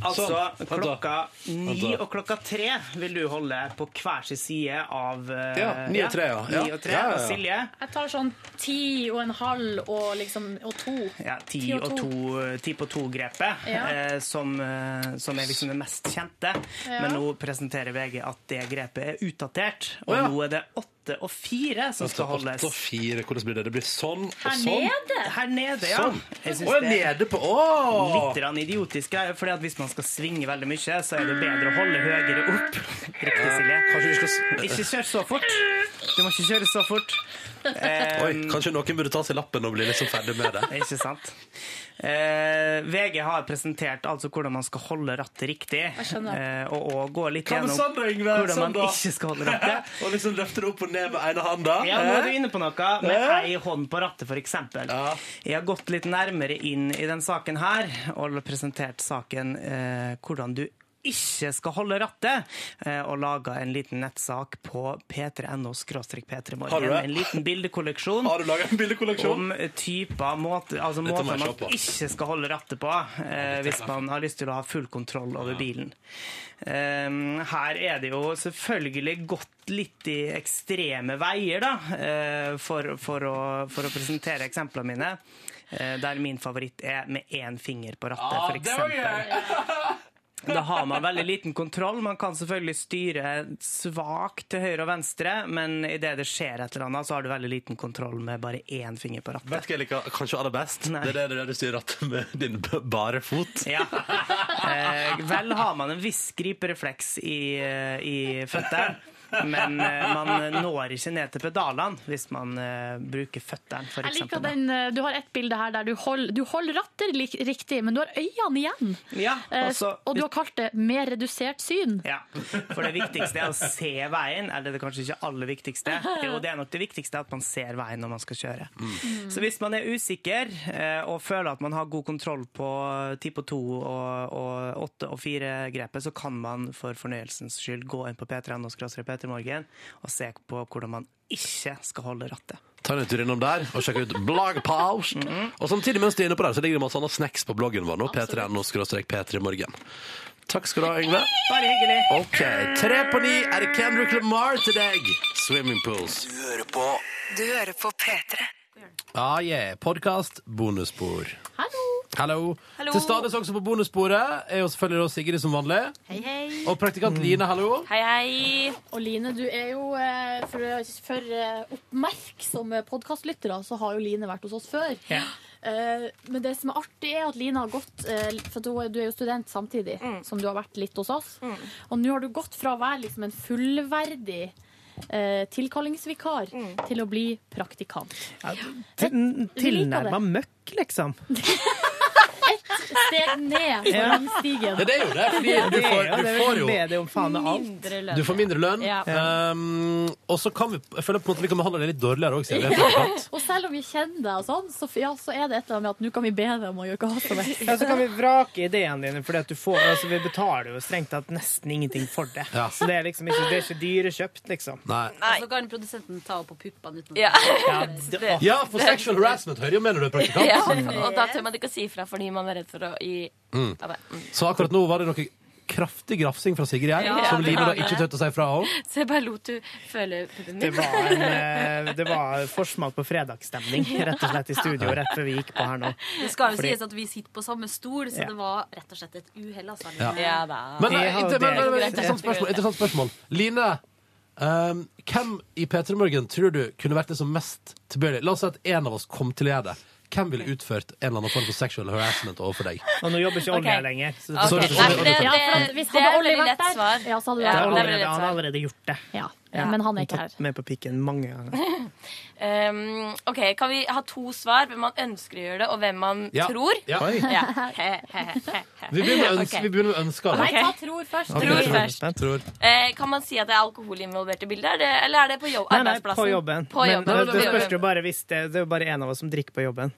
[SPEAKER 3] Altså
[SPEAKER 2] Sånn. Vent da.
[SPEAKER 3] klokka
[SPEAKER 2] Vent
[SPEAKER 3] ni
[SPEAKER 2] da.
[SPEAKER 3] og klokka tre vil du holde på hver sin side av eh,
[SPEAKER 2] Ja, ni og tre, ja. Ja.
[SPEAKER 3] Ni og tre.
[SPEAKER 2] Ja, ja, ja.
[SPEAKER 3] Og Silje?
[SPEAKER 4] Jeg tar sånn ti og en halv og liksom og to.
[SPEAKER 3] Ja, ti og to, eh, ti på to-grepet,
[SPEAKER 4] Ja.
[SPEAKER 3] eh, som, eh, som er liksom det mest kjente.
[SPEAKER 4] Ja.
[SPEAKER 3] Men nå presenterer VG at det grepet er utdatert, og
[SPEAKER 2] Å, ja.
[SPEAKER 3] nå er det åtte og fire som skal holdes.
[SPEAKER 2] Åtte og fire. Hvordan blir det? Det blir [laughs] sånn og
[SPEAKER 3] Her
[SPEAKER 2] sånn.
[SPEAKER 3] nede? Her nede, ja.
[SPEAKER 2] Sånn.
[SPEAKER 3] Jeg synes
[SPEAKER 2] Å, ja,
[SPEAKER 3] det er
[SPEAKER 2] nede på Å!
[SPEAKER 3] Litt grann idiotisk, ja, fordi at hvis man skal svinge veldig mye, så er det bedre å holde høyere opp. Riktig, Silje.
[SPEAKER 2] Kanskje vi skal s-
[SPEAKER 3] Ikke kjør så fort. Du må ikke kjøre så fort.
[SPEAKER 2] Oi, kanskje noen burde ta seg lappen og bli liksom ferdig med det.
[SPEAKER 3] Ikke sant. Eh, VG har presentert altså hvordan man skal holde rattet riktig.
[SPEAKER 2] skjønner.
[SPEAKER 3] Eh, og, og gå
[SPEAKER 2] [laughs]
[SPEAKER 3] litt
[SPEAKER 2] Hva med
[SPEAKER 3] gjennom
[SPEAKER 2] sånn da, Yngve?
[SPEAKER 3] hvordan
[SPEAKER 2] Sånn
[SPEAKER 3] man
[SPEAKER 2] da.
[SPEAKER 3] ikke skal holde rattet.
[SPEAKER 2] [laughs] og liksom løfter det opp og ned med ene handa.
[SPEAKER 3] Ja, nå er du inne på noe med
[SPEAKER 2] Eh?
[SPEAKER 3] ei hånd på rattet, f.eks. Jeg har gått litt nærmere inn i den saken her og presentert saken eh, hvordan du ikke skal holde rattet, eh, og laga en liten nettsak på p3.no
[SPEAKER 2] Har du
[SPEAKER 3] p3morgen.
[SPEAKER 2] det?
[SPEAKER 3] En liten bildekolleksjon
[SPEAKER 2] Har du laget en bildekolleksjon?
[SPEAKER 3] om typer, måter, altså
[SPEAKER 2] Dette må
[SPEAKER 3] måter
[SPEAKER 2] jeg
[SPEAKER 3] man
[SPEAKER 2] se på.
[SPEAKER 3] ikke skal holde rattet på eh,
[SPEAKER 2] dette er
[SPEAKER 3] hvis man har lyst til å ha full kontroll over bilen. Um, her er det jo selvfølgelig gått litt i ekstreme veier, da, eh, for, for, å, for å presentere eksemplene mine. eh, Der min favoritt er med én finger på rattet,
[SPEAKER 2] Ah,
[SPEAKER 3] for
[SPEAKER 2] det var
[SPEAKER 3] eksempel. [laughs] Da har man veldig liten kontroll. Man kan selvfølgelig styre svakt til høyre og venstre, men idet det skjer et eller annet, så har du veldig liten kontroll med bare én finger på rattet.
[SPEAKER 2] Vet du hva jeg liker kanskje aller best? Det er det der du styrer rattet med din b- bare fot.
[SPEAKER 3] Ja. Eh, vel har man en viss griperefleks i, eh, i føttene, men eh, man når ikke ned til pedalene hvis man eh, bruker føttene, for
[SPEAKER 4] Jeg liker
[SPEAKER 3] eksempel. da.
[SPEAKER 4] den, eh, Du har et bilde her der du holder, du holder rattet lik- riktig, men du har øynene igjen.
[SPEAKER 3] Ja,
[SPEAKER 4] Eh,
[SPEAKER 3] altså-
[SPEAKER 4] og du har kalt det 'mer redusert syn'.
[SPEAKER 3] Ja, For det viktigste er å se veien, eller det er kanskje ikke aller viktigste. Jo, det er nok det viktigste at man ser veien når man skal kjøre. Så hvis man er usikker eh, og føler at man har god kontroll på ti på to og, og åtte og fire-grepet, så kan man for fornøyelsens skyld gå inn på P3N og skråstrek P3morgen og se på hvordan man ikke skal holde rattet.
[SPEAKER 2] Ta en tur innom der og sjekk ut bloggpost.
[SPEAKER 3] Mhm.
[SPEAKER 2] Og samtidig mens du er inne på der, så ligger det masse annet snacks på bloggen vår nå. p3.no-p3morgen. Takk skal du ha, Yngve.
[SPEAKER 3] Bare hyggelig.
[SPEAKER 2] Ok, Tre på ni er det Kendrick Lamar til deg. Swimming pools.
[SPEAKER 28] Du hører på
[SPEAKER 8] Du hører på P3.
[SPEAKER 2] Ah, yeah. Podkast, bonusspor.
[SPEAKER 4] Hallo.
[SPEAKER 2] Hallo.
[SPEAKER 29] Hallo.
[SPEAKER 2] Til stades også på bonussporet er jo selvfølgelig da Sigrid som vanlig.
[SPEAKER 4] Hei, hei.
[SPEAKER 2] Og praktikant
[SPEAKER 3] Mm.
[SPEAKER 2] Line, hallo.
[SPEAKER 4] Hei, hei. Og Line, du er jo eh, for, for eh, oppmerksomme podkastlyttere, så har jo Line vært hos oss før. Eh, Men det som er artig, er at Line har gått eh, For du du er jo student samtidig
[SPEAKER 2] Mm.
[SPEAKER 4] som du har vært litt hos oss. Og nå har du gått fra å være liksom en fullverdig eh, tilkallingsvikar
[SPEAKER 2] Mm.
[SPEAKER 4] til å bli praktikant.
[SPEAKER 3] Til,
[SPEAKER 4] Vi liker det.
[SPEAKER 3] tilnærma møkk, liksom.
[SPEAKER 4] steg ned på
[SPEAKER 3] Ja.
[SPEAKER 4] rangstigen.
[SPEAKER 2] Det er jo det, fordi
[SPEAKER 3] Ja,
[SPEAKER 2] du
[SPEAKER 3] det er
[SPEAKER 2] får,
[SPEAKER 3] jo
[SPEAKER 2] du
[SPEAKER 3] det. Vi
[SPEAKER 2] får
[SPEAKER 3] kan
[SPEAKER 2] jo
[SPEAKER 3] be deg om faen meg alt.
[SPEAKER 4] Mindre lønn.
[SPEAKER 2] Du får mindre lønn.
[SPEAKER 4] Ja.
[SPEAKER 2] Um, og så kan vi Jeg føler på en måte vi kan behandle det litt dårligere òg, siden det er fortsatt.
[SPEAKER 4] og selv om vi kjenner deg, og sånn, så, f- ja, så er det et eller annet med at nå kan vi be deg om å gjøre hva som helst.
[SPEAKER 3] Ja, så kan vi vrake ideene dine, for du får, altså, vi betaler jo strengt tatt nesten ingenting for det.
[SPEAKER 2] Ja.
[SPEAKER 3] Så det er liksom ikke, det er ikke dyrekjøpt, liksom.
[SPEAKER 2] Nei.
[SPEAKER 30] Så kan produsenten ta opp på puppene uten
[SPEAKER 7] Ja. [laughs]
[SPEAKER 3] det-
[SPEAKER 2] Ja, for sexual harassment hører jo med når du er praktikant.
[SPEAKER 7] Ja, og da tør man ikke å si fra fordi man er redd for å gi
[SPEAKER 2] Mm.
[SPEAKER 7] Ja, det- mm.
[SPEAKER 2] Så akkurat nå var det noe kraftig grafsing fra Sigrid her,
[SPEAKER 7] Ja,
[SPEAKER 2] som
[SPEAKER 7] det
[SPEAKER 2] Line
[SPEAKER 7] var
[SPEAKER 2] da
[SPEAKER 7] det.
[SPEAKER 2] ikke turte å si fra om.
[SPEAKER 7] Så jeg bare lot du føle puppen
[SPEAKER 3] Det
[SPEAKER 7] min.
[SPEAKER 3] var,
[SPEAKER 7] [laughs]
[SPEAKER 3] en, eh, det var forsmak på fredagsstemning, rett og slett, i studio rett før vi gikk på her nå.
[SPEAKER 30] Det skal jo
[SPEAKER 3] Fordi-
[SPEAKER 30] sies at vi sitter på samme stol, så
[SPEAKER 3] Ja.
[SPEAKER 30] det var rett og slett et uhell. Altså.
[SPEAKER 2] Ja.
[SPEAKER 7] Ja da.
[SPEAKER 2] Men,
[SPEAKER 30] Det
[SPEAKER 2] nei,
[SPEAKER 30] har
[SPEAKER 2] inter,
[SPEAKER 30] det.
[SPEAKER 2] men, men, men
[SPEAKER 30] Greit,
[SPEAKER 2] interessant,
[SPEAKER 30] det.
[SPEAKER 2] spørsmål, interessant spørsmål. Line, ehm, hvem i P3 Morgen tror du kunne vært det som mest tilbøyelig? La oss si at en av oss kom til å gjøre det. Hvem ville utført en eller annen form for sexual harassment overfor deg?
[SPEAKER 3] Og nå jobber ikke
[SPEAKER 7] Ok.
[SPEAKER 3] Olli her lenger. Så
[SPEAKER 7] Ok,
[SPEAKER 2] Så-
[SPEAKER 7] Nei,
[SPEAKER 2] så-
[SPEAKER 7] for det, det,
[SPEAKER 4] Ja, for at
[SPEAKER 7] det,
[SPEAKER 4] hvis
[SPEAKER 7] er
[SPEAKER 4] hadde
[SPEAKER 7] et
[SPEAKER 4] Olli
[SPEAKER 7] veldig
[SPEAKER 4] vært
[SPEAKER 7] lett svar.
[SPEAKER 4] der, ja, så hadde
[SPEAKER 3] det
[SPEAKER 4] det
[SPEAKER 3] har
[SPEAKER 7] Ja, det er
[SPEAKER 4] vært
[SPEAKER 7] veldig
[SPEAKER 3] allerede,
[SPEAKER 7] lett svar.
[SPEAKER 3] han har allerede gjort det.
[SPEAKER 4] Ja, men han er ikke her.
[SPEAKER 3] Tatt med på pikken mange ganger.
[SPEAKER 7] Um, OK, kan vi ha to svar? Hvem man ønsker å gjøre det, og hvem man
[SPEAKER 2] Ja.
[SPEAKER 7] tror?
[SPEAKER 2] Ja. Oi. Vi
[SPEAKER 7] Vi
[SPEAKER 2] begynner med, øns vi begynner med ønsker. da.
[SPEAKER 7] Ok.
[SPEAKER 4] Nei, ta tror først.
[SPEAKER 2] Ok,
[SPEAKER 7] Tror først.
[SPEAKER 2] Tror.
[SPEAKER 7] Eh, kan man si at det er alkohol involvert i bildet, er det- eller er det på jobb,
[SPEAKER 3] Nei, nei,
[SPEAKER 7] arbeidsplassen?
[SPEAKER 3] på jobben.
[SPEAKER 7] På
[SPEAKER 3] Men
[SPEAKER 7] jobben.
[SPEAKER 3] det,
[SPEAKER 7] På
[SPEAKER 3] det spørs
[SPEAKER 7] jobben.
[SPEAKER 3] jo bare hvis det, det er jo bare en av oss som drikker på jobben.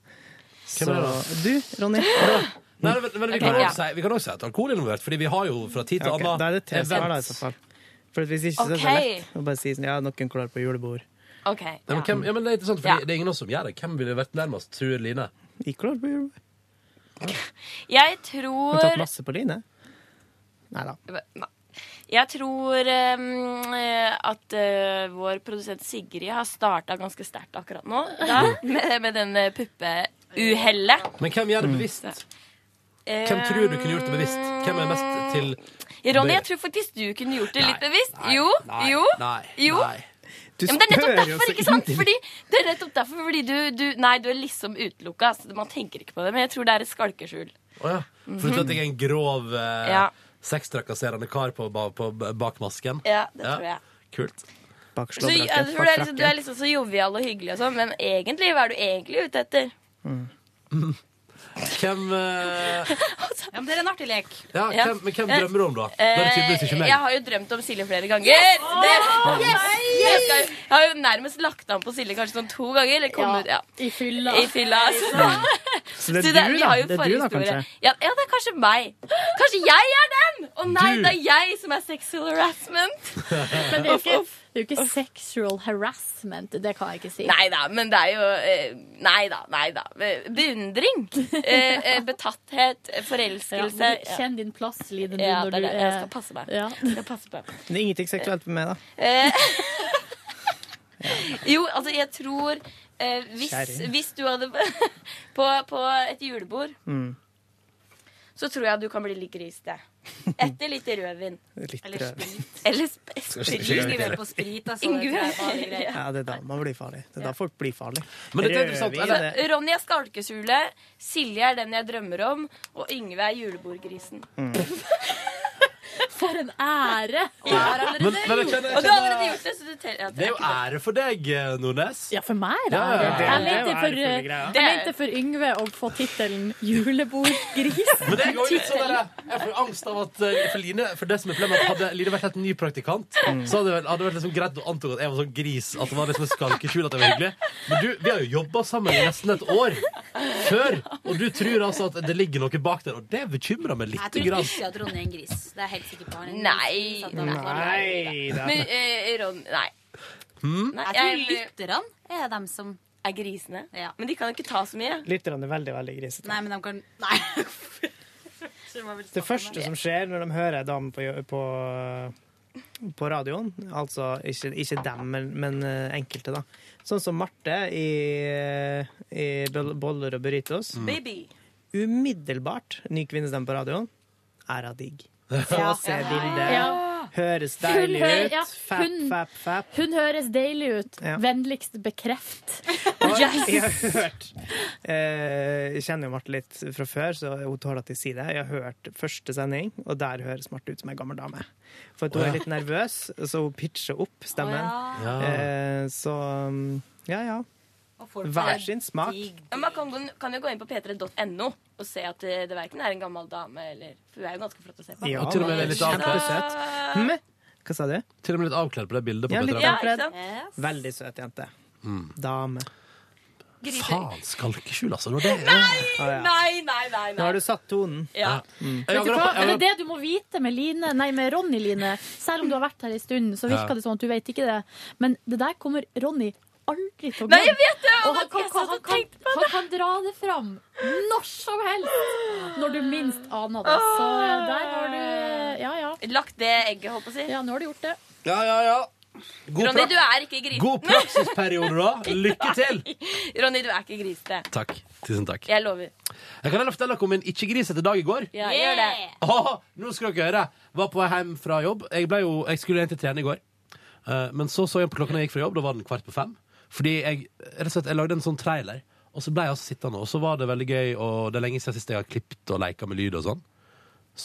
[SPEAKER 3] Så
[SPEAKER 2] er det
[SPEAKER 3] du, Ronny.
[SPEAKER 2] Nei, men, men vi,
[SPEAKER 3] Ok,
[SPEAKER 2] kan
[SPEAKER 3] ja.
[SPEAKER 2] også si, vi kan også si at alkohol er involvert, fordi vi har jo fra tid til
[SPEAKER 3] Ok, Da er
[SPEAKER 2] annen
[SPEAKER 3] det tre svar, da, i så fall. For hvis ikke, så er det så
[SPEAKER 7] Ok.
[SPEAKER 3] lett å bare si sånn Ja, noen klar på julebord.
[SPEAKER 7] Ok,
[SPEAKER 2] Nei, men,
[SPEAKER 7] ja.
[SPEAKER 2] hvem, ja, men det er interessant, fordi
[SPEAKER 7] Ja.
[SPEAKER 2] det er ingen av oss som gjør det. Hvem ville vært nærmest, tror Line?
[SPEAKER 3] Ikke klar på julebord.
[SPEAKER 7] Jeg
[SPEAKER 3] Hun har tatt
[SPEAKER 7] tror
[SPEAKER 3] masse på line. Nei da.
[SPEAKER 7] Jeg tror um, eh, at eh, vår produsent Sigrid har starta ganske sterkt akkurat nå.
[SPEAKER 3] [laughs]
[SPEAKER 7] Da, med, med den eh, puppeuhellet.
[SPEAKER 2] Men hvem gjør det
[SPEAKER 3] Mm.
[SPEAKER 2] bevisst?
[SPEAKER 7] Mm.
[SPEAKER 2] Hvem tror du kunne gjort det bevisst? Hvem er mest til
[SPEAKER 7] Ronny, jeg tror faktisk du kunne gjort det litt bevisst. jo,
[SPEAKER 2] nei,
[SPEAKER 7] jo,
[SPEAKER 2] nei,
[SPEAKER 7] jo.
[SPEAKER 2] nei.
[SPEAKER 7] Ja, men det er nettopp
[SPEAKER 3] spør jo
[SPEAKER 7] derfor,
[SPEAKER 3] så
[SPEAKER 7] ikke sant?
[SPEAKER 3] inderlig.
[SPEAKER 7] Fordi, det er nettopp derfor, fordi du, du Nei, du er liksom utelukka. så Man tenker ikke på det. Men jeg tror det er et skalkeskjul.
[SPEAKER 2] Å ja. For du tror at jeg er en grov eh,
[SPEAKER 7] Ja.
[SPEAKER 2] sextrakasserende kar på, ba- på, b- bak masken?
[SPEAKER 7] Ja, det tror jeg.
[SPEAKER 2] Kult.
[SPEAKER 7] Så, jeg tror du, er liksom, du er liksom så jovial og hyggelig og sånn, men egentlig, hva er du egentlig ute etter?
[SPEAKER 2] Hvem,
[SPEAKER 7] [laughs]
[SPEAKER 2] eh,
[SPEAKER 30] Ja, men det er en artig lek.
[SPEAKER 2] ja,
[SPEAKER 7] Altså. Ja.
[SPEAKER 2] hvem, men hvem
[SPEAKER 7] Ja.
[SPEAKER 2] drømmer du om, da? Da er det tydeligvis ikke
[SPEAKER 7] Eh,
[SPEAKER 2] meg.
[SPEAKER 7] Jeg har jo drømt om Silje flere ganger.
[SPEAKER 30] Yes!
[SPEAKER 7] Det,
[SPEAKER 30] Åh,
[SPEAKER 7] det skal, jo- jeg har jo nærmest lagt an på Silje kanskje sånn to ganger. Eller kom ut, ja.
[SPEAKER 4] I fylla.
[SPEAKER 7] I fylla. Så,
[SPEAKER 3] Så det
[SPEAKER 7] så
[SPEAKER 3] er
[SPEAKER 7] det-
[SPEAKER 3] du,
[SPEAKER 7] vi
[SPEAKER 3] da.
[SPEAKER 7] har jo
[SPEAKER 3] Det er du, da,
[SPEAKER 7] forhistorie.
[SPEAKER 3] kanskje.
[SPEAKER 7] Ja, ja, det er kanskje meg. Kanskje jeg er den! Å nei,
[SPEAKER 3] Du.
[SPEAKER 7] det er jeg som er sexual harassment.
[SPEAKER 4] Men det er jo ikke, det er jo ikke sexual harassment. Det kan jeg ikke si.
[SPEAKER 7] Nei da, men det er jo eh, Nei da, nei da. Eh, Beundring. eh, eh, Betatthet. eh, Forelskelse.
[SPEAKER 4] Ja, kjenn din plass, Line,
[SPEAKER 7] Ja,
[SPEAKER 4] når
[SPEAKER 7] det er
[SPEAKER 4] du
[SPEAKER 7] det. Jeg
[SPEAKER 4] er-
[SPEAKER 7] skal passe meg.
[SPEAKER 4] Ja.
[SPEAKER 7] Jeg skal passe meg.
[SPEAKER 3] Det er ingenting seksuelt med meg, da.
[SPEAKER 7] Eh, [laughs] jo, altså, jeg tror eh, hvis,
[SPEAKER 3] Kjerring.
[SPEAKER 7] hvis du hadde [laughs] på, på et julebord,
[SPEAKER 3] Mm.
[SPEAKER 7] så tror jeg du kan bli litt grisete. Etter litt rødvin.
[SPEAKER 3] [laughs] Litt Eller rødvin.
[SPEAKER 7] [laughs] Eller sp
[SPEAKER 3] Skal ikke
[SPEAKER 7] sprit.
[SPEAKER 3] skylde mer på
[SPEAKER 30] sprit, altså,
[SPEAKER 7] Ingrid.
[SPEAKER 30] det tror jeg er farlig greie.
[SPEAKER 7] Ja.
[SPEAKER 3] Ja, det er da man blir farlig. Det er da folk blir farlig.
[SPEAKER 2] Men dette er
[SPEAKER 7] Sånn,
[SPEAKER 2] interessant,
[SPEAKER 3] Rødvin,
[SPEAKER 2] eller?
[SPEAKER 3] det-
[SPEAKER 7] Ronny er skalkeskjulet, altså, Silje er den jeg drømmer om, og Yngve er julebordgrisen.
[SPEAKER 3] Mm.
[SPEAKER 7] [laughs]
[SPEAKER 4] For en ære!
[SPEAKER 7] Jeg har allerede
[SPEAKER 2] Men- men jeg
[SPEAKER 7] gjort
[SPEAKER 2] kjenner-
[SPEAKER 7] det. Og du har allerede gjort det, så du teller. Ja,
[SPEAKER 2] Det er jo ære for deg, eh, Nordnes.
[SPEAKER 4] Ja, for meg,
[SPEAKER 2] Ja,
[SPEAKER 4] da.
[SPEAKER 2] ja, ja.
[SPEAKER 4] Jeg
[SPEAKER 2] Det er jo
[SPEAKER 4] mente for, eh,
[SPEAKER 2] ærefulle greier.
[SPEAKER 4] jeg mente for Yngve å få tittelen 'Julebordgris'.
[SPEAKER 2] Men det går jo litt sånn der, Jeg får angst av at eh, for Line, for det som er problemet er at Hadde Line vært helt ny praktikant, så hadde det hadde vært liksom greit å anta at jeg var sånn gris. At det var liksom et skalkeskjul at jeg var hyggelig. Men du, vi har jo jobba sammen i nesten et år før, og du tror altså at det ligger noe bak der. Og det bekymrer meg
[SPEAKER 30] Jeg
[SPEAKER 2] lite
[SPEAKER 30] tror
[SPEAKER 2] grann.
[SPEAKER 30] ikke at Ronny er en gris. Det er jeg helt sikker på. Han er en
[SPEAKER 7] Nei.
[SPEAKER 30] gris.
[SPEAKER 7] Nei
[SPEAKER 30] da.
[SPEAKER 7] Men eh, Ronny Nei.
[SPEAKER 2] Hmm?
[SPEAKER 7] Nei,
[SPEAKER 30] Jeg tror lytterne er dem som
[SPEAKER 7] er grisene. Men de kan jo ikke ta så mye.
[SPEAKER 3] Lytterne er veldig, veldig grisete.
[SPEAKER 30] Nei, men de kan Nei. [laughs]
[SPEAKER 3] Det første som skjer når de hører damen på, på, på radioen, altså ikke, ikke dem, men, men eh, enkelte, da. Sånn som Marte i, i Boll- Boller og burritos.
[SPEAKER 7] Baby.
[SPEAKER 3] Umiddelbart ny kvinnestemme på radioen. Æra
[SPEAKER 4] [laughs]
[SPEAKER 3] digg. Få
[SPEAKER 4] Ja.
[SPEAKER 3] se bildet.
[SPEAKER 4] Ja.
[SPEAKER 3] Høres
[SPEAKER 4] Hun,
[SPEAKER 3] deilig
[SPEAKER 4] hø-
[SPEAKER 3] ut.
[SPEAKER 4] ja,
[SPEAKER 3] Fap,
[SPEAKER 4] hun,
[SPEAKER 3] fap, fap.
[SPEAKER 4] hun høres deilig ut. Vennligst bekreft.
[SPEAKER 3] [laughs] Jeg har hørt eh, Jeg kjenner jo Marte litt fra før, så hun tåler at jeg sier det. Jeg har hørt første sending, og der høres Marte ut som ei gammel dame. For at
[SPEAKER 31] Å,
[SPEAKER 3] hun
[SPEAKER 31] ja.
[SPEAKER 3] er litt nervøs, så hun pitcher opp stemmen.
[SPEAKER 31] Å, ja. Ja.
[SPEAKER 3] Eh, så mm, ja, ja. folk Hver er sin smak. digg,
[SPEAKER 7] Men man kan, gå- kan jo gå inn på p3.no og se at eh, det verken er en gammel dame eller For hun er jo ganske flott å se på.
[SPEAKER 3] Ja,
[SPEAKER 2] Og til og med det er litt
[SPEAKER 3] kjempesøt. Hm? Hva sa du?
[SPEAKER 2] Til og med litt avkledd på det bildet. På
[SPEAKER 3] Ja, litt
[SPEAKER 2] P3.
[SPEAKER 3] avkledd.
[SPEAKER 7] Ja,
[SPEAKER 3] Veldig søt jente. Dame.
[SPEAKER 2] Mm. Faen, skalkeskjul, altså. Det var det.
[SPEAKER 3] Ah, ja.
[SPEAKER 7] Nei, nei, nei.
[SPEAKER 3] Nå har du satt tonen. Mm.
[SPEAKER 7] Ja.
[SPEAKER 4] Vet du hva? Er det det du må vite med Line, nei, med Ronny Line? Selv om du har vært her en stund, så virker
[SPEAKER 7] Ja.
[SPEAKER 4] det som at du vet ikke det. Men det der kommer Ronny aldri til å glemme.
[SPEAKER 7] Nei, jeg vet det!
[SPEAKER 4] Og han kan,
[SPEAKER 7] Jeg satt og
[SPEAKER 4] han, kan, han kan dra det fram når som helst! Når du minst aner det. Så der har du Ja, ja.
[SPEAKER 7] Lagt det egget, holdt på å si.
[SPEAKER 4] Ja, nå har du gjort det.
[SPEAKER 2] Ja, ja, ja. God,
[SPEAKER 7] Ronny,
[SPEAKER 2] pra-
[SPEAKER 7] du er ikke grisete.
[SPEAKER 2] God praksisperiode, da. Lykke til.
[SPEAKER 7] [laughs] Ronny, du er ikke grisete.
[SPEAKER 2] Takk. Tusen takk.
[SPEAKER 7] Jeg lover.
[SPEAKER 2] Jeg kan heller fortelle dere om en ikke-grisete dag i går.
[SPEAKER 7] Ja, gjør det.
[SPEAKER 2] Åh, nå skal dere høre. Var på vei hjem fra jobb. Jeg, ble jo, jeg skulle egentlig trene i går, Eh, men så så jeg på klokka når jeg gikk fra jobb. Da var den kvart på fem. Fordi jeg, rett og slett, jeg lagde en sånn trailer, og så ble jeg altså sittende. Og så var det veldig gøy, og det er lenge siden sist jeg har klippet og leket med lyd og sånn.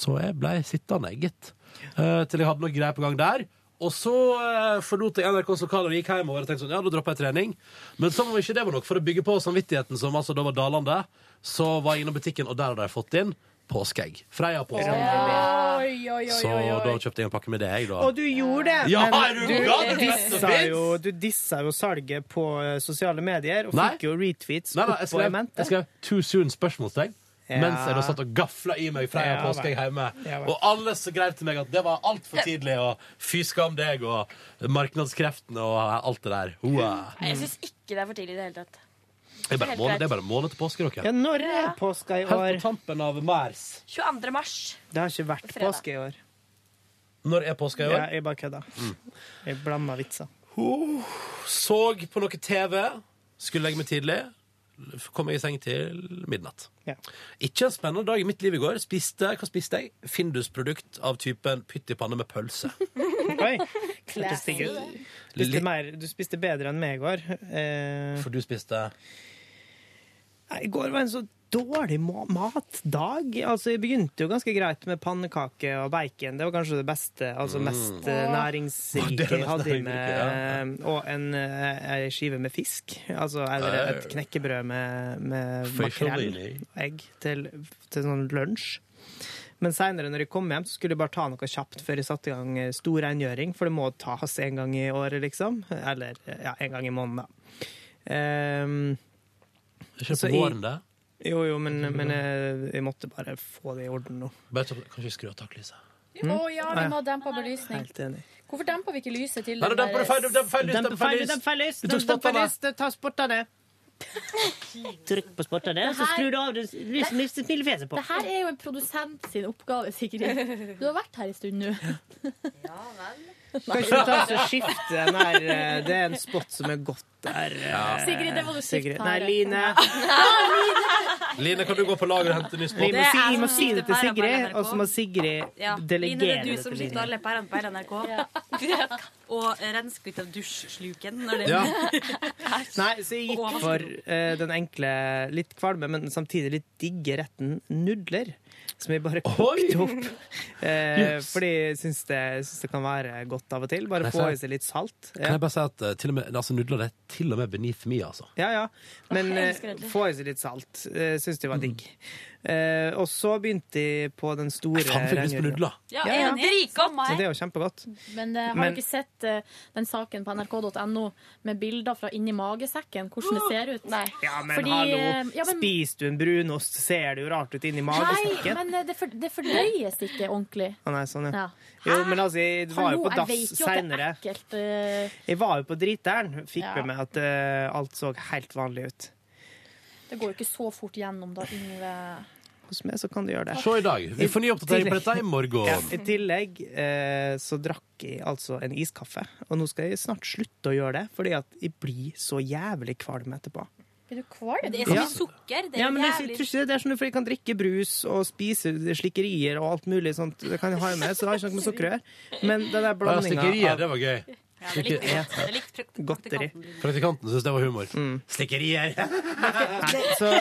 [SPEAKER 2] Så jeg ble sittende, gitt. Eh, til jeg hadde noe greier på gang der. Og så eh, forlot jeg NRKs lokaler og gikk hjemover og tenkte sånn, ja, da dropper jeg trening. Men som om ikke det var nok, for å bygge på samvittigheten, som altså da var dalende, så var jeg innom butikken, og der hadde jeg fått inn påskeegg. Freia påskeegg.
[SPEAKER 3] Oi, oi, oi,
[SPEAKER 2] Så
[SPEAKER 3] oi, oi.
[SPEAKER 2] da kjøpte jeg en pakke med det, jeg, da.
[SPEAKER 3] Og du gjorde det!
[SPEAKER 2] Ja,
[SPEAKER 3] men
[SPEAKER 2] er du gal? Det er best som
[SPEAKER 3] dissa
[SPEAKER 2] finnes.
[SPEAKER 3] jo, du dissa jo salget på eh, sosiale medier, og
[SPEAKER 2] Nei.
[SPEAKER 3] fikk jo retweets
[SPEAKER 2] Nei, nei, jeg
[SPEAKER 3] oppå i
[SPEAKER 2] skrev,
[SPEAKER 3] mente.
[SPEAKER 2] jeg skrev 'too soon?' spørsmålstegn.
[SPEAKER 3] Ja.
[SPEAKER 2] Mens jeg da satt og gafla i meg Freia
[SPEAKER 3] Ja, vel.
[SPEAKER 2] påskeegg hjemme.
[SPEAKER 3] Ja, vel.
[SPEAKER 2] og alle som grev til meg at det var altfor tidlig, og fy skam deg, og markedskreftene og alt det der. Hoa.
[SPEAKER 7] Nei, Jeg syns ikke det er for tidlig i det hele tatt.
[SPEAKER 2] Det er bare en måned- det er bare en måned til påske, dere.
[SPEAKER 3] Ja, når er påska i år?
[SPEAKER 2] Helt på tampen av mars.
[SPEAKER 7] 22. mars.
[SPEAKER 3] Det har ikke vært
[SPEAKER 7] Fredag.
[SPEAKER 3] påske i år.
[SPEAKER 2] Når er påska i år?
[SPEAKER 3] Ja, jeg bare kødda.
[SPEAKER 2] Mm.
[SPEAKER 3] Jeg blanda vitser.
[SPEAKER 2] Såg på noe TV, skulle legge meg tidlig. Kom jeg i seng til midnatt. Ikke en spennende dag i mitt liv i går. Spiste, hva spiste jeg? Findus-produkt av typen pytt i panne med
[SPEAKER 3] [laughs]
[SPEAKER 2] pølse.
[SPEAKER 3] Oi, hørtes digg ut. Du spiste, mer, du spiste bedre enn meg i går. Eh,
[SPEAKER 2] For du spiste
[SPEAKER 3] Nei, I går var en så dårlig ma- matdag. Altså, jeg begynte jo ganske greit med pannekake og bacon. Det var kanskje det beste, altså
[SPEAKER 32] Mm.
[SPEAKER 3] mest eh,
[SPEAKER 32] Åh.
[SPEAKER 3] næringsrike
[SPEAKER 32] Det er det
[SPEAKER 3] jeg
[SPEAKER 32] mest
[SPEAKER 3] hadde i med.
[SPEAKER 32] næringsrike,
[SPEAKER 3] Og en, eh, ei skive med fisk. Altså, eller et knekkebrød med, med makrell
[SPEAKER 32] Facialini.
[SPEAKER 3] og egg til, til sånn lunsj. Men seinere, når jeg kom hjem, så skulle jeg bare ta noe kjapt før jeg satte i gang eh, stor rengjøring, for det må tas en gang i året, liksom. Eller eh, ja, en gang i måneden, da. Ehm,
[SPEAKER 2] Ikke
[SPEAKER 3] så
[SPEAKER 2] på
[SPEAKER 3] jeg-
[SPEAKER 2] våren, det.
[SPEAKER 3] Jo, jo, men, men jeg, jeg måtte bare få det i orden nå. Mm?
[SPEAKER 2] Bare ta- Kanskje skru av taklyset.
[SPEAKER 4] Mm. Å ja, vi må ha dempa belysning.
[SPEAKER 3] Helt enig.
[SPEAKER 4] Hvorfor demper vi ikke lyset til
[SPEAKER 2] Nei,
[SPEAKER 4] den
[SPEAKER 2] du demper
[SPEAKER 4] der-
[SPEAKER 2] det feil, du demper feil lys, demper feil lys. Du tok spottene.
[SPEAKER 3] ta spottene. Trykk på spottene,
[SPEAKER 4] Det her-
[SPEAKER 3] av det lyset med smilefjeset
[SPEAKER 4] Det her er jo en produsent sin
[SPEAKER 30] [laughs]
[SPEAKER 4] oppgave, Sigrid. Du har vært her en stund nå.
[SPEAKER 3] Kan ikke du ta og så skifte den her eh, Det er en spot som er godt der. eh,
[SPEAKER 4] Sigrid, det må du skifte
[SPEAKER 3] Sigrid.
[SPEAKER 4] her.
[SPEAKER 3] Nei,
[SPEAKER 4] [laughs]
[SPEAKER 3] Line.
[SPEAKER 2] Line, kan du gå på lager og hente ny
[SPEAKER 3] Vi
[SPEAKER 2] spot?
[SPEAKER 3] må, si, vi må
[SPEAKER 30] som
[SPEAKER 3] si det
[SPEAKER 30] sitter
[SPEAKER 3] til
[SPEAKER 30] på
[SPEAKER 3] Sigrid,
[SPEAKER 30] RMR NRK.
[SPEAKER 3] og så må Sigrid
[SPEAKER 30] Ja. Line, det
[SPEAKER 3] delegere
[SPEAKER 30] er du
[SPEAKER 3] det
[SPEAKER 30] som
[SPEAKER 3] til
[SPEAKER 30] sitter og
[SPEAKER 3] Line.
[SPEAKER 30] holder på RMP
[SPEAKER 7] [laughs]
[SPEAKER 30] NRK. [laughs] Og rensker ut av dusjsluken. Når det
[SPEAKER 3] Ja.
[SPEAKER 30] Nei,
[SPEAKER 3] så jeg gikk for eh, den enkle, litt kvalme, men samtidig litt digge retten nudler. Som jeg bare kokte opp. Eh,
[SPEAKER 2] Yes.
[SPEAKER 3] Fordi jeg syns det, jeg syns det kan være godt av og til. Bare
[SPEAKER 2] Nei,
[SPEAKER 3] få
[SPEAKER 2] så-
[SPEAKER 3] i seg litt salt.
[SPEAKER 2] Kan jeg bare si at eh, til og med, altså, nudler det er til og med beneath me, altså.
[SPEAKER 3] Ja, ja. Men
[SPEAKER 2] Jeg
[SPEAKER 3] eh,
[SPEAKER 2] elsker nudler.
[SPEAKER 3] få i seg litt salt. Uh, syns
[SPEAKER 2] Mm.
[SPEAKER 3] det var digg. Eh, og så begynte jeg på den store
[SPEAKER 2] Faen, fikk lyst på
[SPEAKER 3] regnjula.
[SPEAKER 2] nudler.
[SPEAKER 4] Ja,
[SPEAKER 3] ja.
[SPEAKER 4] enig. Dritgodt.
[SPEAKER 3] Så det er jo kjempegodt.
[SPEAKER 4] Men eh, har
[SPEAKER 3] Men-
[SPEAKER 4] du ikke sett eh, den saken på nrk.no med bilder fra inni magesekken? Hvordan det ser ut?
[SPEAKER 3] Ja, men
[SPEAKER 4] Fordi,
[SPEAKER 3] hallo,
[SPEAKER 4] eh, ja, men-
[SPEAKER 3] spiser du en brunost, ser det jo rart ut inni
[SPEAKER 4] Nei,
[SPEAKER 3] magesekken.
[SPEAKER 4] men eh, det, for, det fordøyes ikke ordentlig.
[SPEAKER 3] Å nei, sånn, ja.
[SPEAKER 4] Ja.
[SPEAKER 3] Jo, men altså, jeg var jo
[SPEAKER 4] Hallo,
[SPEAKER 3] på
[SPEAKER 4] jeg
[SPEAKER 3] dass
[SPEAKER 4] vet jo at det
[SPEAKER 3] seinere.
[SPEAKER 4] er ekkelt. eh,
[SPEAKER 3] Jeg var jo på driteren. Fikk
[SPEAKER 4] Ja.
[SPEAKER 3] med meg at eh, alt så helt vanlig ut.
[SPEAKER 4] Det går jo ikke så fort gjennom, da, Yngve.
[SPEAKER 3] Hos meg så kan du gjøre det.
[SPEAKER 2] Se i dag. Vi får ny oppdatering på dette i morgen.
[SPEAKER 3] Ja, I tillegg eh, så drakk jeg altså en iskaffe. Og nå skal jeg snart slutte å gjøre det, fordi at jeg blir så jævlig kvalm etterpå.
[SPEAKER 4] Blir du kvalm?
[SPEAKER 30] Det er så mye sukker. Det er
[SPEAKER 3] ja, men jeg, tror
[SPEAKER 30] jævlig
[SPEAKER 3] ikke det, det er sånn, for jeg kan drikke brus og spise slikkerier og alt mulig sånt. Det kan jeg ha i meg, så det har ikke noe med sukker å gjøre. Men den der
[SPEAKER 2] Ja,
[SPEAKER 3] blandinga
[SPEAKER 2] Stikkerier, det var gøy.
[SPEAKER 3] Godteri.
[SPEAKER 2] Praktikanten syntes det var humor. Stikkerier!
[SPEAKER 3] [laughs] Nei, så,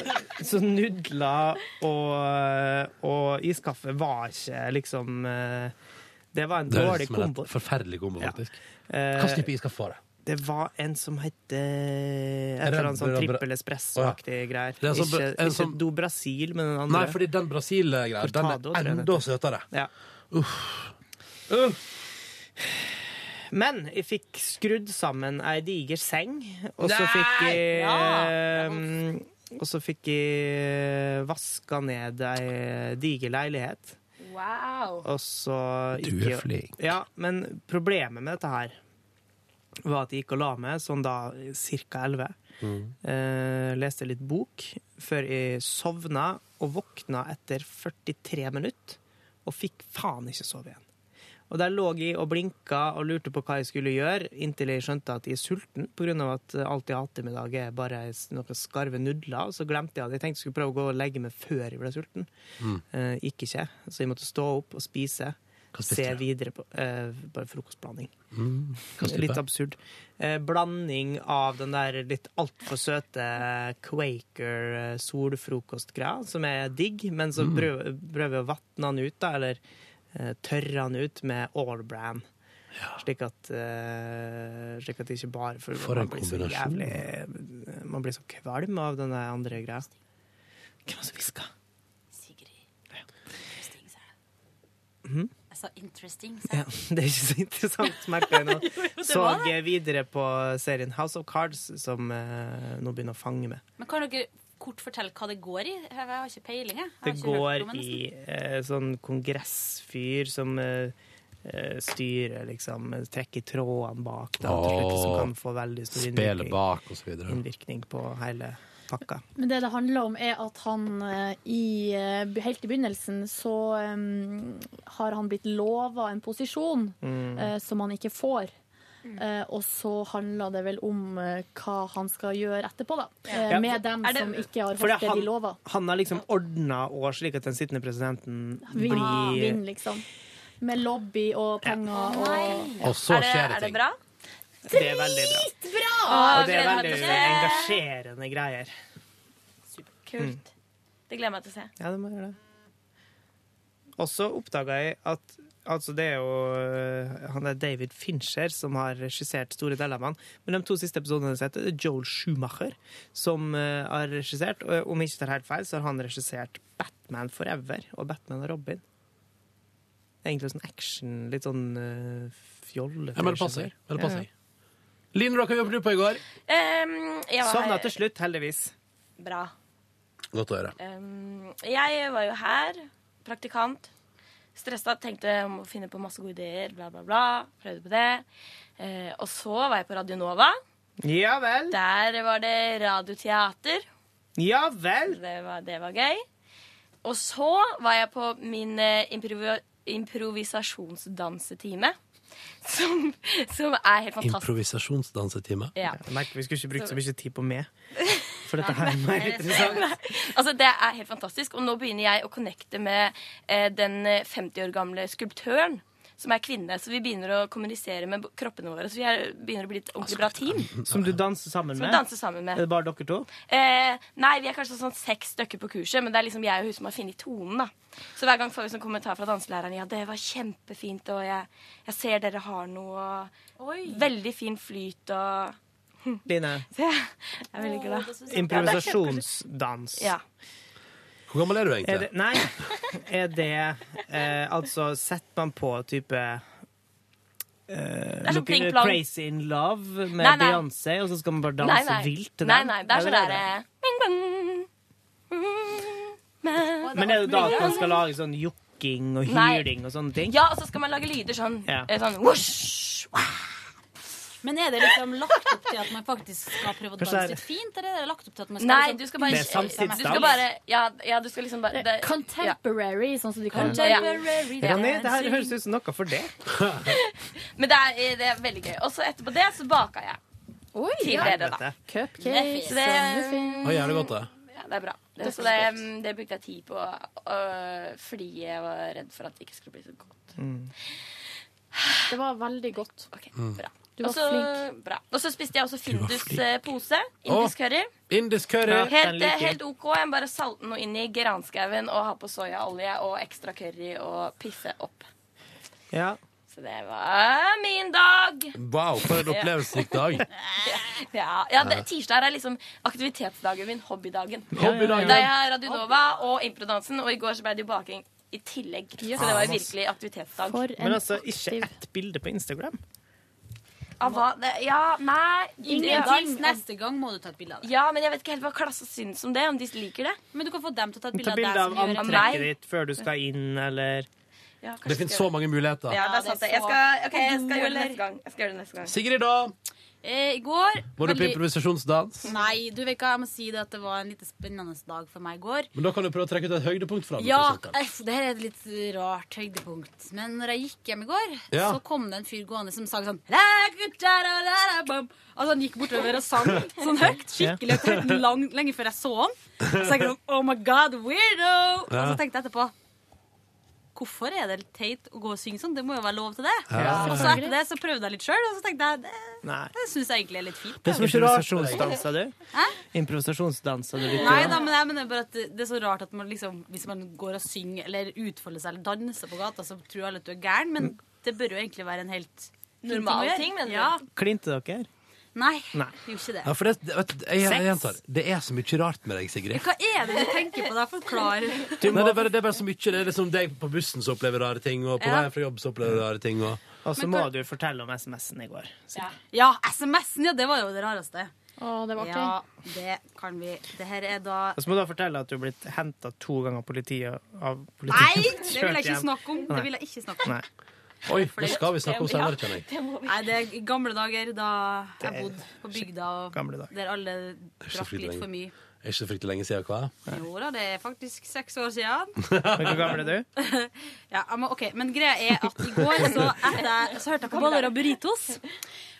[SPEAKER 3] så nudler og, og iskaffe var ikke liksom eh, Det var en
[SPEAKER 2] Det høres
[SPEAKER 3] dårlig
[SPEAKER 2] ut som en
[SPEAKER 3] kombo.
[SPEAKER 2] Forferdelig kombo, faktisk.
[SPEAKER 3] Eh,
[SPEAKER 2] Hva slags type iskaffe var det?
[SPEAKER 3] Det var en som het eh, Et
[SPEAKER 2] Er det
[SPEAKER 3] eller annet sånn
[SPEAKER 2] bra- bra-
[SPEAKER 3] trippel espresso-aktig greier.
[SPEAKER 2] Det er sånn-
[SPEAKER 3] ikke
[SPEAKER 2] en
[SPEAKER 3] ikke
[SPEAKER 2] sånn-
[SPEAKER 3] Do Brasil, men den andre.
[SPEAKER 2] Nei, fordi den Brasil-greia den
[SPEAKER 3] Cortado,
[SPEAKER 2] er
[SPEAKER 3] tror jeg det
[SPEAKER 2] enda
[SPEAKER 3] heter.
[SPEAKER 2] søtere.
[SPEAKER 3] Ja.
[SPEAKER 2] Uff.
[SPEAKER 3] Men jeg fikk skrudd sammen ei diger seng, og så
[SPEAKER 32] Nei!
[SPEAKER 3] fikk jeg
[SPEAKER 32] Ja.
[SPEAKER 3] ehm, Og så fikk jeg vaska ned ei diger leilighet.
[SPEAKER 32] Wow.
[SPEAKER 3] Og så
[SPEAKER 32] Du
[SPEAKER 3] gikk
[SPEAKER 32] er
[SPEAKER 3] jeg-
[SPEAKER 32] flink.
[SPEAKER 3] Ja, men problemet med dette her var at jeg gikk og la meg sånn da ca. 11. Eh, leste litt bok før jeg sovna, og våkna etter 43 minutter. Og fikk faen ikke sove igjen. Og der lå jeg og blinka og lurte på hva jeg skulle gjøre, inntil jeg skjønte at jeg er sulten, pga. at alt jeg har hatt i middag, er bare noen skarve nudler. Og så glemte jeg at jeg tenkte jeg skulle prøve å gå og legge meg før jeg ble sulten. Eh, gikk ikke, så jeg måtte stå opp og spise. Se videre på eh, bare frokostblanding.
[SPEAKER 2] Mm, hva type?
[SPEAKER 3] litt absurd. Eh, blanding av den der litt altfor søte Quaker eh, solfrokostgreia, som er digg, men
[SPEAKER 2] Mm.
[SPEAKER 3] så prøver prøver jeg å vatne den ut, da, eller eh, tørre den ut med all brand. Slik, at, eh, slik at det ikke bare For,
[SPEAKER 2] For en
[SPEAKER 3] man blir så
[SPEAKER 2] kombinasjon.
[SPEAKER 3] jævlig- eh, Man blir så kvalm av den der andre greia. Hvem var det som hviska? Mhm.
[SPEAKER 30] Jeg sa interesting.
[SPEAKER 3] Ja, [laughs] det er ikke så interessant, merker jeg nå.
[SPEAKER 30] [laughs] Jo, jo, det
[SPEAKER 3] Så
[SPEAKER 30] var det.
[SPEAKER 3] jeg videre på serien House of Cards, som eh, nå begynner å fange meg.
[SPEAKER 30] [laughs] Men kan dere kort fortelle hva det går i? Jeg har ikke peiling. Jeg. Jeg har
[SPEAKER 3] Det
[SPEAKER 30] ikke hørt
[SPEAKER 3] går
[SPEAKER 30] om det nesten.
[SPEAKER 3] i eh, sånn kongressfyr som eh, eh, styrer, liksom. eh, Trekker trådene bak, da, til slutt, som
[SPEAKER 2] Åh,
[SPEAKER 3] kan få veldig stor
[SPEAKER 2] Spelet
[SPEAKER 3] innvirkning,
[SPEAKER 2] bak, og så videre.
[SPEAKER 3] innvirkning på hele pakka.
[SPEAKER 4] Men det det handler om, er at han eh, i, eh, helt i begynnelsen så eh, har han blitt lova en posisjon
[SPEAKER 32] Mm.
[SPEAKER 4] eh, som han ikke får. Eh, og så handler det vel om eh, hva han skal gjøre etterpå, da. Eh,
[SPEAKER 3] Ja,
[SPEAKER 4] med
[SPEAKER 3] for-
[SPEAKER 4] dem
[SPEAKER 3] er det-
[SPEAKER 4] som ikke har
[SPEAKER 3] For det
[SPEAKER 4] holdt
[SPEAKER 3] er
[SPEAKER 4] det de
[SPEAKER 3] han,
[SPEAKER 4] lova.
[SPEAKER 3] han har liksom ordna år slik at den sittende presidenten
[SPEAKER 4] Vinn, vinn,
[SPEAKER 3] blir
[SPEAKER 4] liksom. Med lobby og penger og
[SPEAKER 2] Og så
[SPEAKER 4] Er det-
[SPEAKER 2] skjer det
[SPEAKER 4] er det
[SPEAKER 2] ting.
[SPEAKER 4] bra?
[SPEAKER 3] Det er veldig bra.
[SPEAKER 4] Dritbra!
[SPEAKER 3] Og det er veldig engasjerende greier. Mm.
[SPEAKER 7] Kult. Det gleder jeg meg til å se.
[SPEAKER 3] Ja, det må gjøre det. Og så oppdaga jeg at Altså, det er jo øh, han er David Fincher som har regissert store deler av han. Men de to siste episodene jeg har sett, det er Joel Schumacher som øh, har regissert. Og eh, om jeg ikke tar helt feil, så har han regissert Batman Forever og Batman og Robin. Det er egentlig sånn action, litt sånn øh, fjolle.
[SPEAKER 2] Ja, men det passer. Men det passer. Line, da, hva jobbet du på i går?
[SPEAKER 7] Um, jeg var
[SPEAKER 3] Sovna
[SPEAKER 7] her-
[SPEAKER 3] til slutt, heldigvis.
[SPEAKER 7] Bra.
[SPEAKER 2] Godt å høre.
[SPEAKER 7] Um, jeg var jo her, praktikant. Stressa, tenkte jeg må finne på masse gode ideer, bla, bla, bla. Prøvde på det. Eh, og så var jeg på Radio Nova.
[SPEAKER 3] Ja vel.
[SPEAKER 7] Der var det radioteater.
[SPEAKER 3] Ja vel.
[SPEAKER 7] Det var, det var gøy. Og så var jeg på min eh, improvi improvisasjonsdansetime. Som, som er helt fantastisk.
[SPEAKER 2] Improvisasjonsdansetime.
[SPEAKER 7] Ja.
[SPEAKER 3] Jeg merker vi skulle ikke brukt så mye tid på
[SPEAKER 7] [laughs]
[SPEAKER 3] meg, for dette her er mer
[SPEAKER 7] Eh,
[SPEAKER 3] interessant.
[SPEAKER 7] Nei, altså Det er helt fantastisk. Og nå begynner jeg å connecte med eh, den eh, 50 år gamle skulptøren. Som er kvinne, så vi begynner å kommunisere med b- kroppene våre. Så vi er, begynner å bli et ordentlig
[SPEAKER 3] Altså,
[SPEAKER 7] bra team.
[SPEAKER 3] Som du danser sammen
[SPEAKER 7] Som
[SPEAKER 3] med?
[SPEAKER 7] jeg danser sammen med.
[SPEAKER 3] Er det bare dere to?
[SPEAKER 7] Eh, nei, vi er kanskje sånn seks stykker på kurset, men det er liksom jeg og hun som har funnet tonen. da. Så hver gang får vi sånn kommentar fra danselæreren. Ja, det var kjempefint, og jeg, jeg ser dere har noe og Veldig fin flyt og [laughs]
[SPEAKER 3] Line,
[SPEAKER 7] Så jeg er veldig glad.
[SPEAKER 3] improvisasjonsdans.
[SPEAKER 7] Ja.
[SPEAKER 2] Hvor gammel er du
[SPEAKER 3] Er det,
[SPEAKER 2] egentlig?
[SPEAKER 3] nei, er det eh, Altså, setter man på type
[SPEAKER 7] er
[SPEAKER 3] Uh,
[SPEAKER 7] sånn pling plong.
[SPEAKER 3] Crazy in love med
[SPEAKER 7] Nei, nei.
[SPEAKER 3] Beyoncé, og så skal man bare danse
[SPEAKER 7] Nei, nei.
[SPEAKER 3] vilt til
[SPEAKER 7] Nei,
[SPEAKER 3] den?
[SPEAKER 7] nei, det er sånn
[SPEAKER 3] Eller
[SPEAKER 7] derre bing, bong. Mm,
[SPEAKER 3] Men er det da at man skal lage sånn jokking og
[SPEAKER 7] Nei.
[SPEAKER 3] hyling og sånne ting?
[SPEAKER 7] Ja, og så skal man lage lyder sånn.
[SPEAKER 3] Ja.
[SPEAKER 7] eh, sånn whoosh.
[SPEAKER 30] Men er det liksom lagt opp til at man faktisk skal prøve å
[SPEAKER 7] Kanskje
[SPEAKER 30] danse
[SPEAKER 7] det er-
[SPEAKER 30] litt fint, eller er det lagt opp til at man skal
[SPEAKER 7] Nei,
[SPEAKER 30] liksom-
[SPEAKER 7] du skal bare
[SPEAKER 3] Det er samtidsdans.
[SPEAKER 7] Du skal bare Ja, ja du skal liksom bare det,
[SPEAKER 4] Contemporary, sånn som de kaller det.
[SPEAKER 7] Contemporary
[SPEAKER 3] Ronny, det her
[SPEAKER 7] dancing.
[SPEAKER 3] høres ut som noe for det.
[SPEAKER 7] Men det er, det er veldig gøy. Og så etterpå det så baka jeg. til dere, da.
[SPEAKER 4] Cupcakes
[SPEAKER 7] Så
[SPEAKER 4] og muffins.
[SPEAKER 7] det,
[SPEAKER 2] Å, jævlig godt, det.
[SPEAKER 7] ja, det er bra. Det,
[SPEAKER 4] Det
[SPEAKER 7] så
[SPEAKER 4] er
[SPEAKER 7] det, det brukte jeg tid på øh, fordi jeg var redd for at det ikke skulle bli så godt.
[SPEAKER 3] Mm.
[SPEAKER 4] Det var veldig godt.
[SPEAKER 2] Mm.
[SPEAKER 7] Bra.
[SPEAKER 4] Du var
[SPEAKER 7] Og så-
[SPEAKER 4] flink.
[SPEAKER 7] Bra. Og så spiste jeg også Findus eh, pose. Indisk curry.
[SPEAKER 2] Indisk curry.
[SPEAKER 7] Helt, eh, helt OK. Jeg bare salte noe inn i granskauen og ha på soyaolje og ekstra curry og pisse opp.
[SPEAKER 3] Ja.
[SPEAKER 7] Så Så det var min dag.
[SPEAKER 2] Wow, for en opplevelsesrik dag.
[SPEAKER 7] [laughs] Ja, ja det, Tirsdag er liksom aktivitetsdagen min, hobbydagen.
[SPEAKER 2] Hobbydagen.
[SPEAKER 7] Da jeg har Radionova og improdansen, og i går så ble det jo baking i tillegg. Så det var jo virkelig aktivitetsdag.
[SPEAKER 3] Men altså, ikke ett bilde på Instagram.
[SPEAKER 7] Av hva? Det- Ja, nei
[SPEAKER 30] Ingen ting. Neste gang må du ta et bilde av det.
[SPEAKER 7] Ja, men jeg vet ikke helt hva klassen syns om det, om de liker det.
[SPEAKER 30] Men du kan få dem til å ta et bilde
[SPEAKER 3] Ta
[SPEAKER 30] av deg.
[SPEAKER 3] bilde av
[SPEAKER 30] som gjør det.
[SPEAKER 3] antrekket ditt før du skal inn, eller
[SPEAKER 7] Ja,
[SPEAKER 2] Det finnes så mange muligheter.
[SPEAKER 7] Ja, det er sant. det. Jeg skal, ok, jeg skal gjøre det neste gang. Jeg skal gjøre det neste gang.
[SPEAKER 2] Sigrid, da?
[SPEAKER 30] Eh, I går
[SPEAKER 2] Var du på
[SPEAKER 30] veldig-
[SPEAKER 2] improvisasjonsdans?
[SPEAKER 30] Nei, du vet hva, jeg må si det at det var en litt spennende dag for meg i går.
[SPEAKER 2] Men da kan du prøve å trekke ut et høydepunkt fra den.
[SPEAKER 30] Ja,
[SPEAKER 2] for eksempel.
[SPEAKER 30] eff, det her er et litt rart høydepunkt. Men når jeg gikk hjem i går,
[SPEAKER 2] Ja.
[SPEAKER 30] så kom det en fyr gående som sang sånn «La, gutta, la, la, la, bam». Altså Han gikk bortover og sang sånn høyt, skikkelig høyt, høyt, lang, lenge før jeg så han. Og så tenkte jeg sånn Oh my God, weirdo! Og
[SPEAKER 32] Ja.
[SPEAKER 30] så tenkte jeg etterpå Hvorfor er det litt teit å gå og synge sånn? Det må jo være lov til det.
[SPEAKER 3] Ja.
[SPEAKER 30] Og så etter det så prøvde jeg litt sjøl, og så tenkte jeg det,
[SPEAKER 3] Nei.
[SPEAKER 30] det syns jeg egentlig er litt fint.
[SPEAKER 3] Det er så mye rart. Improvisasjonsdansa du?
[SPEAKER 30] Hæ?
[SPEAKER 3] Improvisasjonsdansa du litt?
[SPEAKER 30] Nei da, men jeg mener bare at det det er så rart at man liksom, hvis man går og synger eller utfolder seg eller danser på gata, så tror alle at du er gæren, men
[SPEAKER 3] Mm.
[SPEAKER 30] det bør jo egentlig være en helt fin
[SPEAKER 7] Normal
[SPEAKER 30] å gjøre.
[SPEAKER 7] ting, mener du?
[SPEAKER 30] Ja.
[SPEAKER 3] Klinte dere?
[SPEAKER 30] Nei,
[SPEAKER 2] Nei.
[SPEAKER 30] det gjorde ikke det.
[SPEAKER 2] Ja, for det, det- vet, du, jeg, jeg gjentar. Det er så mye rart med deg, Sigrid.
[SPEAKER 30] Hva er det du tenker på da? Forklar.
[SPEAKER 2] Nei, det, er bare, det er bare så mye. Det er liksom deg på bussen som opplever rare ting, og på
[SPEAKER 30] Ja.
[SPEAKER 2] veien fra jobb som opplever rare ting. Og...
[SPEAKER 3] Og så må du fortelle om SMS-en i går.
[SPEAKER 30] Ja, ja SMS-en, ja, det var jo det rareste.
[SPEAKER 4] Å, det var
[SPEAKER 30] Ja,
[SPEAKER 4] artig.
[SPEAKER 30] det kan vi. Det her er da
[SPEAKER 3] Og så må du fortelle at du er blitt henta to ganger av politiet av
[SPEAKER 30] Nei,
[SPEAKER 3] politiet.
[SPEAKER 30] det vil jeg ikke
[SPEAKER 3] Kjørt hjem.
[SPEAKER 30] snakke om. Det
[SPEAKER 3] Nei.
[SPEAKER 30] vil jeg ikke snakke om.
[SPEAKER 3] Nei.
[SPEAKER 2] Oi, det skal vi snakke om senere, kjenner jeg.
[SPEAKER 30] Nei, det er i gamle dager da
[SPEAKER 2] Det
[SPEAKER 30] jeg
[SPEAKER 2] er
[SPEAKER 30] bodde på bygda,
[SPEAKER 2] gamle dager.
[SPEAKER 30] og der alle
[SPEAKER 2] Det er ikke så
[SPEAKER 30] drakk
[SPEAKER 2] fryktelig
[SPEAKER 30] litt for mye.
[SPEAKER 2] lenge. Det er ikke så fryktelig lenge siden, hva?
[SPEAKER 30] Jo da, det er faktisk seks år siden.
[SPEAKER 3] Hvor gammel er du?
[SPEAKER 30] Ja, men, ok, men greia er at i går så, etter, så hørte jeg på Boller og Burritos.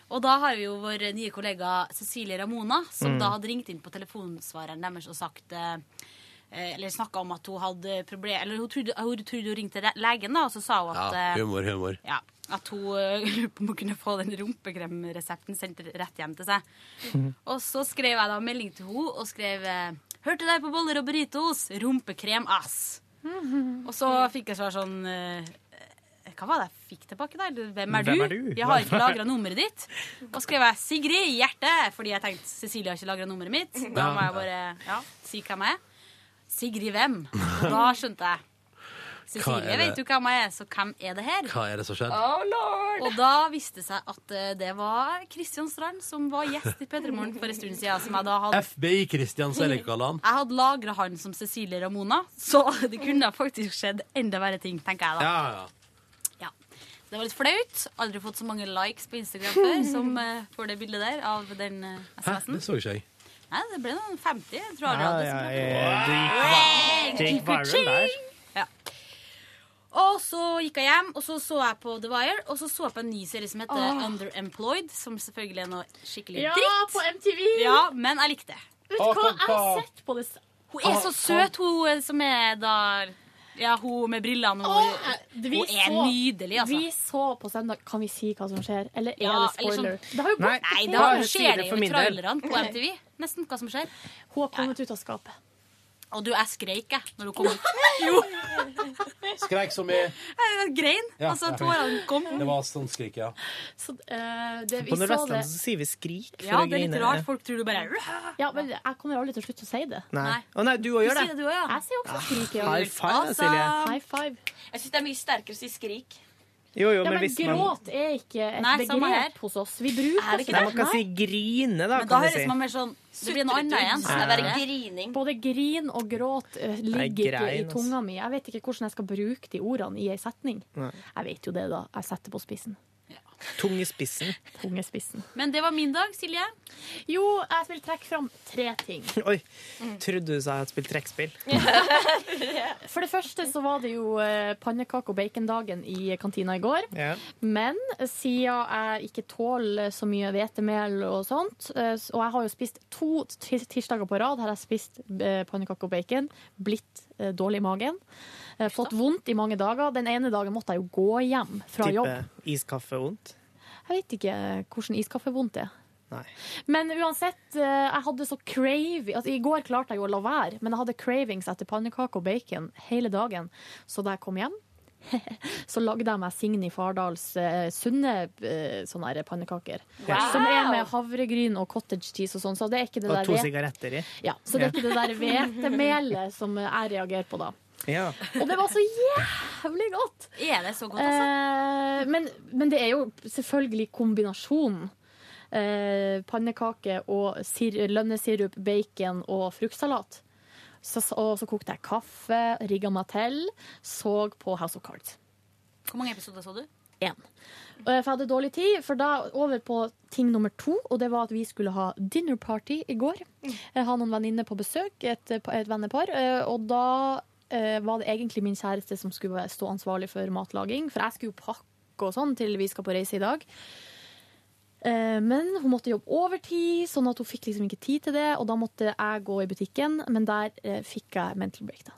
[SPEAKER 30] Og da har vi jo vår nye kollega Cecilie Ramona, som
[SPEAKER 32] Mm.
[SPEAKER 30] da hadde ringt inn på telefonsvareren deres og sagt eh, eh, Eller snakka om at hun hadde problem Eller hun trodde, hun trodde hun ringte le- legen, da, og så sa hun at
[SPEAKER 2] Ja,
[SPEAKER 30] eh,
[SPEAKER 2] humor, humor.
[SPEAKER 30] Ja, at hun eh, [laughs] lurer på om hun kunne få den rumpekremresepten sendt rett hjem til seg.
[SPEAKER 2] Mhm.
[SPEAKER 30] Og så skrev jeg da melding til henne og skrev eh, Hørte deg på boller og burritos. Rumpekrem, ass. Og så fikk jeg svar sånn eh, Hva var det jeg fikk tilbake, da? Eller hvem er du?
[SPEAKER 32] Hvem er du?
[SPEAKER 30] Jeg har ikke lagra nummeret ditt. Og skrev jeg 'Sigrid hjerte', fordi jeg tenkte Cecilie har ikke lagra nummeret mitt. Da
[SPEAKER 32] Ja.
[SPEAKER 30] må jeg bare ja, si hvem jeg er. Sigrid hvem? Og da skjønte jeg. Cecilie
[SPEAKER 2] det?
[SPEAKER 30] vet jo hvem jeg er, så hvem er det her?
[SPEAKER 2] [laughs] Hva er det som skjedde?
[SPEAKER 30] Og da viste det seg at eh, det var Kristian Strand som var gjest i P3 Morgen for en stund siden. Som jeg da hadde
[SPEAKER 2] FBI Kristian, som jeg liker å kalle han.
[SPEAKER 30] jeg hadde lagra han som Cecilie Ramona, så det kunne faktisk skjedd enda verre ting, tenker jeg da.
[SPEAKER 2] Ja, ja.
[SPEAKER 30] Det var litt flaut. Aldri fått så mange likes på Instagram før som eh, for det bildet der av den eh,
[SPEAKER 2] Hæ?
[SPEAKER 30] SMS-en.
[SPEAKER 2] Det så ikke jeg.
[SPEAKER 30] Nei, det ble noen 50, jeg tror
[SPEAKER 2] Ja,
[SPEAKER 30] aldri jeg
[SPEAKER 2] ja,
[SPEAKER 30] hadde.
[SPEAKER 3] det gikk viral der.
[SPEAKER 30] Ja. Og så gikk jeg hjem, og så så jeg på The Wire, og så så jeg på en ny serie som heter
[SPEAKER 4] Åh.
[SPEAKER 30] Underemployed, som selvfølgelig er noe skikkelig
[SPEAKER 4] Ja,
[SPEAKER 30] dritt.
[SPEAKER 4] på MTV!
[SPEAKER 30] Ja, men jeg likte det.
[SPEAKER 4] Vet du hva, jeg har sett på det s-
[SPEAKER 30] Hun er så søt, hun eh, som er da Ja, hun med brillene. Hun,
[SPEAKER 4] eh, Vi
[SPEAKER 30] hun er
[SPEAKER 4] så-
[SPEAKER 30] nydelig, altså.
[SPEAKER 4] Vi så på søndag Kan vi si hva som skjer? Eller er
[SPEAKER 30] Ja,
[SPEAKER 4] det spoiler?
[SPEAKER 30] eller sånn-
[SPEAKER 4] det har jo gått
[SPEAKER 30] Nei,
[SPEAKER 4] på
[SPEAKER 30] nei,
[SPEAKER 4] TV.
[SPEAKER 30] da Bare si det skjer det for jo i min del. trailerne på MTV, Nesten hva som skjer.
[SPEAKER 4] Hun har kommet ut av skapet.
[SPEAKER 30] Og du, jeg skreik, jeg, når hun kom ut. Jo.
[SPEAKER 2] Skreik som i
[SPEAKER 30] Jeg grein.
[SPEAKER 2] Ja,
[SPEAKER 30] altså,
[SPEAKER 2] ja.
[SPEAKER 30] tårene kom.
[SPEAKER 2] Det var sånn skrik, ja.
[SPEAKER 4] Så, eh, det, vi
[SPEAKER 3] På
[SPEAKER 4] så det.
[SPEAKER 3] Nordvestlandet så sier vi 'skrik' for
[SPEAKER 4] Ja,
[SPEAKER 3] å
[SPEAKER 4] det er litt
[SPEAKER 3] grine.
[SPEAKER 4] rart.
[SPEAKER 30] Folk tror du bare
[SPEAKER 4] Ja, men jeg kommer aldri til å slutte å si det.
[SPEAKER 3] Nei. Å nei, du òg gjør det. Ah,
[SPEAKER 4] Jeg sier også skrik. ja.
[SPEAKER 3] High five, da, Silje.
[SPEAKER 4] High five.
[SPEAKER 7] Jeg syns det er mye sterkere å si skrik.
[SPEAKER 3] Jo, jo,
[SPEAKER 4] Ja,
[SPEAKER 3] men
[SPEAKER 4] men
[SPEAKER 3] hvis man
[SPEAKER 4] gråt er ikke et
[SPEAKER 30] Nei, samme her.
[SPEAKER 4] begrep hos oss. Vi bruker
[SPEAKER 30] det ikke
[SPEAKER 3] Nei, Man kan si 'grine', da.
[SPEAKER 30] Men da
[SPEAKER 3] kan vi si.
[SPEAKER 30] høres man mer sånn Det blir noe annet igjen. sånn
[SPEAKER 3] Ja.
[SPEAKER 30] Det er bare gri-
[SPEAKER 4] grining. Både grin og gråt eh,
[SPEAKER 3] Nei,
[SPEAKER 4] ligger ikke i
[SPEAKER 3] grein, altså.
[SPEAKER 4] tunga mi. Jeg vet ikke hvordan jeg skal bruke de ordene i ei setning.
[SPEAKER 3] Nei.
[SPEAKER 4] Jeg vet jo det, da. Jeg setter på spissen.
[SPEAKER 3] Tung i spissen.
[SPEAKER 4] Tungespissen.
[SPEAKER 30] Men det var min dag, Silje.
[SPEAKER 4] Jo, jeg vil trekke fram tre ting.
[SPEAKER 33] [laughs]
[SPEAKER 3] Oi. Trodde du sa jeg hadde spilt trekkspill?
[SPEAKER 4] For det første så var det jo eh, pannekake- og bacondagen i kantina i går.
[SPEAKER 3] Ja.
[SPEAKER 4] Men siden jeg ikke tåler så mye hvetemel og sånt, eh, s- og jeg har jo spist to ti- tirsdager på rad, har jeg spist eh, pannekake og bacon, blitt eh, dårlig i magen, eh, fått vondt i mange dager. Den ene dagen måtte jeg jo gå hjem fra jobb.
[SPEAKER 3] Type iskaffe vondt?
[SPEAKER 4] Jeg vet ikke hvordan iskaffe vondt er.
[SPEAKER 3] Nei.
[SPEAKER 4] Men uansett, eh, jeg hadde så crave altså, I går klarte jeg jo å la være, men jeg hadde cravings etter pannekake og bacon hele dagen. Så da jeg kom hjem, [laughs] så lagde jeg meg Signy Fardals eh, sunne eh, sånne her pannekaker.
[SPEAKER 3] Wow!
[SPEAKER 4] Som er med havregryn og cottage cheese og sånn. Så det er ikke det
[SPEAKER 3] Og
[SPEAKER 4] der
[SPEAKER 3] to
[SPEAKER 4] hvet-
[SPEAKER 3] sigaretter i.
[SPEAKER 4] Ja, så det er ikke det der
[SPEAKER 3] [laughs]
[SPEAKER 4] hvetemelet som jeg reagerer på da.
[SPEAKER 3] Ja.
[SPEAKER 4] Og det var så jævlig godt!
[SPEAKER 30] Er det så godt, altså?
[SPEAKER 4] Eh, men, men det er jo selvfølgelig kombinasjonen. Eh, pannekake og sir lønnesirup, bacon og fruktsalat. Så, så- og så kokte jeg kaffe, rigga meg til, så på House of Cards.
[SPEAKER 30] Hvor mange episoder så du?
[SPEAKER 4] Én. Eh, For jeg hadde dårlig tid, for da over på ting nummer to, og det var at vi skulle ha dinner party i går. Jeg har noen venninner på besøk, et, et vennepar, eh, og da eh, var det egentlig min kjæreste som skulle være- stå ansvarlig for matlaging, for jeg skulle jo pakke og sånn til vi skal på reise i dag. Eh, Men hun måtte jobbe overtid, sånn at hun fikk liksom ikke tid til det. Og da måtte jeg gå i butikken, men der eh, fikk jeg mental breakdown.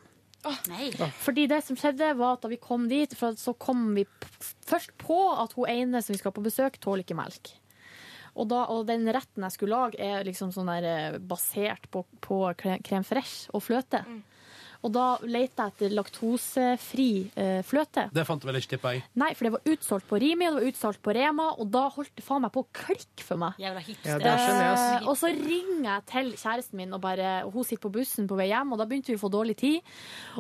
[SPEAKER 4] Fordi det som skjedde var at da vi kom dit, for så kom vi p- først på at hun ene som vi skal på besøk, tåler ikke melk. Og, da, og den retten jeg skulle lage, er liksom sånn der, eh, basert på, på cre- crème fraiche og fløte. Og da lette jeg etter laktosefri eh, fløte.
[SPEAKER 2] Det fant du vel ikke, tipper jeg.
[SPEAKER 4] Nei, for det var utsolgt på Rimi og det var utsolgt på Rema, og da holdt det faen meg på å klikke for meg.
[SPEAKER 30] Jævla
[SPEAKER 2] Ja, det skjønner jeg, ass.
[SPEAKER 4] Eh, og så ringer jeg til kjæresten min, og, bare, og hun sitter på bussen på vei hjem, og da begynte vi å få dårlig tid.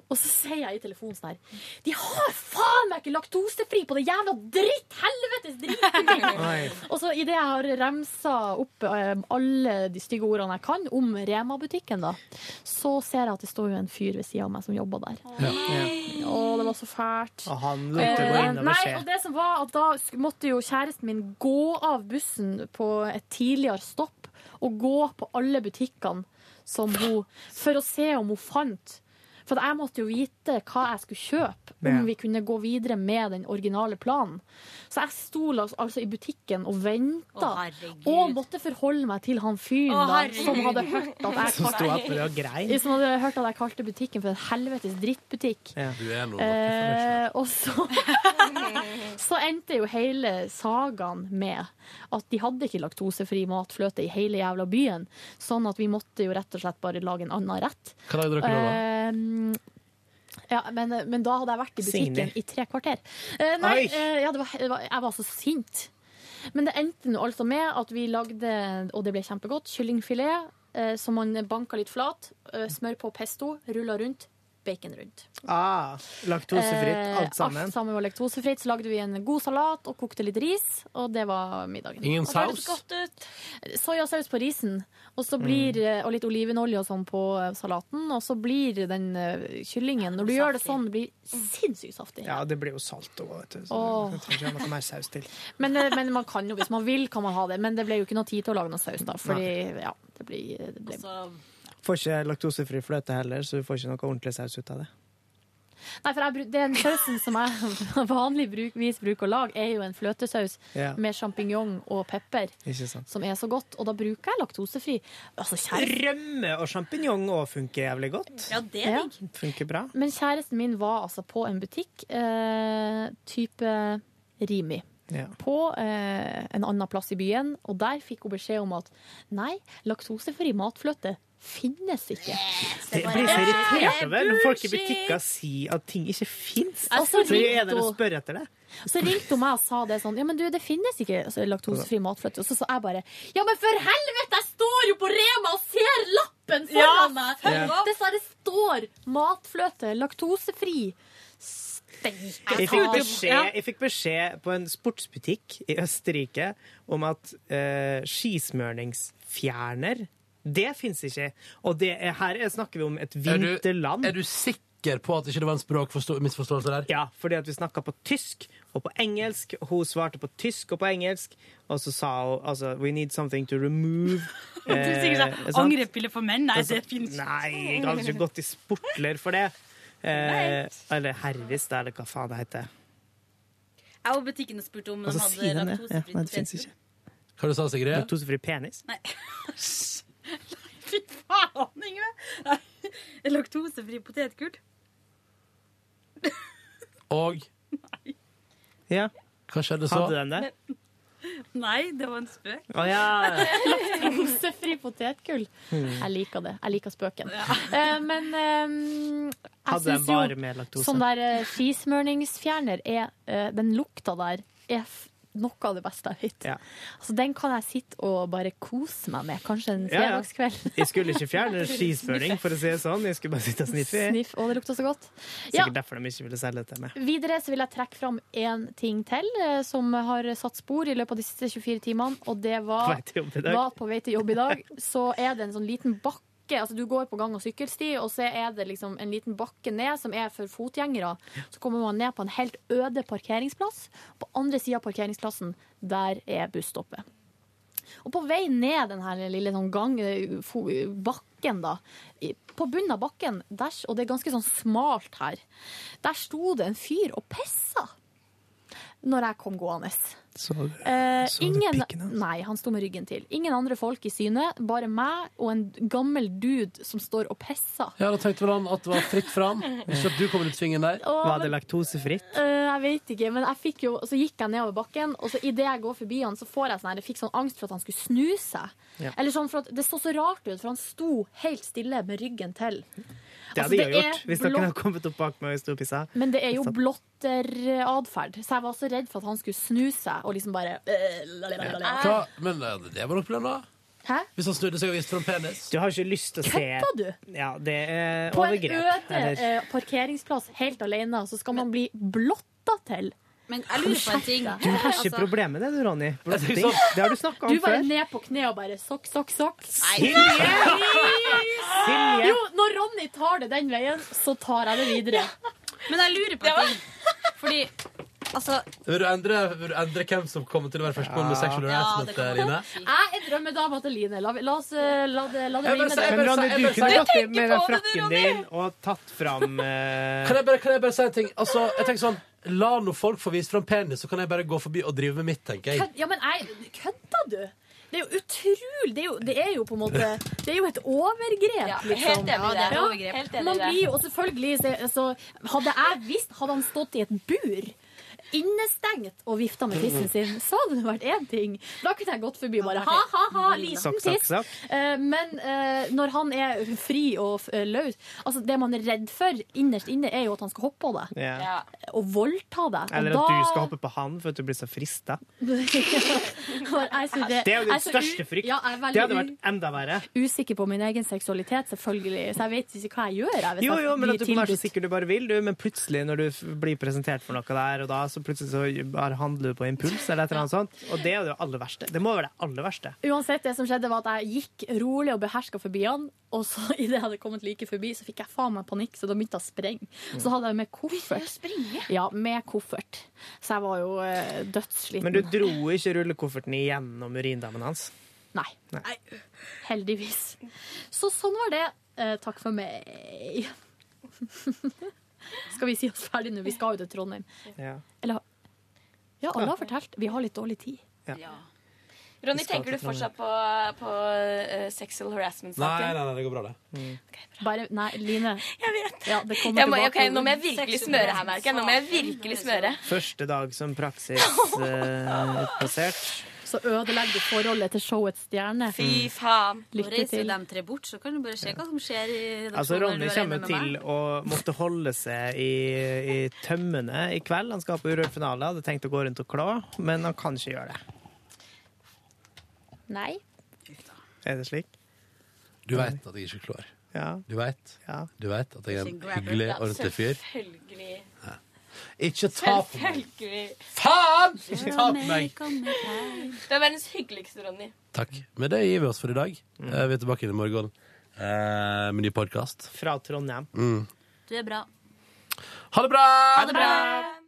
[SPEAKER 4] Og så sier jeg i telefonen sånn her De har faen meg ikke laktosefri på det jævla dritthelvetes
[SPEAKER 2] [laughs]
[SPEAKER 32] Oi.
[SPEAKER 4] drittbutikk! og så idet jeg har remsa opp eh, alle de stygge ordene jeg kan om Rema-butikken, da, så ser jeg at det står jo en fyr ved sida av meg som jobber der. Og det var så fælt.
[SPEAKER 3] Og han lot det gå
[SPEAKER 4] Eh,
[SPEAKER 3] innover
[SPEAKER 4] nei,
[SPEAKER 3] skje.
[SPEAKER 4] og det som var at Da sk- måtte jo kjæresten min gå av bussen på et tidligere stopp og gå på alle butikkene som hun, for å se om hun fant. For at jeg måtte jo vite hva jeg skulle kjøpe,
[SPEAKER 33] Ja.
[SPEAKER 4] om vi kunne gå videre med den originale planen. Så jeg sto la- altså i butikken og venta,
[SPEAKER 33] Å, herregud.
[SPEAKER 4] og måtte forholde meg til han fyren
[SPEAKER 33] Å,
[SPEAKER 4] da, som
[SPEAKER 33] herregud.
[SPEAKER 4] hadde hørt at jeg
[SPEAKER 33] Som sto opp for å
[SPEAKER 4] kalte,
[SPEAKER 33] grein.
[SPEAKER 4] som hadde hørt at jeg kalte butikken for en helvetes drittbutikk.
[SPEAKER 2] Du er noe
[SPEAKER 4] Eh, [laughs] og så, så endte jo hele sagaen med at de hadde ikke laktosefri matfløte i hele jævla byen. Sånn at vi måtte jo rett og slett bare lage en annen rett.
[SPEAKER 2] Hva lagde dere
[SPEAKER 4] da? ja, men, men da hadde jeg vært i butikken
[SPEAKER 33] Signy.
[SPEAKER 4] i tre kvarter. Eh, nei,
[SPEAKER 33] Oi.
[SPEAKER 4] eh, ja, det var, det var, jeg var så sint. Men det endte nå altså med at vi lagde, og det ble kjempegodt, kyllingfilet eh, som man banka litt flat, eh, smør på pesto, rulla rundt, bacon rundt.
[SPEAKER 33] Ah,
[SPEAKER 4] Eh,
[SPEAKER 33] laktosefritt, alt
[SPEAKER 4] Alt
[SPEAKER 33] sammen.
[SPEAKER 4] sammen var laktosefritt. Så lagde vi en god salat og kokte litt ris, og det var middagen.
[SPEAKER 33] Ingen
[SPEAKER 4] Og så hørtes
[SPEAKER 33] saus? Mm.
[SPEAKER 4] godt ut. Soyasaus på risen, og, så blir, eh, og litt olivenolje og sånn på eh, salaten. Og så blir den eh, kyllingen, når du gjør det sånn, det blir sinnssykt saftig.
[SPEAKER 33] Ja, det blir jo salt òg, vet du. Så
[SPEAKER 4] Åh.
[SPEAKER 33] det trenger ikke ha noe mer saus til.
[SPEAKER 4] Men, eh, men man kan jo, hvis man vil, kan man ha det. Men det ble jo ikke noe tid til å lage noe saus, da. Fordi, ja, det blir, eh, det ble...
[SPEAKER 33] Får ikke laktosefri fløte heller, så du får ikke noe ordentlig saus ut av det.
[SPEAKER 4] Nei, for jeg, bru- den sausen som jeg [laughs] vanligvis bruker å lage, er jo en fløtesaus
[SPEAKER 33] Ja.
[SPEAKER 4] med sjampinjong og pepper.
[SPEAKER 33] Ikke sant?
[SPEAKER 4] som er så godt, og da bruker jeg laktosefri. Altså, kjære-
[SPEAKER 33] Rømme og sjampinjong òg funker jævlig godt.
[SPEAKER 4] Ja, det er digg.
[SPEAKER 33] Funker bra.
[SPEAKER 4] Men kjæresten min var altså på en butikk, eh, type Rimi,
[SPEAKER 33] Ja.
[SPEAKER 4] på eh, en annen plass i byen, og der fikk hun beskjed om at nei, laktosefri matfløte finnes ikke.
[SPEAKER 33] Det blir så irritert over når folk i butikker sier at ting ikke fins. Så
[SPEAKER 4] Jeg skulle
[SPEAKER 33] er
[SPEAKER 4] likt
[SPEAKER 33] der og
[SPEAKER 4] å-
[SPEAKER 33] spør etter det.
[SPEAKER 4] Så ringte hun meg og sa det sånn Ja, men du, det finnes ikke altså, laktosefri matfløte. Og så sa jeg bare Ja, men for helvete, jeg står jo på Rema og ser lappen
[SPEAKER 33] Ja,
[SPEAKER 4] foran meg!
[SPEAKER 33] følg opp.
[SPEAKER 4] Dessverre står matfløte laktosefri. Steike
[SPEAKER 33] Jeg fikk,
[SPEAKER 4] ta.
[SPEAKER 33] beskjed, jeg fikk beskjed på en sportsbutikk i Østerrike om at eh, skismørningsfjerner det fins ikke. Og det er, her er- snakker vi om et vinterland. Er du,
[SPEAKER 2] sikker på at ikke det var en språkmisforståelse der?
[SPEAKER 33] Ja, fordi at vi snakka på tysk og på engelsk. Hun svarte på tysk og på engelsk, og så sa hun altså, We need something to remove.
[SPEAKER 30] [laughs] Du sikkert
[SPEAKER 33] eh,
[SPEAKER 30] sånn,
[SPEAKER 33] sant?
[SPEAKER 30] Angrepille for menn? Nei,
[SPEAKER 33] Altså,
[SPEAKER 30] det finnes ikke.
[SPEAKER 33] Nei, jeg hadde ikke gått i sportler for det. Eh, eller Hervis, da, eller hva faen det heter.
[SPEAKER 30] Jeg var på butikken og spurte om
[SPEAKER 4] Altså,
[SPEAKER 33] Og så
[SPEAKER 30] de
[SPEAKER 33] sier
[SPEAKER 30] hadde
[SPEAKER 33] den Altså, det. Ja,
[SPEAKER 30] laktosefritt
[SPEAKER 33] nei, det fins ikke.
[SPEAKER 30] potetgull.
[SPEAKER 2] Hva du sa Sigrid?
[SPEAKER 33] Laktosefri penis?
[SPEAKER 30] Nei. [laughs] Nei, fy faen, Yngve! Nei, Laktosefri potetgull.
[SPEAKER 2] Og
[SPEAKER 33] Ja.
[SPEAKER 2] Hva skjedde så?
[SPEAKER 33] Hadde den det?
[SPEAKER 30] Nei, det var en spøk.
[SPEAKER 33] Å, ja.
[SPEAKER 4] Laktosefri potetgull.
[SPEAKER 33] Hmm.
[SPEAKER 4] Jeg liker det. Jeg liker spøken. Eh, men eh,
[SPEAKER 3] Hadde
[SPEAKER 4] jeg
[SPEAKER 3] de
[SPEAKER 4] syns
[SPEAKER 3] bare
[SPEAKER 4] jo
[SPEAKER 3] med laktose?
[SPEAKER 4] sånn der eh, skismørningsfjerner er eh, Den lukta der er f noe av det beste jeg vet. Altså, den kan jeg sitte og bare kose meg med, kanskje en
[SPEAKER 3] Ja, ja.
[SPEAKER 4] fredagskveld.
[SPEAKER 3] Jeg skulle ikke fjerne skismøring, for å si det sånn. Jeg skulle bare sitte og sniffe. i.
[SPEAKER 4] [laughs] Sniff, å, det lukta så godt. Ja,
[SPEAKER 3] Sikkert derfor de ikke ville selge det til meg.
[SPEAKER 4] videre så vil jeg trekke fram én ting til eh, som har satt spor i løpet av de siste 24 timene, og det
[SPEAKER 3] På
[SPEAKER 4] var
[SPEAKER 3] vei til jobb i dag.
[SPEAKER 4] var på vei til jobb i dag. Så er det en sånn liten bakke. Altså, du går på gang- og sykkelsti, og så er det liksom en liten bakke ned som er for fotgjengere. Så kommer man ned på en helt øde parkeringsplass. På andre sida av parkeringsplassen, der er busstoppet. Og på vei ned den her lille sånn gang, fo- bakken, da, i- på bunnen av bakken, der, s- og det er ganske sånn smalt her, der sto det en fyr og pissa når jeg kom gående. Eh,
[SPEAKER 3] så du
[SPEAKER 4] ingen,
[SPEAKER 3] pikken
[SPEAKER 4] nei, han sto med ryggen til. Ingen andre folk i syne, bare meg og en gammel dude som står og pisser.
[SPEAKER 2] Ja, Da tenkte vel han at det var fritt fram. Ikke at du kommer ut svingen der.
[SPEAKER 4] Å, Var det
[SPEAKER 3] laktosefritt?
[SPEAKER 4] Eh, jeg vet ikke, men jeg fikk jo, så gikk jeg nedover bakken, og så idet jeg går forbi han, så får jeg sånn her, jeg fikk sånn angst for at han skulle snu seg.
[SPEAKER 3] Ja.
[SPEAKER 4] Eller sånn, for at Det så så rart ut, for han sto helt stille med ryggen til.
[SPEAKER 3] Det
[SPEAKER 4] Altså,
[SPEAKER 3] hadde jeg
[SPEAKER 4] det
[SPEAKER 3] gjort
[SPEAKER 4] er
[SPEAKER 3] hvis noen
[SPEAKER 4] blå-
[SPEAKER 3] hadde kommet opp bak meg og sto og pissa.
[SPEAKER 4] Men det er jo blotteratferd, så jeg var så redd for at han skulle snu seg og liksom bare eh, la, la, la, la,
[SPEAKER 2] Hva?
[SPEAKER 4] la.
[SPEAKER 2] Men eh, det var nok problemet, da.
[SPEAKER 4] Hæ?
[SPEAKER 2] Hvis han snudde seg og viste fram penis.
[SPEAKER 3] Du har ikke lyst til å se
[SPEAKER 4] Kødda du?
[SPEAKER 3] Ja, det er
[SPEAKER 4] På en
[SPEAKER 3] overgrep.
[SPEAKER 4] øde
[SPEAKER 3] eller-
[SPEAKER 4] eh, parkeringsplass helt alene, så skal man bli blotta til.
[SPEAKER 30] Men jeg lurer på en ting. Altså,
[SPEAKER 3] Du har ikke problem med det, du, Ronny. Blotting.
[SPEAKER 4] tenker sånn-
[SPEAKER 3] Det har du snakka
[SPEAKER 4] Altså- Du
[SPEAKER 3] om
[SPEAKER 4] bare
[SPEAKER 3] før.
[SPEAKER 4] ned på kne og bare sokk, sokk, sokk.
[SPEAKER 3] Silje!
[SPEAKER 30] Silje!
[SPEAKER 4] Jo, når Ronny tar det den veien, så tar jeg det videre.
[SPEAKER 30] Men jeg lurer på en ting. Fordi altså
[SPEAKER 2] Vil du endre, vil du endre hvem som kommer til å være førstemann med sexual harassment, eh, Line?
[SPEAKER 4] Jeg er drømmedama til Line. La, la oss eh, la det, la det bli
[SPEAKER 2] Jeg bare
[SPEAKER 4] med
[SPEAKER 2] sier- jeg
[SPEAKER 4] det.
[SPEAKER 3] Men altså, Ronny, du kunne gått inn med den
[SPEAKER 2] på det,
[SPEAKER 3] frakken din og tatt fram eh,
[SPEAKER 2] Kan jeg bare, kan jeg bare si en ting? Altså, jeg tenker sånn La nå folk få vist fram penis, så kan jeg bare gå forbi og drive med mitt, tenker jeg.
[SPEAKER 4] Kødd- Ja, men jeg Kødda du? Det er jo utrolig det er jo, det er jo på en måte Det er jo et overgrep,
[SPEAKER 30] Ja, helt
[SPEAKER 4] liksom.
[SPEAKER 30] enig i det.
[SPEAKER 4] Ja,
[SPEAKER 30] Ja, overgrep. Helt enig i
[SPEAKER 4] Man
[SPEAKER 30] det.
[SPEAKER 4] blir jo Og selvfølgelig så, så Hadde jeg visst, hadde han stått i et bur. Innestengt og vifta med tissen sin. Så hadde det vært én ting. Da kunne jeg gått forbi og bare ha, ha, ha, liten
[SPEAKER 3] Sokk, sokk,
[SPEAKER 4] tiss.
[SPEAKER 3] sokk.
[SPEAKER 4] Eh, Men eh, når han er fri og eh, løs Altså, det man er redd for innerst inne, er jo at han skal hoppe på deg.
[SPEAKER 3] Ja. Ja.
[SPEAKER 4] Og voldta deg.
[SPEAKER 3] Eller at du skal hoppe på han for at du blir så frista. Det er jo din største frykt.
[SPEAKER 4] Ja, jeg er
[SPEAKER 3] Det hadde
[SPEAKER 4] veldig
[SPEAKER 3] vært enda verre.
[SPEAKER 4] u- usikker på min egen seksualitet, selvfølgelig. Så jeg vet ikke hva jeg gjør. Jeg, hvis
[SPEAKER 3] Jo,
[SPEAKER 4] jeg
[SPEAKER 3] jo, men at
[SPEAKER 4] blir
[SPEAKER 3] du kan være så
[SPEAKER 4] tilbudt.
[SPEAKER 3] sikker du bare vil, du, men plutselig når du f- blir presentert for noe der og da, så plutselig så bare handler du på impuls eller et eller annet sånt. Og det er jo det aller verste. Det må være det aller verste.
[SPEAKER 4] Uansett, det som skjedde var at jeg gikk rolig og beherska forbi han. Og så [laughs] idet jeg hadde kommet like forbi, så fikk jeg faen meg panikk, så da begynte jeg å sprenge. Så hadde jeg med koffert. Ja, med koffert. Så jeg var jo eh, dødssliten.
[SPEAKER 3] Men du dro ikke rullekofferten igjennom urindammen hans.
[SPEAKER 4] Nei.
[SPEAKER 3] Nei.
[SPEAKER 4] Heldigvis. Så sånn var det. Eh, takk for meg. [laughs] Skal vi si oss ferdig nå? Vi skal jo til Trondheim.
[SPEAKER 3] Ja.
[SPEAKER 4] Eller har- Ja, alle har fortalt. Vi har litt dårlig tid.
[SPEAKER 7] Ronny,
[SPEAKER 4] Vi skal
[SPEAKER 7] tenker du
[SPEAKER 4] til Trondheim.
[SPEAKER 7] fortsatt på, på eh, sexual harassment-saken?
[SPEAKER 2] det går bra, det.
[SPEAKER 4] Bare, nei, Line.
[SPEAKER 7] Jeg vet.
[SPEAKER 4] Ja, det kommer
[SPEAKER 7] Jeg må,
[SPEAKER 4] tilbake.
[SPEAKER 7] ok, nå må jeg virkelig smøre her, merker jeg. Nå må jeg virkelig smøre.
[SPEAKER 3] Første dag som eh, praksisplassert.
[SPEAKER 4] Så ødelegger du forholdet til showets stjerne.
[SPEAKER 30] Fy faen. Nå
[SPEAKER 4] Lykke
[SPEAKER 30] reiser
[SPEAKER 4] til.
[SPEAKER 30] de tre bort, så kan du bare se hva som skjer i
[SPEAKER 3] Altså,
[SPEAKER 30] redaksjonen
[SPEAKER 3] Ronny
[SPEAKER 30] når du er
[SPEAKER 3] kommer
[SPEAKER 30] alene med
[SPEAKER 3] til
[SPEAKER 30] meg.
[SPEAKER 3] å måtte holde seg i, i tømmene i kveld. Han skal på urørt finale, hadde tenkt å gå rundt og klå, men han kan ikke gjøre det.
[SPEAKER 4] Nei.
[SPEAKER 3] Er det slik?
[SPEAKER 2] Du veit at jeg ikke klarer. Du veit Du vet at jeg er en hyggelig, ordentlig fyr.
[SPEAKER 30] Selvfølgelig.
[SPEAKER 2] Ikke ta på meg!
[SPEAKER 30] Selvfølgelig.
[SPEAKER 2] Faen! Ikke ta på meg!
[SPEAKER 7] Du er verdens hyggeligste, Ronny.
[SPEAKER 2] Takk. Men det gir vi oss for i dag. Eh, Vi er tilbake inn i morgen eh, med ny podkast.
[SPEAKER 3] Fra Trondheim.
[SPEAKER 2] Mm.
[SPEAKER 30] Du er bra.
[SPEAKER 2] Ha det bra!
[SPEAKER 30] Ha det bra.